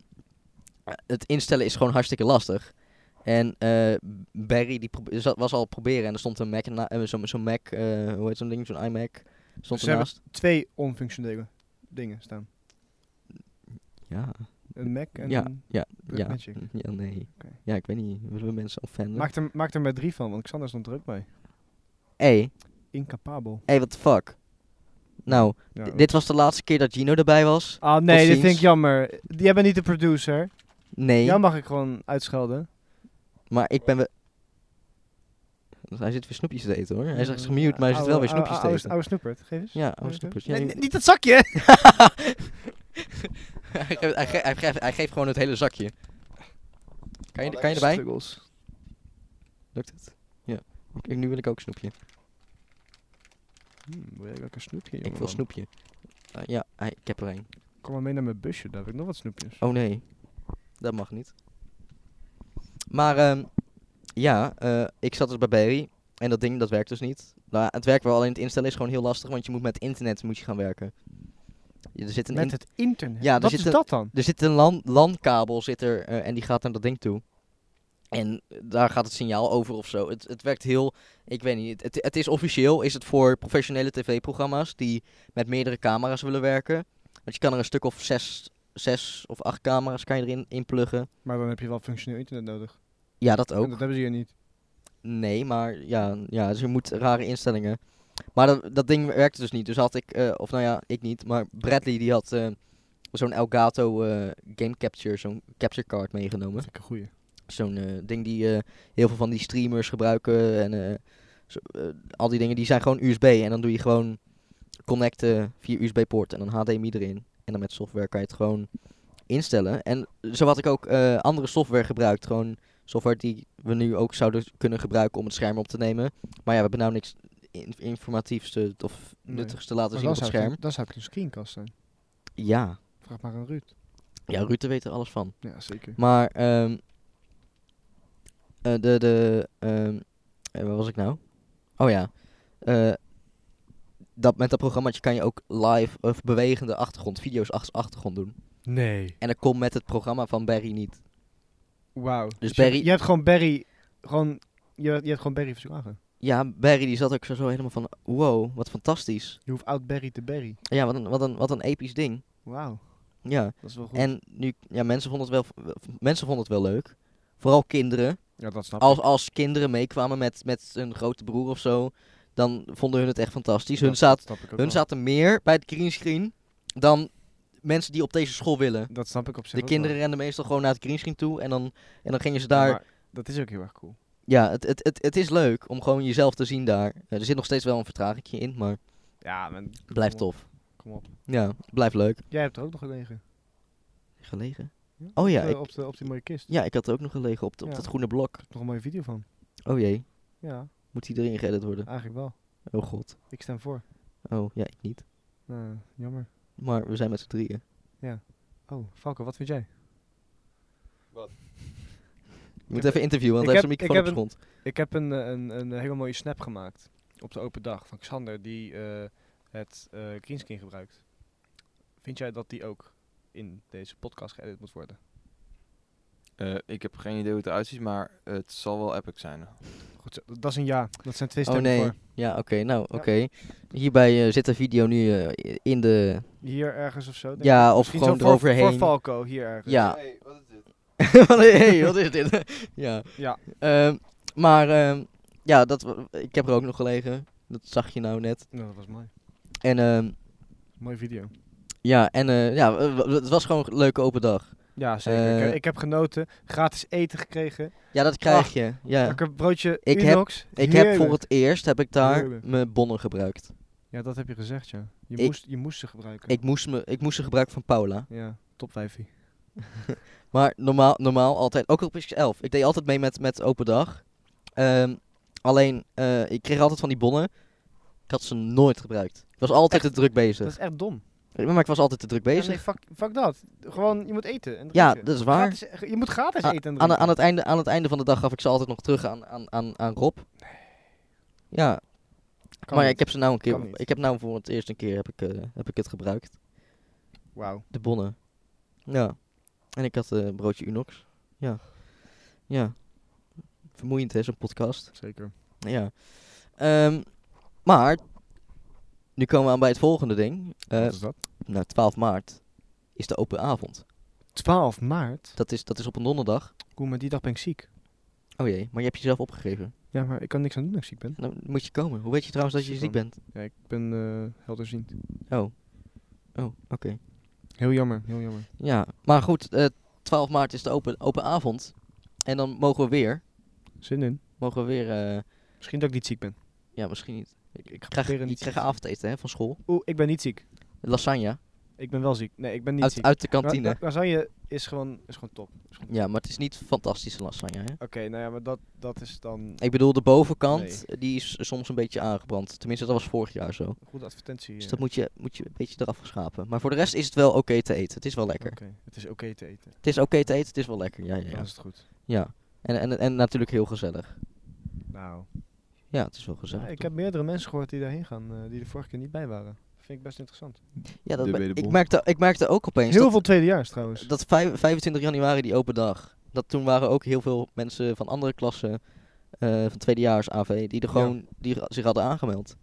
A: het instellen is gewoon hartstikke lastig. En eh, Barry die probe- zat- was al proberen en er stond een Mac, na- eh, zo'n zo'n Mac, eh, hoe heet zo'n ding, zo'n iMac, stond
C: Ze
A: ernaast.
C: Twee onfunctionele dingen staan.
A: Ja,
C: Een Mac en
A: Ja,
C: een
A: ja, ja, Mm,
C: Blackmagic.
A: ja, nee.
C: Oké.
A: Ja, ik weet niet, willen we mensen offenden?
C: Maak er, maak er maar drie van, want Xander stond er ook bij.
A: Hé,
C: Incapabel.
A: hé, what the fuck? Nou,
C: Ja,
A: d-
C: dat-
A: dit was de laatste keer dat Gino erbij was.
C: Ah, nee, dit
A: ziens.
C: vind ik jammer. Jij bent niet de producer.
A: Nee,
C: Jou mag ik gewoon uitschelden.
A: maar ik ben wel... Hij zit weer snoepjes te eten hoor. Hij is echt gemute, maar hij zit wel weer
C: Mm, Oude-
A: snoepjes te
C: oude-
A: eten.
C: Oude snoepert, geef eens.
A: Ja, oude snoepjes. Ja,
C: Nee,
A: je- *laughs*
C: nee, niet dat zakje!
A: hij, geeft, hij, ge- hij geeft, hij geeft gewoon het hele zakje. Kan
C: Oh,
A: je, kan je erbij?
D: Struggles.
A: Lukt het? Ja. Ik, nu wil ik ook snoepje.
D: Hmm, wil jij lekker snoepje,
A: Ik wil
D: jongeman?
A: snoepje. Ah, ja, hij- ik heb er één.
C: Kom maar mee naar mijn busje, daar heb ik nog wat snoepjes.
A: Oh nee, dat mag niet. Maar ehm, ja, eh, ik zat dus bij Barry en dat ding dat werkt dus niet. Nou, het werkt wel, alleen het instellen is gewoon heel lastig, want je moet met internet moet je gaan werken. Ja, Er zit een,
C: Met
A: in-
C: het internet.
A: Ja, er
C: Wat
A: zit
C: is
A: een-
C: dat dan?
A: er zit een lan, LAN-kabel zit er, eh, en die gaat naar dat ding toe. En daar gaat het signaal over of zo. Het, het werkt heel, ik weet niet, het, het is officieel, is het voor professionele tv-programma's die met meerdere camera's willen werken. Want je kan er een stuk of zes, zes of acht camera's kan je erin inpluggen.
C: Maar dan heb je wel functioneel internet nodig.
A: Ja, dat
C: En
A: ook.
C: dat hebben ze hier niet.
A: Nee, maar ja, ja dus je moet rare instellingen. Maar dat, dat ding werkte dus niet. Dus had ik, eh, of nou ja, ik niet, maar Bradley die had eh, zo'n Elgato eh, Game Capture, zo'n capture card meegenomen.
C: Dat is een goeie.
A: Zo'n eh, ding die eh, heel veel van die streamers gebruiken en eh, zo- eh, al die dingen, die zijn gewoon USB. En dan doe je gewoon connecten via USB-poort en dan HDMI erin. En dan met software kan je het gewoon instellen. En zo had ik ook eh, andere software gebruikt. Gewoon software die we nu ook zouden kunnen gebruiken om het scherm op te nemen. Maar ja, we hebben nou niks in- informatiefs te- of
C: Nee.
A: nuttigs te laten
C: Maar
A: zien
C: dan
A: op het
C: zou, ik,
A: scherm.
C: een- dan zou ik een screencast zijn.
A: Ja.
C: Vraag maar aan Ruud.
A: ja, Rutte weet er alles van.
C: Ja, zeker.
A: Maar ehm eh, de, de ehm, eh, waar was ik nou? Oh ja, eh, dat, met dat programmaatje kan je ook live of bewegende achtergrond, video's als achtergrond doen.
C: Nee.
A: En dat komt met het programma van Barry niet.
C: Wauw. Dus,
A: Barry-
C: Je, je hebt gewoon Barry... Gewoon, je, je hebt gewoon Barry verslagen.
A: Ja, Barry die zat ook zo, zo helemaal van, wow, wat fantastisch.
C: Je hoeft oud Barry te Barry.
A: Ja, wat een, wat een, wat een episch ding.
C: Wauw.
A: Ja,
C: Dat is wel goed.
A: en nu, ja, mensen vonden het wel, mensen vonden het wel leuk. Vooral kinderen.
C: ja, dat snap
A: als, als kinderen meekwamen met, met hun grote broer of zo, dan vonden hun het echt fantastisch. Hun,
C: Dat-
A: zaten,
C: dat snap ik ook
A: hun
C: wel.
A: zaten meer bij het greenscreen dan mensen die op deze school willen.
C: Dat snap ik op zich
A: De
C: ook
A: kinderen
C: wel.
A: renden meestal gewoon naar het greenscreen toe en dan, en dan gingen ze
C: Ja,
A: daar...
C: maar dat is ook heel erg cool.
A: Ja, het, het, het, het is leuk om gewoon jezelf te zien daar. Eh, Er zit nog steeds wel een vertragingje in, maar
C: Ja, man.
A: het blijft
C: kom op,
A: tof.
C: Kom op.
A: Ja, het blijft leuk.
C: Jij hebt er ook nog gelegen.
A: Gelegen?
C: Ja?
A: Oh ja,
C: Op, eh,
A: ik-
C: Op, de, op die mooie kist.
A: Ja, ik had er ook nog gelegen op, de- op
C: Ja.
A: dat groene blok.
C: Nog een mooie video van.
A: Oh jee,
C: Ja,
A: moet die erin geëdit worden?
C: eigenlijk wel.
A: Oh god.
C: Ik stem voor.
A: Oh, ja, ik niet.
C: Nou, jammer.
A: Maar we zijn met z'n drieën.
C: Oh, Falco, wat vind jij?
A: Je moet even interviewen, want
C: ik
A: hij heeft zijn
C: heb- ik
A: microfoon op
C: heb
A: zijn
C: een-
A: grond.
C: Ik heb een, eh, een, een hele mooie snap gemaakt op de open dag van Xander die eh, het eh greenscreen gebruikt. Vind jij dat die ook in deze podcast geëdit moet worden?
B: Eh, ik heb geen idee hoe het eruit ziet, maar het zal wel epic zijn.
C: Goed zo, dat is een ja. Dat zijn twee
A: Oh
C: stemmen
A: nee.
C: voor.
A: Ja, oké. nou, oké.
C: Ja.
A: Hierbij eh, zit de video nu eh, in de.
C: Hier ergens of zo? denk
A: Ja,
C: ik.
A: of
C: Misschien
A: gewoon
C: zo voor,
A: eroverheen.
C: Voor Falco, hier ergens.
A: Ja.
B: Hey, wat is dit?
A: hey, *laughs* wat is dit? *laughs* ja.
C: Ja.
A: Ehm, maar ehm, ja, dat, wa- ik heb er ook nog gelegen. Dat zag je nou net.
C: Nou, dat was mooi.
A: En ehm,
C: Mooie video.
A: ja, en eh, ja, eh, w- w- het was gewoon een leuke open dag.
C: Ja, zeker. Ik heb-
A: Eh,
C: ik heb genoten. Gratis eten gekregen.
A: Ja, dat krijg
C: Ah,
A: je. Ja.
C: Ik heb broodje
A: Ik heb-
C: Unox.
A: Ik heb
C: Heerlijk.
A: voor het eerst heb ik daar
C: Heerlijk.
A: mijn bonnen gebruikt.
C: Ja, dat heb je gezegd, ja. Je,
A: Ik-
C: moest, je moest ze gebruiken.
A: Ik moest, me, ik moest ze gebruiken van Paula.
C: Ja, top wijfie.
A: Maar normaal, normaal altijd, ook op X11. Ik deed altijd mee met, met open dag. Ehm, alleen, eh, ik kreeg altijd van die bonnen. Ik had ze nooit gebruikt. Ik was altijd te druk
C: Dat
A: bezig.
C: is echt dom.
A: Maar ik was altijd te druk
C: Ja,
A: bezig.
C: nee, fuck, fuck dat. Gewoon, je moet eten en
A: Ja,
C: drinken.
A: dat is waar.
C: Gratis- e- je moet gratis
A: A-
C: eten en
A: aan,
C: drinken.
A: aan, het einde, aan het einde van de dag gaf ik ze altijd nog terug aan, aan, aan, aan Rob. Ja, maar
C: Kan
A: ja,
C: niet.
A: ik heb ze nou een
C: Kan
A: keer.
C: niet.
A: Ik heb nou voor het eerst een keer heb ik, eh, heb ik het gebruikt.
C: Wauw.
A: De bonnen. Ja. En ik had eh, een broodje Unox. Ja. Ja. Vermoeiend hè, zo'n podcast.
C: Zeker.
A: Ja. Ehm, maar, nu komen we aan bij het volgende ding. Eh,
C: Wat is dat?
A: nou, 12 maart is de open avond.
C: 12 maart?
A: Dat is, dat is op een donderdag.
C: Kom, maar die dag ben ik ziek.
A: Oh jee, maar je hebt jezelf opgegeven.
C: Ja, maar ik kan niks aan doen als ik ziek ben.
A: Dan moet je komen. Hoe weet je trouwens dat je ziek bent?
C: Ja, ik ben eh, helderziend.
A: Oh. Oh, oké.
C: Heel jammer, heel jammer.
A: Ja, maar goed, eh, 12 maart is de open, open avond. En dan mogen we weer.
C: Zin in.
A: Mogen we weer. eh,
C: Misschien dat ik niet ziek ben.
A: ja, misschien niet. Ik, ik
C: proberen
A: krijg, je
C: niet ziek
A: krijgt
C: te
A: avondeten hè, van school.
C: Oeh, ik ben niet ziek.
A: Lasagne.
C: Ik ben wel ziek. Nee, ik ben niet
A: Uit,
C: ziek.
A: uit de
C: La-
A: kantine.
C: la- Lasagne is gewoon, is gewoon top. Is gewoon-
A: Ja, maar het is niet fantastische lasagne. Hè?
C: Oké, nou ja, maar dat, dat is dan
A: Ik bedoel, de bovenkant eh, die is soms een beetje aangebrand. Tenminste, dat was vorig jaar zo.
C: een goede advertentie.
A: Dus
C: eh.
A: dat moet je, moet je een beetje eraf schapen. Maar voor de rest is het wel oké te eten. Het is wel lekker.
C: Oké, het is oké te eten.
A: Het is oké te eten, het is wel lekker. Ja, ja,
C: Dan
A: ja.
C: is het goed.
A: ja. En, en, en natuurlijk heel gezellig.
C: Nou,
A: Ja, het is wel gezellig.
C: ja, ik heb meerdere mensen gehoord die daarheen gaan, eh, die de vorige keer niet bij waren. Vind ik best interessant.
A: ja, dat
B: De
A: ben- ik,
B: wederbond.
A: merkte, ik merkte ook opeens
C: Heel
A: dat-
C: veel tweedejaars trouwens.
A: Dat vijf- 25 januari, die open dag. Dat toen waren ook heel veel mensen van andere klassen, eh, van tweedejaars AV, die, er gewoon, die er- zich hadden aangemeld.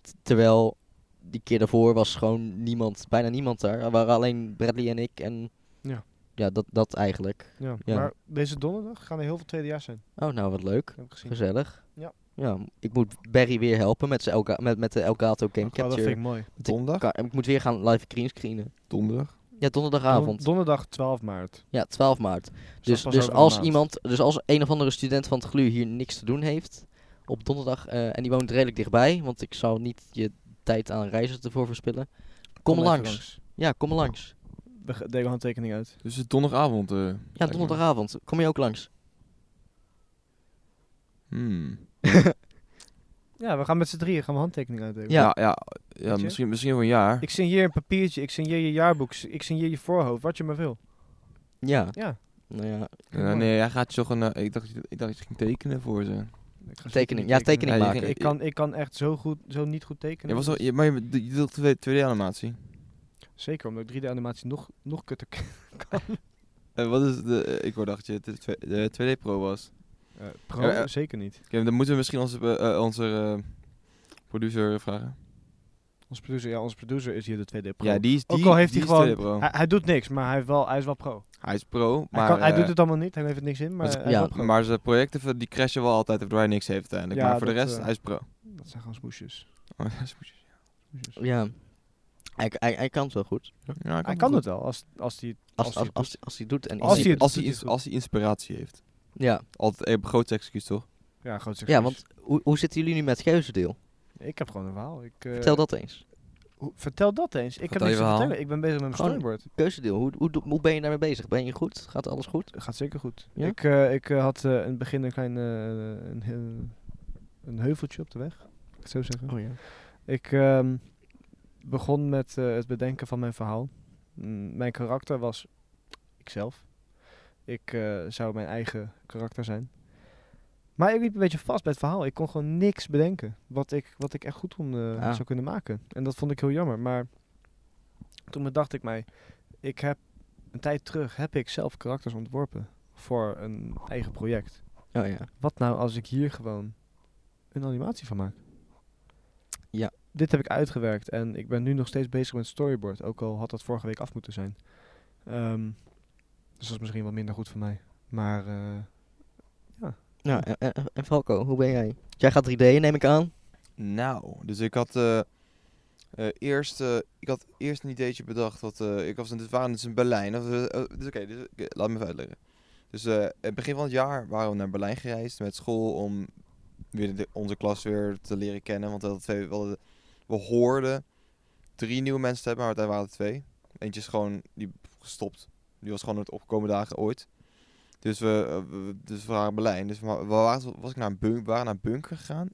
A: T- terwijl die keer daarvoor was gewoon niemand, bijna niemand daar. Er waren alleen Bradley en ik en
C: Ja.
A: ja dat, dat eigenlijk.
C: Ja.
A: ja.
C: Maar deze donderdag gaan er heel veel tweedejaars zijn.
A: Oh, nou wat leuk.
C: Heb ik gezien. Oh,
A: Gezellig.
C: Ja.
A: ja, ik moet Barry weer helpen met, zijn Elga met, met de Elgato Game
C: Oh, dat vind
A: Capture.
C: ik mooi.
B: Donderdag?
A: Ka- en ik moet weer gaan live screen screenen.
B: Donderdag.
A: Ja, donderdagavond.
C: Don- donderdag 12 maart.
A: ja, 12 maart.
C: dat
A: Dus,
C: pas
A: dus
C: over een
A: als
C: maand.
A: iemand, dus als een of andere student van het GLU hier niks te doen heeft op donderdag eh, en die woont redelijk dichtbij, want ik zou niet je tijd aan reizen ervoor verspillen. Kom,
C: even
A: langs. Ja, kom langs.
C: We ge- delen handtekening uit.
B: Dus het is donderdagavond. eh,
A: Ja,
B: blijkbaar.
A: donderdagavond. Kom je ook langs?
B: Hmm.
C: Ja, we gaan met z'n drieën gaan we handtekening uitdelen.
A: Ja.
B: Ja, ja, ja,
C: je?
B: misschien, misschien voor een jaar.
C: Ik signeer een papiertje, ik signeer je jaarboek, ik signeer je voorhoofd, wat je maar wil.
A: Ja.
C: Ja.
A: Nou ja,
B: Ja, Eh, nee, hij gaat toch een. eh, ik, dacht, ik dacht dat je ging tekenen voor ze.
C: Ik ga
A: tekening. Ja,
C: zeker niet
A: tekening
B: Ja, je
A: maken.
B: ging-
C: Ik kan, ik kan echt zo, goed, zo niet goed tekenen.
B: Je was al, je, maar je, je deed twee- 2D-animatie.
C: Zeker, omdat ik 3D-animatie nog, nog kutter kan.
B: Eh, wat is de. eh, ik hoorde dat je het de twe- de 2D-pro was.
C: *laughs* Eh, pro,
B: Ja, eh.
C: zeker niet.
B: Oké, dan moeten we misschien onze, eh, eh, onze eh, producer vragen.
C: Ons producer, ja, ons producer is hier de 2D-pro.
B: Ja, die is. Die,
C: Ook al heeft
B: die
C: hij
B: is
C: gewoon...
B: 2D-pro.
C: Hij, hij doet niks, maar hij, heeft wel, hij is wel pro.
B: Hij is pro, maar.
C: hij, kan, hij
B: eh,
C: doet het allemaal niet, hij heeft er niks in, maar
A: dat is-
C: hij is
A: ja.
C: wel pro.
B: Maar zijn projecten van- die crashen wel altijd, waardoor hij niks heeft uiteindelijk.
C: Ja,
B: maar voor de
C: dat,
B: rest,
C: eh,
B: hij is pro. *laughs*
C: Dat zijn gewoon smoesjes.
B: Oh, dat is goed.
C: Smoesjes.
A: ja. Hij, hij, hij kan het wel goed.
B: Ja,
C: Hij
B: wel
C: kan
B: goed.
C: het wel, als, als hij...
A: Als,
C: Als
A: als,
C: hij
A: als,
C: het
A: als, hij het doet en
C: Als
A: is-
C: hij het
B: als,
C: doet,
B: hij
C: is
B: ins-
C: goed.
B: als hij inspiratie heeft.
A: Ja.
B: Altijd een groot excuus, toch?
C: Ja, groot
A: ja,
C: succes.
A: want hoe, hoe zitten jullie nu met het keuzendeel?
C: Ik heb gewoon een verhaal. Ik, eh,
A: Vertel dat eens.
C: hoe- vertel dat eens. Ik heb
B: Vertel
C: niks
B: je
C: te
B: verhaal.
C: vertellen. Ik ben bezig met mijn
A: Gewoon-
C: storyboard.
A: Keuzendeel, hoe, hoe, do- hoe ben je daarmee bezig? Ben je goed? Gaat alles goed?
C: gaat zeker goed.
A: Ja?
C: Ik, eh, ik eh, had eh, in het begin een klein eh, een, he- een heuveltje op de weg. Laat ik het zo zeggen.
A: Oh ja.
C: Ik ehm, begon met eh, het bedenken van mijn verhaal. Mm, mijn karakter was ikzelf. Ik eh, zou mijn eigen karakter zijn. Maar ik liep een beetje vast bij het verhaal. Ik kon gewoon niks bedenken wat ik, wat ik echt goed kon, eh,
A: Ah.
C: zou kunnen maken. En dat vond ik heel jammer. Maar toen bedacht ik mij, ik heb een tijd terug heb ik zelf karakters ontworpen voor een eigen project.
A: Oh ja.
C: Wat nou als ik hier gewoon een animatie van maak?
A: Ja.
C: Dit heb ik uitgewerkt en ik ben nu nog steeds bezig met storyboard. Ook al had dat vorige week af moeten zijn. Ehm, dus dat is misschien wat minder goed voor mij. Maar eh,
A: Nou, en, en, en Falco, hoe ben jij? Jij gaat 3D'en, neem ik aan.
B: Nou, dus ik had eh, eh, eerst, eh, ik had eerst een ideetje bedacht. Wat, eh, ik was in, dit waren dus in Berlijn. Dat was, eh, dus, oké, dus, oké, laat me even uitleggen. Dus eh, het begin van het jaar waren we naar Berlijn gereisd met school om weer de- onze klas weer te leren kennen. Want we, hadden twee, we, hadden- we hoorden drie nieuwe mensen te hebben, maar uiteindelijk waren er twee. Eentje is gewoon die gestopt. Die was gewoon het opkomende dagen ooit. Dus we, eh, we- dus we waren in Berlijn. Dus we, wa- we waren, was ik naar een bunk, we waren naar een bunker gegaan.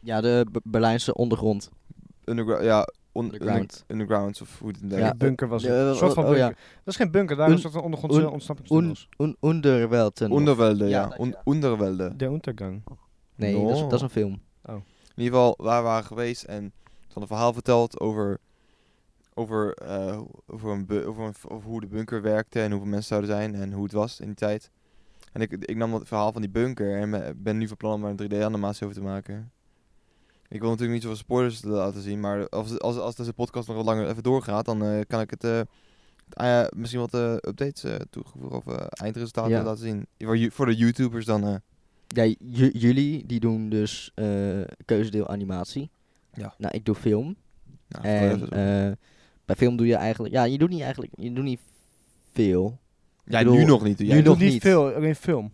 A: Ja, de Be- Berlijnse ondergrond.
B: Underground, ja, on,
A: Underground.
B: under- undergrounds of hoe het
A: Ja,
B: heet.
C: een bunker was
A: de-
C: het. Een soort van
A: oh ja.
C: bunker. Dat is geen bunker, daar
A: Un-
C: is dat een
A: un-
C: ondergrondse
A: Un,
C: ontsnappingstunnels.
A: un, Underwelten.
B: Onderwelde,
A: genau. Ja,
B: ja.
A: dat
B: On-
A: ja.
B: Onderwelde.
C: De Untergang.
A: nee, dat, is, dat is een film.
B: In ieder geval, waar we waren geweest en van een verhaal verteld over, over, eh, over, een bu- over, een, over hoe de bunker werkte en hoeveel mensen zouden zijn en hoe het was in die tijd. En ik, ik nam dat verhaal van die bunker en me- ben nu van plan om er een 3D-animatie over te maken. Ik wil natuurlijk niet zoveel spoilers laten zien, maar als, als, als deze podcast nog wat langer even doorgaat, dan eh, kan ik het eh, eh, misschien wat eh, updates eh, toegevoegd of eh, eindresultaten
A: Ja.
B: laten zien. Voor, ju- voor de YouTubers dan. eh.
A: Ja, j- jullie die doen dus eh, keuzedeel animatie.
B: Ja.
A: Nou, ik doe film.
B: nou,
A: en
B: voor de-
A: eh, bij film doe je eigenlijk... Ja, je doet niet eigenlijk... Je doet niet veel.
B: ja,
A: ik bedoel,
B: nu nog niet.
A: nu
B: Jij
C: Je
A: nog
C: doet niet
A: niet.
C: veel, alleen film.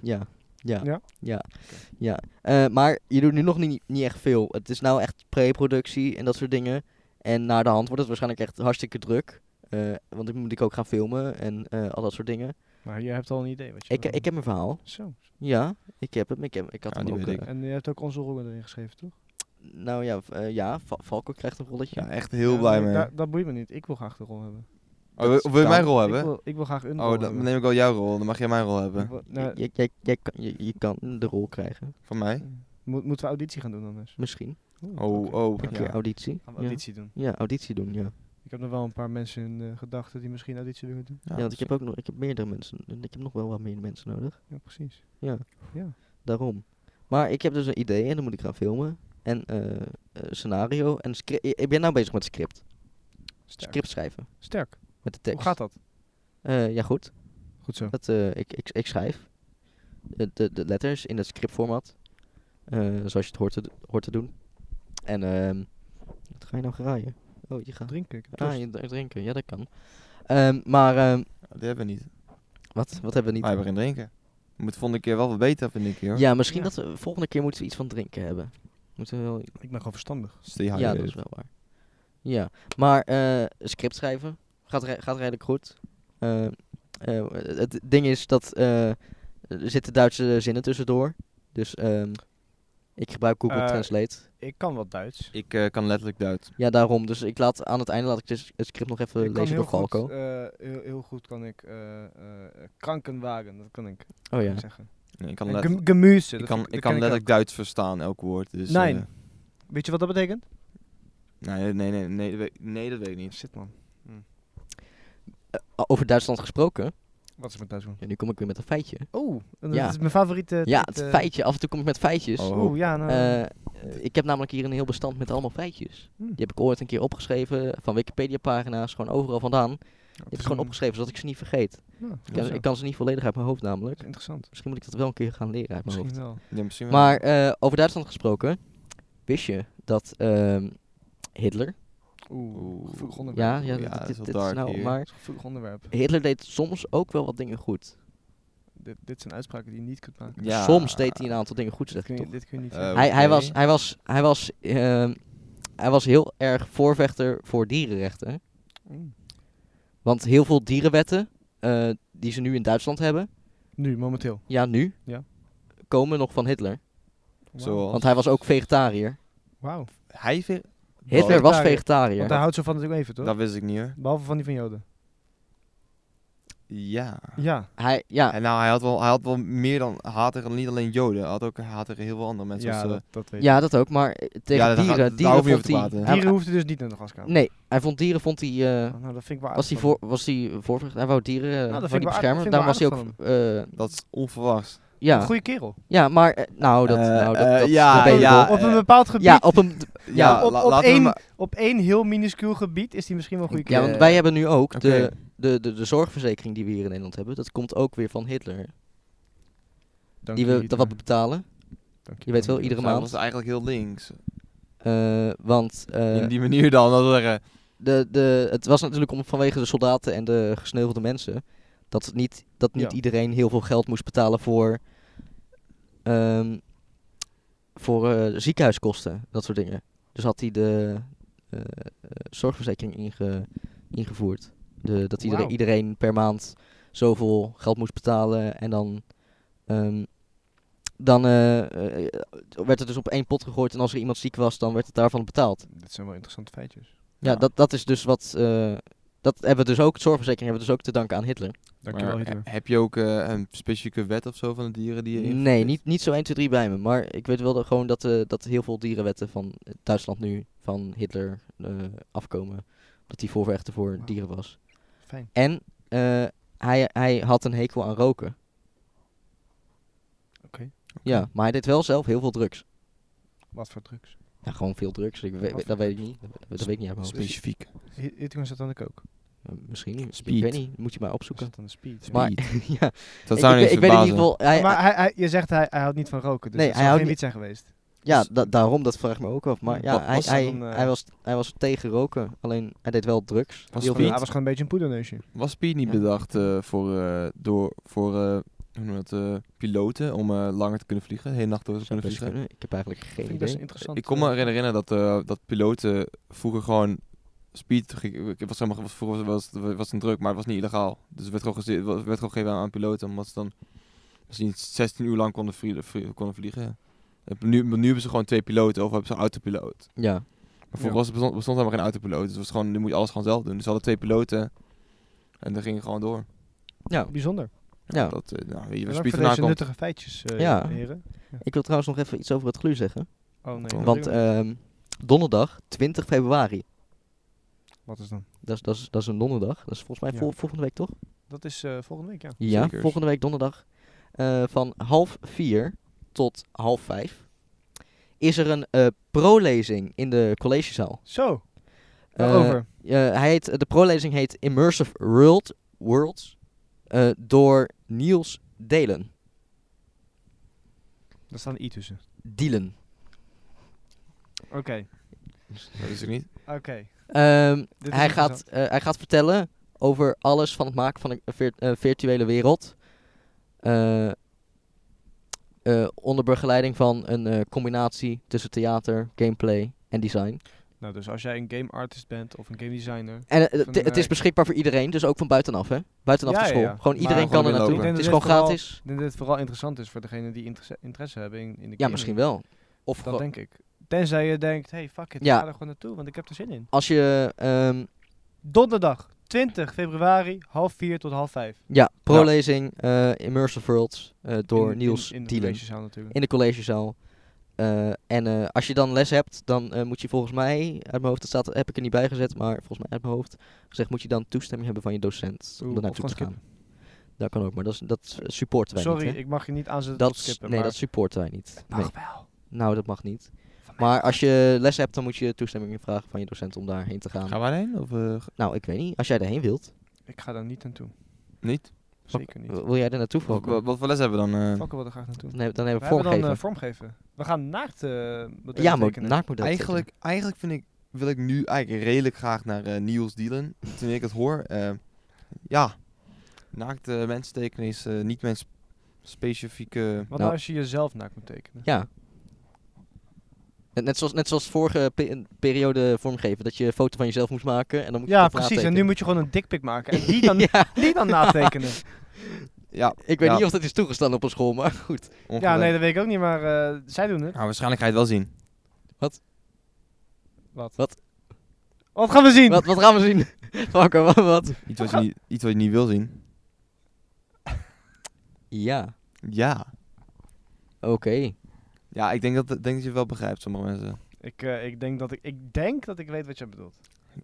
A: Ja. Ja.
C: Ja?
A: Ja. Ja. Eh, maar je doet nu nog niet, niet echt veel. Het is nou echt pre-productie en dat soort dingen. En naar de hand wordt het waarschijnlijk echt hartstikke druk. Eh, want dan moet ik ook gaan filmen en eh, al dat soort dingen.
C: Maar je hebt al een idee wat je
A: Ik, eh,
C: wil
A: ik
C: doen.
A: heb een verhaal.
C: Zo.
A: Ja, ik heb hem. Ik, heb, ik had
B: Ja,
A: hem
B: die
A: ook.
B: weet ik.
A: eh,
C: En je hebt ook onze rollen erin geschreven, toch?
A: nou ja, v- eh, ja Va- Valko krijgt een rolletje.
B: Ja, echt heel
C: Ja,
B: blij
C: Eh, nee,
B: mee.
C: da- dat boeit me niet. Ik wil graag de rol hebben.
B: Oh, wil, wil je mijn rol
C: Ik
B: hebben?
C: wil, ik wil graag een rol
B: Oh, dan
C: hebben.
B: neem ik wel jouw rol. Dan mag jij mijn rol
C: Ik
B: hebben.
C: wil-
A: J-
C: nou,
A: jij- jij- jij kan- je, je kan de rol krijgen,
B: Van mij.
C: moet- moeten we auditie gaan doen anders?
A: misschien.
B: Oh,
C: oké.
B: oh.
A: Een
B: ja.
A: keer auditie.
C: Gaan we
A: Ja.
C: auditie doen.
A: ja, auditie doen, ja.
C: Ik heb nog wel een paar mensen in eh, gedachten die misschien auditie willen doen.
A: Ja, want ik heb ook nog, ik heb meerdere mensen, ik heb nog wel wat meer mensen nodig,
C: Ja, precies.
A: Ja.
C: Ja.
A: daarom. Maar ik heb dus een idee en dan moet ik gaan filmen. En eh, eh, scenario en script. Ik ben nou bezig met script.
C: Sterk.
A: Script schrijven,
C: Sterk.
A: met de tekst.
C: Hoe gaat dat?
A: Eh, ja, goed.
C: Goed zo.
A: Dat, eh, ik, ik, ik schrijf de, de, de letters in het scriptformat. eh, zoals je het hoort te, d- hoort te doen. En ehm, wat ga je nou graaien? Oh, je gaat
C: Drinken. Ik heb
A: ah,
C: dorst.
A: je dr- drinken. Ja, dat kan. Ehm, maar ehm,
B: Die hebben we niet.
A: wat, wat hebben we
B: Maar
A: niet?
B: we hebben geen drinken. We moeten volgende keer wel wat beter, vind ik hier.
A: Ja, misschien
C: Ja.
A: dat we volgende keer moeten we iets van drinken hebben. Moeten we wel...
C: Ik ben gewoon verstandig.
B: Stay
A: Ja, dat
B: hydrated.
A: is wel waar. Ja, maar eh, script schrijven gaat, re- gaat redelijk goed. Eh, eh, het ding is dat eh, er zitten Duitse zinnen tussendoor. Dus ehm, ik gebruik Google
C: Eh,
A: Translate.
C: Ik kan wat Duits.
B: Ik eh, kan letterlijk Duits.
A: Ja, daarom. Dus ik laat, aan het einde laat ik dus het script nog even
C: Ik kan
A: lezen
C: heel
A: door Falco.
C: goed, eh, heel, heel goed kan ik eh, eh, eh, krankenwagen, dat kan ik
A: oh ja.
C: eh, zeggen.
B: Nee, ik kan,
C: En
B: letterlijk,
C: gem- gemuze,
B: ik
C: dat
B: kan,
C: vind
B: ik
C: dat
B: kan
C: ken ik
B: letterlijk Duits verstaan, elk woord. Dus,
C: Nein.
B: eh,
C: ook. Weet je wat dat betekent?
B: nee, nee, nee, nee, dat weet- nee, dat weet ik niet.
C: Shit man,
A: Eh, over Duitsland gesproken.
C: wat is mijn Duits man?
A: Ja, nu kom ik weer met een feitje.
C: Oeh, dat
A: Oh, Ja.
C: is mijn favoriete...
A: ja,
C: dit,
A: het
C: eh,
A: feitje. Af en toe kom ik met feitjes.
B: Oh.
C: Oeh, ja, nou...
A: Eh, ik heb namelijk hier een heel bestand met allemaal feitjes.
C: hm.
A: Die heb ik ooit een keer opgeschreven van Wikipedia-pagina's, gewoon overal vandaan. Die
C: Het
A: heb ik
C: is
A: gewoon
C: een-
A: opgeschreven zodat ik ze niet vergeet.
C: nou,
A: Ik
C: goed
A: kan,
C: zo.
A: ik kan ze niet volledig uit mijn hoofd namelijk.
C: Dat is Interessant,
A: Misschien moet ik dat wel een keer gaan leren uit mijn
C: misschien
A: hoofd.
C: wel.
B: Ja, misschien wel.
A: Maar eh, over Duitsland gesproken, wist je dat ehm, Hitler,
C: Oeh, gevoelig onderwerp.
A: ja, ja,
B: ja,
A: dit,
B: dat
A: dit,
B: is wel
A: dit is
B: dark
A: nou,
B: hier.
A: maar
C: Dat is een gevoelig onderwerp.
A: Hitler deed soms ook wel wat dingen goed.
C: Dit, dit zijn uitspraken die je niet kunt maken.
B: Ja.
A: Soms deed hij een aantal dingen goed,
C: Dit
A: zeg
C: kun
A: ik
C: je,
A: toch?
C: dit kun je niet
B: Eh,
C: zeggen.
A: Hij, hij,
B: Oké.
A: was, hij, was, hij, was, ehm, hij was heel erg voorvechter voor dierenrechten.
C: Oeh.
A: Want heel veel dierenwetten eh, die ze nu in Duitsland hebben,
C: Nu, momenteel.
A: ja nu,
C: Ja.
A: komen nog van Hitler.
B: Zoals-
A: Want hij was ook vegetariër.
C: Wauw.
B: Hij ver-
A: Hitler was
C: Vegetariër.
A: vegetariër.
C: eh, Want hij houdt zo van het leven, toch?
B: Dat wist ik niet hoor.
C: Behalve van die van Joden.
B: Ja.
C: Ja.
A: Hij, ja,
B: En nou, hij had, wel, hij had wel meer dan haat tegen niet alleen Joden. Hij had ook haat tegen heel veel andere mensen.
C: ja,
B: als, eh,
C: dat, dat weet ik.
A: ja, dat ook, maar eh, tegen
B: Ja, daar gaat-
A: dieren,
B: daar
A: dieren
B: hoef je
A: vond
B: over te
A: hij...
B: praten.
A: hij-
C: Dieren hoefden dus niet naar de gaskamer.
A: nee, hij vond dieren, vond hij... eh,
C: Oh, nou, dat vind ik wel
A: was hij,
C: aardig van
A: voor, was hij voorvechter? Hij wou dieren eh,
C: dat
A: wou
C: vind ik
A: die
C: wel
A: beschermen.
C: aardig- vind ik
A: Daarom was hij
C: wel
A: ook... eh,
B: dat is onverwachts.
C: hem. Een
A: ja.
C: goede kerel.
A: ja, maar... eh, nou, dat...
B: Eh,
A: nou, dat,
B: eh,
A: dat
B: ja,
A: dat weet ik
B: ja,
A: wel.
B: eh,
C: op een bepaald gebied.
A: Ja, op een...
B: Ja,
C: Ja, op-
B: la-
C: op
B: laten we
C: één-
B: maar-
C: op één heel minuscuul gebied is hij misschien wel een goede
A: Ja,
C: kerel.
A: want wij hebben nu ook de,
B: Oké.
A: de, de, de zorgverzekering die we hier in Nederland hebben. Dat komt ook weer van Hitler.
C: Dank
A: die
C: je,
A: we
C: Pieter.
A: dat wat betalen.
C: Dank
A: Je weet wel,
C: Pieter.
A: iedere
B: Zij
A: maand.
B: was eigenlijk heel links.
A: Eh, want eh,
B: In die manier dan. Dat we zeggen,
A: de, de, het was natuurlijk om, vanwege de soldaten en de gesneuvelde mensen. Dat het niet, dat niet
C: Ja.
A: iedereen heel veel geld moest betalen voor, ehm, voor eh, ziekenhuiskosten. Dat soort dingen. Dus had hij de eh, eh, zorgverzekering inge, ingevoerd. De, dat iedereen,
C: Wauw.
A: iedereen per maand zoveel geld moest betalen. En dan, ehm, dan eh, eh, werd het dus op één pot gegooid. En als er iemand ziek was, dan werd het daarvan betaald.
C: Dit zijn wel interessante feitjes.
A: Ja,
B: Ja.
A: Dat, dat is dus wat. eh, dat hebben we dus ook, zorgverzekering hebben we dus ook te danken aan Hitler.
C: Dankjewel,
B: maar,
C: Hitler.
B: he- heb je ook eh, een specifieke wet of zo van de dieren die je invoert?
A: Nee, niet, niet zo 1, 2, 3 bij me. Maar ik weet wel dat, gewoon dat, eh, dat heel veel dierenwetten van eh, Duitsland nu van Hitler eh, afkomen. Dat hij voorvechter voor
C: Wauw.
A: dieren was.
C: Fijn.
A: En eh, hij, hij had een hekel aan roken. Ja, maar hij deed wel zelf heel veel drugs.
C: Wat voor drugs?
A: Ja, gewoon veel drugs. Ik weet-
C: Wat voor
A: dat weet ik niet. Dat, dat weet ik niet uit mijn hoofd.
B: Specifiek.
C: Hitler zat aan de kook.
A: Eh, misschien niet. Ik
B: Speed.
A: weet niet. Moet je maar opzoeken.
C: aan de speed?
A: Maar *laughs*
B: Speed.
A: ja,
B: Dat
A: ik,
B: zou
A: ik,
B: niet
A: ik weet in ieder
B: verbazen.
A: geval. Hij,
C: maar hij, hij, je zegt hij, hij houdt niet van roken, dus
A: Nee,
C: het
A: hij houdt
C: zou geen
A: niet-
C: wiet zijn geweest.
A: ja,
B: dus-
A: da- daarom dat vraag ik me ook af. Maar ja,
B: Wat
A: hij,
B: was er
A: hij,
C: dan, eh?
A: hij, was, hij was tegen roken. Alleen hij deed wel drugs.
B: Was
A: Heel
B: Speed?
A: veel.
C: Hij was gewoon een beetje een poederneusje.
B: Was Speed niet
A: Ja.
B: bedacht eh, voor, eh, door, voor eh, hoe noem je dat, eh, piloten om eh, langer te kunnen vliegen? De hele nacht door te
A: Zou
B: kunnen
A: best kunnen. Dus,
B: vliegen?
A: eh, Ik heb eigenlijk geen
C: Vind ik
A: idee.
C: best interessant.
B: Ik kon me herinneren dat, eh, dat piloten vroeger gewoon speed... ge- was helemaal, was, vroeger was, was, was een druk, maar het was niet illegaal. Dus het werd gewoon, geze- werd gewoon gegeven aan, aan piloten, omdat ze dan misschien 16 uur lang konden, vlie- vlie- konden vliegen. En Nu, nu hebben ze gewoon twee piloten, of hebben ze een autopiloot.
A: Ja,
B: Maar
C: Ja.
B: vroeger was, bestond, bestond helemaal geen autopiloot, dus het was gewoon, nu moet je alles gewoon zelf doen. Dus ze hadden twee piloten en dan ging het gewoon door.
A: ja.
C: Bijzonder.
A: Ja.
B: Dat, eh, nou, weet je waar
C: Bedankt
B: speed
C: voor
B: vandaan
C: deze
B: komt.
C: nuttige feitjes, eh,
A: Ja.
C: heren.
A: Ik wil trouwens nog even iets over het glu zeggen.
C: Oh nee.
B: Klopt.
C: dat
A: Want
C: wil ik niet.
A: ehm, donderdag, 20 februari.
C: Wat is dan?
A: Dat is, dat, is, dat is een donderdag. Dat is volgens mij
C: Ja.
A: vol- volgende week, toch?
C: Dat is eh, volgende week, ja.
A: Ja,
B: Zekers.
A: volgende week donderdag. eh, van half vier tot half vijf. Is er een eh, prolezing in de collegezaal.
C: Zo,
A: Eh,
C: over.
A: eh, hij heet, de prolezing heet Immersive World, Worlds eh, door Niels Delen.
C: Daar staat een i tussen.
A: Dielen.
C: Oké,
B: Dat is ik niet.
C: oké.
A: Ehm,
C: Dit is
A: hij, gaat,
C: interessant.
A: eh, hij gaat vertellen over alles van het maken van een vir- eh, virtuele wereld. Eh, eh, onder begeleiding van een eh, combinatie tussen theater, gameplay en design.
C: Nou, dus als jij een game artist bent of een game designer...
A: En eh,
C: Van,
A: het- het
C: eh,
A: is beschikbaar voor iedereen, dus ook van buitenaf, hè? Buitenaf
C: Ja,
A: de
C: ja,
A: school.
C: ja.
A: Gewoon
B: Maar
A: iedereen
B: gewoon
A: kan er
B: binnen
A: naartoe.
B: lopen.
A: Het is
C: Ik denk dat
A: gewoon
C: dit vooral-
A: gratis.
C: Ik denk dat het vooral interessant is voor degenen die interesse, interesse hebben in, in de
A: Ja,
C: game.
A: misschien wel. Of
C: Dat
A: gewoon-
C: denk ik. Tenzij je denkt, hey, fuck it,
A: Ja.
C: ik ga er gewoon naartoe, want ik heb er zin in.
A: als je ehm,
C: Donderdag, 20 februari, half 4 tot half 5.
A: Ja, prolezing eh, Immersive Worlds eh, door Niels
C: in, in de
A: Dielen.
C: collegezaal natuurlijk.
A: In de collegezaal. Eh, en eh, als je dan les hebt, dan eh, moet je volgens mij, uit mijn hoofd, dat staat, heb ik er niet bij gezet, maar volgens mij uit mijn hoofd gezegd, moet je dan toestemming hebben van je docent
C: Oeh,
A: om er
C: of
A: naartoe te
C: gewoon
A: gaan. Dat kan ook, maar dat, is, dat eh, supporten wij
C: Sorry,
A: niet. hè?
C: ik mag je niet aanzetten
A: dat
C: tot
A: is-
C: skippen.
A: nee,
C: maar
A: dat supporten wij niet. Nee.
C: Mag wel.
A: Nou, dat mag niet.
C: Van mij
A: Maar als je les hebt, dan moet je toestemming vragen van je docent om daarheen te gaan.
B: Gaan we alleen of eh, g-
A: Nou, ik weet niet. Als jij daarheen wilt,
C: Ik ga daar niet naartoe.
B: niet?
C: Zeker niet.
A: wil jij er naartoe
B: Wat,
A: volgen?
B: wat, wat voor les hebben we dan? eh?
C: Fokken wil er graag naartoe.
A: Dan heb- dan hebben
C: We
A: we
C: hebben dan eh,
A: vormgeven.
C: vormgeven. We gaan naakt eh modellen
A: Ja, maar
C: tekenen.
A: naakmodel.
B: Eigenlijk, eigenlijk vind ik, wil ik nu eigenlijk redelijk graag naar eh, Niels Dielen. Toen ik het hoor, eh, ja, naakte mensen tekenen is eh, niet mijn sp- specifieke...
C: Wat
A: Nou.
C: nou als je jezelf naakt moet tekenen?
A: Ja. Net, net zoals, net zoals vorige pe- periode vormgeven, dat je een foto van jezelf moest maken en dan moet je
C: Ja,
A: het
C: precies. En
A: natekenen.
C: nu moet je gewoon een dikpik maken. En die dan,
A: *laughs* ja,
C: die dan
A: *laughs*
C: natekenen.
B: Ja,
A: ik weet
B: Ja.
A: niet of dat is toegestaan op een school, maar
C: *laughs*
A: goed.
C: ja,
B: ongeveer.
C: nee, dat weet ik ook niet, maar eh, zij doen het.
B: Nou, waarschijnlijk ga je het wel zien.
C: Wat?
A: Wat?
C: Wat gaan we zien?
A: Wat, wat gaan we zien? *laughs* Marco, wat, wat?
B: Iets wat, je
C: *laughs*
B: niet, iets wat je niet wil zien.
A: Ja,
B: Ja.
A: oké.
B: Ja, ik denk dat, denk dat je het wel begrijpt, sommige mensen.
C: Ik, eh, ik, denk dat ik, ik denk dat ik weet wat jij bedoelt.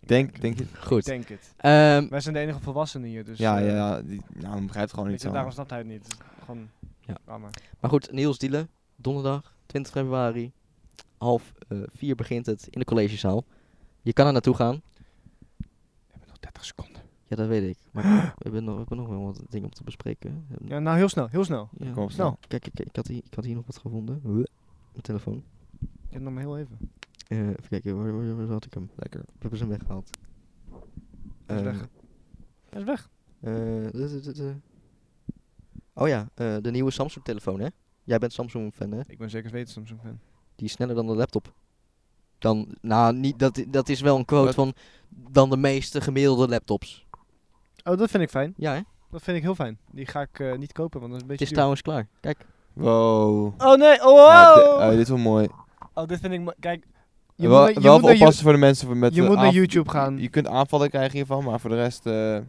B: Ik denk, denk je...
C: Ik
A: Goed.
C: denk het.
A: Ehm,
C: Wij zijn de enige volwassenen hier, dus...
B: Ja,
C: eh,
B: ja, ja. Die, nou, dan begrijpt gewoon
C: weet
B: niet
C: je,
B: zo.
C: daarom snapt hij het niet. Het is Gewoon...
A: Ja.
C: Ah, maar.
A: maar goed, Niels Dielen, donderdag 20 februari, half eh, vier begint het in de collegezaal. Je kan er naartoe gaan.
C: We hebben nog 30 seconden.
A: Ja, dat weet ik. Maar
C: *gasps*
A: we hebben nog, we hebben nog wel wat dingen om te bespreken.
C: Ja, nou, heel snel, heel snel.
A: Ja.
B: Kom op,
C: Snel.
B: snel.
A: Kijk, ik, ik, had hier, ik had hier nog wat gevonden. Huh, Mijn telefoon.
C: Ik heb nog maar heel even.
A: Eh, even kijken, waar, waar, waar had ik hem?
B: Lekker.
A: We hebben ze hem weggehaald.
C: Hij is
A: Eh,
C: weg. Hij is weg.
A: eh, d- d- d- d- Oh ja, eh, de nieuwe Samsung telefoon hè? Jij bent Samsung fan hè?
C: Ik ben zeker weten Samsung fan.
A: Die is sneller dan de laptop. Dan, nou niet, dat, i- dat is wel een quote
B: Wat?
A: van dan de meeste gemiddelde laptops.
C: Oh, dat vind ik fijn.
A: Ja hè?
C: Dat vind ik heel fijn. Die ga ik eh, niet kopen, want dat is een
A: Het is
C: beetje duur.
A: trouwens klaar. Kijk.
B: Wow.
C: Oh nee, oh,
B: Ah, di-
C: wow!
B: oh, dit is wel mooi.
C: Oh, dit vind ik... mo- Kijk, je
B: Je wel
C: moet, naar- je
B: wel
C: moet
B: even
C: naar
B: oppassen voor de mensen met
C: je
B: de
C: moet naar
B: aanv-
C: YouTube gaan.
B: Je kunt aanvallen krijgen hiervan, maar voor de rest... eh,
C: You-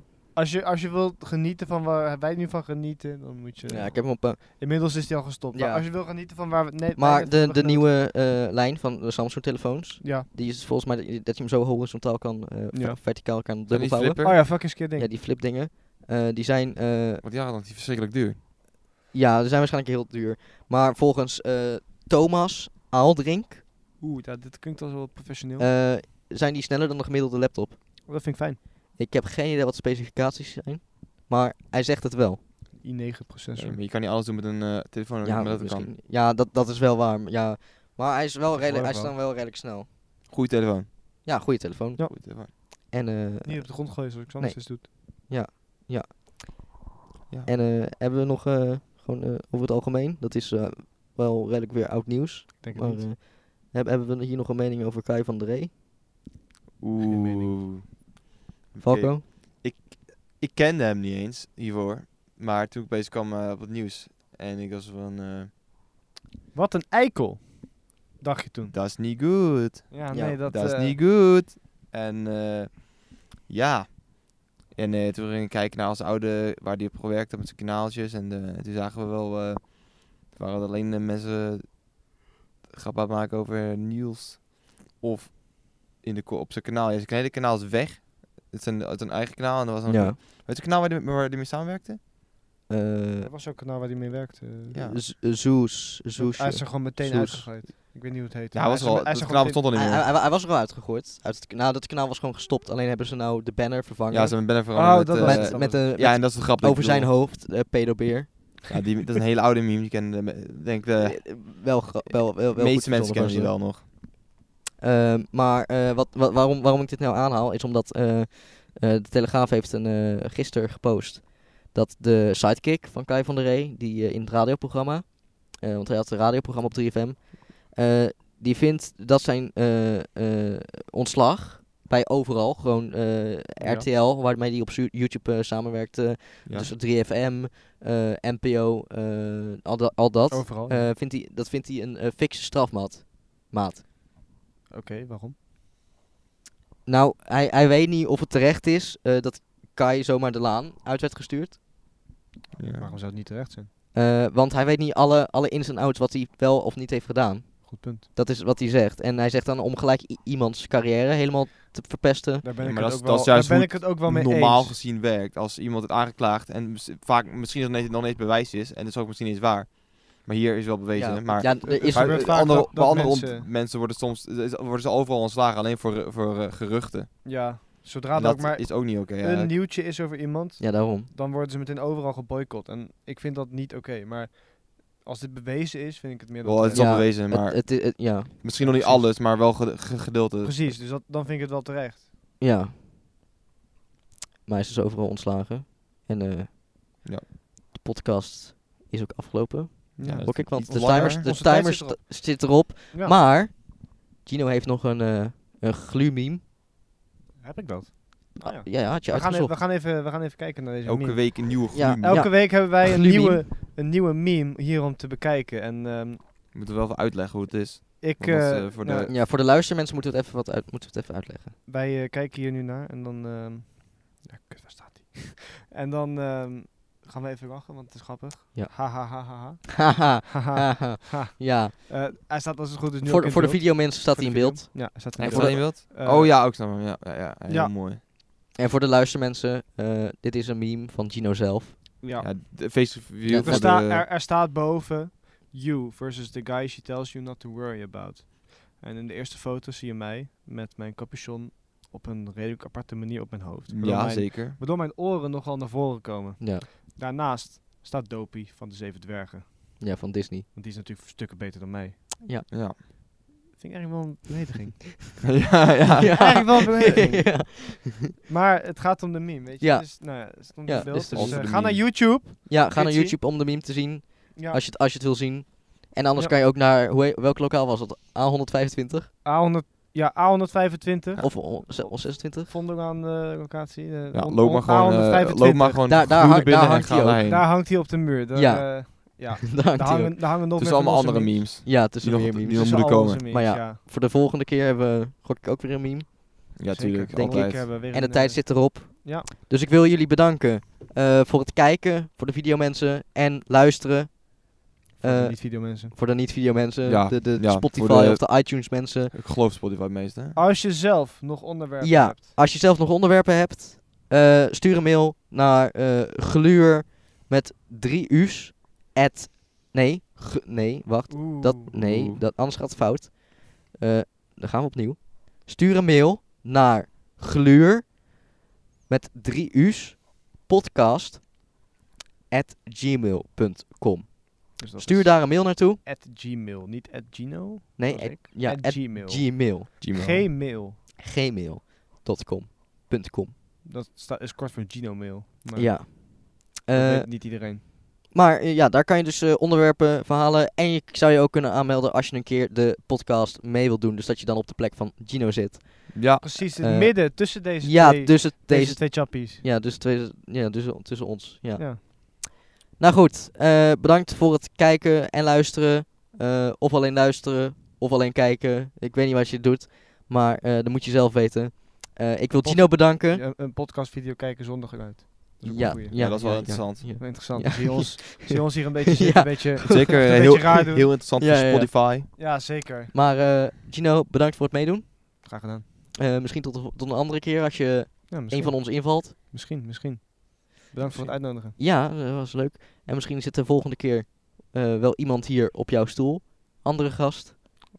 C: als, je, als je wilt genieten van waar wij nu van genieten, dan moet je...
A: Ja, ik heb hem op. eh,
C: Inmiddels is die al gestopt.
A: Ja.
C: Maar als je wil genieten van waar we... Nee, wij
A: maar
C: net
A: de,
C: hebben
A: de
C: genoten.
A: nieuwe eh, lijn van de Samsung telefoons.
C: Ja.
A: Die is volgens mij dat je- dat je hem zo horizontaal kan, eh, ver-
C: Ja.
A: verticaal kan
B: zijn die
A: dubbelvouwen.
B: flipper?
C: Oh ja, fucking keer ding.
A: Ja, die flip dingen. Eh, die zijn eh,
B: Want ja, dat is verschrikkelijk duur.
A: Ja, ze zijn waarschijnlijk heel duur. Maar volgens eh, Thomas Aaldrink
C: Oeh, dat, dit klinkt al wel professioneel.
A: eh, zijn die sneller dan de gemiddelde laptop.
C: dat vind ik fijn.
A: Ik heb geen idee wat de specificaties zijn. Maar hij zegt het wel.
C: i9 processor.
B: maar je kan niet alles doen met een eh, telefoon.
A: ja,
B: maar dat kan.
A: misschien- ja dat, dat is wel waar. maar Ja. Maar hij is, wel
C: Dat
A: redelijk, hij is
C: geloof ik
A: dan wel redelijk snel.
B: Goeie telefoon.
A: Ja, goede telefoon.
C: Ja.
B: Goeie telefoon.
A: En, eh,
C: Niet op de grond gooien zoals
A: Nee.
C: Xanthus nee. doet.
A: en eh, hebben we nog eh, gewoon eh, over het algemeen? Dat is eh, wel redelijk weer oud nieuws.
C: Ik denk het
A: Maar
C: niet.
A: eh, heb- hebben we hier nog een mening over Kai van der Ree?
B: Oeh. Oké.
A: Falco?
B: Ik kende hem niet eens hiervoor. Maar toen ik bezig kwam eh, op het nieuws. En ik was van, eh,
C: Wat een eikel, dacht je toen.
B: dat is niet goed.
C: Ja,
A: Ja,
C: nee, dat,
B: Dat is
C: eh,
B: niet goed. En eh, ja. En eh, toen ging ik kijken naar als oude, waar die op gewerkt had met zijn kanaaltjes. En eh, toen zagen we wel, eh het waren alleen eh, mensen grap aan het maken over nieuws. Of in de, ko- op zijn kanaal. Ja, zijn hele kanaal is weg. Het is een, het is een eigen kanaal. En er was een,
A: Ja.
B: Weet je het kanaal waar die, waar die mee samenwerkte?
A: Eh,
C: Dat was ook kanaal waar hij mee werkte.
B: Ja.
A: Z- eh, Zeus. Zeus.
C: Hij is er gewoon meteen
A: Soes.
C: uitgegooid. Ik weet niet hoe het heet.
B: Ja, hij was
C: is
B: al,
C: er- hij
B: dat
C: is er
B: kanaal
C: gewoon
B: bestond al niet
A: Hij,
B: meer.
A: hij- hij was er al uitgegooid. Uit het, kanaal, dat kanaal was gewoon gestopt. Alleen hebben ze nou de banner vervangen.
B: Ja, ze hebben een banner
C: Oh,
B: veranderd.
C: dat
B: eh,
C: was
A: met,
C: dat
A: met
C: was
A: een,
B: ja,
A: met-
B: en dat is de grap. dat ik
A: over zijn
B: bedoel.
A: hoofd, eh, pedobeer.
B: Ja, die, dat is een hele oude meme. Die kennen, de- denk ik, de
A: Eh, wel, gra- wel, wel, wel goed
B: meeste mensen
A: verzonnen
B: kennen die
A: van ze.
B: wel nog.
A: Ehm, maar eh, wat, wa- waarom, waarom ik dit nou aanhaal is omdat eh, eh, de Telegraaf heeft een, eh gisteren gepost dat de sidekick van Kai van der Ree, die eh, in het radioprogramma, eh, want hij had een radioprogramma op 3FM, eh, die vindt dat zijn eh, eh, ontslag bij overal, gewoon eh,
C: Ja.
A: RTL, waarmee hij op su- YouTube eh, samenwerkt, eh,
B: Ja.
A: dus 3FM, eh, NPO, eh, al, da- al dat,
C: Overal.
A: eh, vindt hij, dat vindt hij een eh, fikse strafmaat. Maat.
C: Oké, waarom?
A: Nou, hij, hij weet niet of het terecht is eh, dat Kai zomaar de laan uit werd gestuurd.
B: ja.
C: Waarom zou het niet terecht zijn?
A: Eh, want hij weet niet alle, alle ins en outs wat hij wel of niet heeft gedaan.
C: Goed punt.
A: Dat is wat hij zegt. En hij zegt dan om gelijk i- iemands carrière helemaal te verpesten.
C: Daar ben,
B: Ja,
C: ik,
B: maar dat
C: het
B: is-
C: ook
B: dat
C: wel,
B: is
C: daar
B: juist
C: ben
B: hoe
C: ik het ook wel mee
B: normaal
C: eens.
B: gezien werkt. Als iemand het aangeklaagd en mis- vaak misschien nog niet, nog niet bewijs is. En dat is ook misschien niet eens waar. Maar hier is wel bewezen.
A: ja,
B: maar
A: ja, er is,
C: het gebeurt
B: bij
C: vaak
B: andere,
C: dat-
B: bij
C: dat
B: andere ont- mensen...
C: mensen-
B: worden soms eh, worden ze overal ontslagen. Alleen voor, eh, voor eh, geruchten.
C: Ja, zodra
B: En
C: er
B: dat
C: ook maar
B: is ook niet oké. ja.
C: een nieuwtje is over iemand,
A: ja, daarom.
C: dan worden ze meteen overal geboycott. En ik vind dat niet oké. maar als dit bewezen is, vind ik het meer dan
B: Wel, het is al
A: Ja,
B: bewezen. Maar
A: Het, het, het- ja,
B: misschien nog niet
C: precies.
B: alles. Maar wel ged- ge- gedeelte.
C: Precies, dus dat, dan vind ik het wel terecht.
A: ja. Maar hij is dus overal ontslagen. En eh,
B: Ja.
A: de podcast is ook afgelopen.
B: Ja, dat
A: Hoor ik, want
B: iets
A: de
B: langer.
A: timers, de
C: Onze timer
A: timers
C: zit erop.
A: sta- zit erop.
C: Ja,
A: Maar Gino heeft nog een, eh een glumiem.
C: heb ik dat?
A: Ah,
C: ja.
A: ja, ja, had je
C: We gaan, e-
A: uitgezocht.
C: we, gaan even, we gaan even kijken naar deze
B: Elke
C: meme.
B: week een nieuwe
A: Ja,
B: groei.
A: elke-
B: Moeten
C: Elke week hebben wij een
A: Glumeme.
C: nieuwe, een nieuwe meme hier om te bekijken. En ehm,
B: We moeten wel even uitleggen hoe het is.
C: ik,
B: Want dat is,
C: eh,
B: eh, voor
C: nou,
B: de-
A: Ja, voor de luistermensen moeten we het even, wat uit, moeten we het even uitleggen. *laughs*
C: wij eh, kijken hier nu naar en dan... ehm, ja, kut, waar staat die? *laughs* en dan ehm, gaan we even lachen, want het is grappig.
A: Ja.
C: Ha, ha, ha, ha, ha.
A: Haha,
C: Ha, ha.
A: *laughs* haha.
C: Ha.
A: ja,
C: Eh, hij staat als het goed is nu ook
A: voor, de-
C: in
A: voor de
C: beeld.
A: videomensen staat hij in
C: Voor de
A: beeld.
C: video. Ja, hij staat in
B: En
A: En
B: voor
A: voor
B: dat
A: de-
B: beeld?
C: Eh,
B: oh ja, ook snap hem. Ja, ja, ja, heel
C: Ja.
B: mooi.
A: En voor de luistermensen, eh, dit is een meme van Gino zelf.
C: ja.
B: Ja. de face review
A: Ja,
B: voor
C: Er, sta-
B: de-
C: er, er staat boven you versus the guy she tells you not to worry about. En in de eerste foto zie je mij met mijn capuchon op een redelijk aparte manier op mijn hoofd. Waardoor
B: Ja,
C: mijn,
B: zeker.
C: Waardoor mijn oren nogal naar voren komen.
A: Ja,
C: Daarnaast staat Dopey van de Zeven Dwergen.
A: ja van
C: *laughs*
A: Disney.
C: Want die is natuurlijk stukken beter dan mij.
B: Ja.
C: Vind ik eigenlijk wel een
B: *laughs*
C: belediging.
B: ja, Ah, *laughs* ja.
C: Eigenlijk wel een belediging.
A: ja.
C: Maar het gaat om de meme, weet je.
A: Ja.
C: Dus, nou ja, het stond
A: Ja,
C: in beeld.
A: dus
C: Dus,
A: het
B: is
C: eh,
B: de
C: ga
B: meme.
C: naar YouTube.
A: ja, ga naar
C: Kitty?
A: YouTube om de meme te zien,
C: Ja.
A: als, je, het- als je het wil zien. En anders
C: Ja.
A: kan je ook naar, hoe, he- welk lokaal was dat? A125?
C: A100, ja, A125.
A: Of o- ze- o- 26?
C: Vonden aan de locatie. eh,
B: Ja,
C: on-
B: loop maar
C: on-
B: gewoon, eh,
C: 125.
B: loop maar gewoon
A: Daar-
B: groene
A: daar hang-
B: binnen
A: daar
B: en
A: hangt
B: ga
A: hij ook.
B: daarheen.
C: Daar hangt hij op de muur. Daar,
A: Ja.
C: eh, ja.
A: *laughs* Daar hangt
C: daar,
A: hij ook.
C: hangen, daar hangen nog
B: Het is
C: meer van
B: allemaal
A: dus
C: onze
B: andere
C: memes.
B: memes.
A: Ja, het is
B: Die
A: nog
B: nog-
A: meer
B: die
A: memes.
B: nog-
C: Tussen
B: moeten
C: al
B: komen.
C: onze memes,
A: Maar ja,
C: ja,
A: Voor de volgende keer hebben we, gok ik ook weer een meme.
B: Ja,
C: zeker.
B: tuurlijk.
A: Denk
B: altijd.
C: ik hebben we weer
A: En de
C: een,
A: tijd
C: eh,
A: zit erop.
C: ja.
A: Dus ik wil jullie bedanken eh, voor het kijken, voor de videomensen en luisteren.
C: voor de
A: Eh,
C: niet video mensen.
A: voor de niet-videomensen,
B: Ja,
A: de, de
B: ja,
A: Spotify
B: voor de-
A: of de iTunes-mensen.
B: Ik geloof Spotify het meest, hè?
A: Oh,
C: Als je zelf nog onderwerpen
A: Ja.
C: hebt.
A: Als je zelf nog onderwerpen hebt, eh, stuur een mail naar eh, gluur met 3 u's. At, nee, ge- nee, wacht.
C: Oeh.
A: Dat, nee,
B: Oeh.
A: dat, anders gaat het fout. Eh, dan gaan we opnieuw. Stuur een mail naar gluur met drie u's, podcast at gmail.com.
C: Dus dat
A: Stuur
C: is
A: daar een mail naartoe.
C: At Gmail, niet at Gino.
A: Nee,
C: zoals
A: at-
C: ik.
A: ja,
C: at
A: at
C: Gmail.
A: Gmail.
B: Gmail.
C: Gmail.
A: Gmail.com. Punt .com.
C: Dat sta- is kort voor Gino Mail. Maar
A: Ja.
C: dat
A: Eh,
C: weet niet iedereen.
A: maar eh, ja, daar kan je dus eh, onderwerpen, verhalen. En je ik zou je ook kunnen aanmelden als je een keer de podcast mee wilt doen. Dus dat je dan op de plek van Gino zit. *laughs*
B: Ja,
C: Precies, het
A: eh,
C: midden tussen deze
A: Ja,
C: twee,
A: dus het,
C: deze,
A: deze,
C: twee chappies.
A: ja, dus twee, ja, dus tussen ons. Ja.
C: Ja.
A: Nou goed, eh, bedankt voor het kijken en luisteren. Eh, of alleen luisteren, of alleen kijken. Ik weet niet wat je doet, maar eh dat moet je zelf weten. Eh, ik wil
C: Pod-
A: Gino bedanken.
C: Ja, een podcastvideo kijken zondag uit. Dat is ook een
A: Ja,
C: goeie.
B: ja, dat is wel
A: ja,
B: interessant.
A: ja.
C: Wel Interessant.
A: Ja.
C: Zie, je *laughs* ons, zie je ons hier een beetje zitten,
A: Ja.
C: een *laughs* beetje...
B: Zeker
C: Een
B: eh,
C: beetje
B: *laughs* heel,
C: raar doen.
B: heel interessant
A: Ja,
B: voor
A: ja, ja.
B: Spotify.
C: Ja, zeker.
A: Maar eh, Gino, bedankt voor het meedoen.
C: Graag gedaan.
A: Eh, misschien tot, de- tot een andere keer als je
C: Ja,
A: een
C: misschien.
A: van ons invalt.
C: Misschien, misschien. Bedankt voor het uitnodigen.
A: Ja, dat was leuk. En misschien zit de volgende keer eh, wel iemand hier op jouw stoel. Andere gast.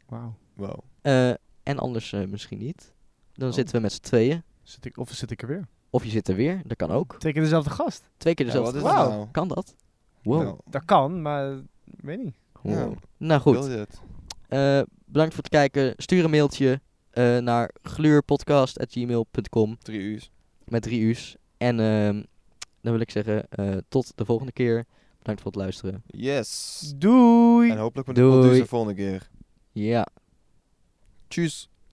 C: Wauw.
B: Wow.
A: Eh, en anders eh, misschien niet. Dan
C: Oh.
A: zitten we met z'n tweeën.
C: Zit ik, of zit ik er weer?
A: Of je zit er weer, dat kan ook.
C: Twee keer dezelfde gast.
A: Twee keer
B: Ja,
A: dezelfde.
B: wat is
A: gast.
B: dat
C: Wauw.
B: nou?
A: Kan dat? Wow.
B: Nou,
C: Dat kan, maar eh, weet niet.
B: Ja.
A: Wow. Nou goed,
B: wilde het.
A: eh, bedankt voor het kijken. Stuur een mailtje eh, naar gluurpodcast.gmail.com
B: Drie uur.
A: met drie u's. En ehm, dan wil ik zeggen, eh, tot de volgende keer. Bedankt voor het luisteren.
B: Yes.
C: Doei!
B: En hopelijk met de
A: Doei.
B: producer volgende keer.
A: Ja.
B: Tjus.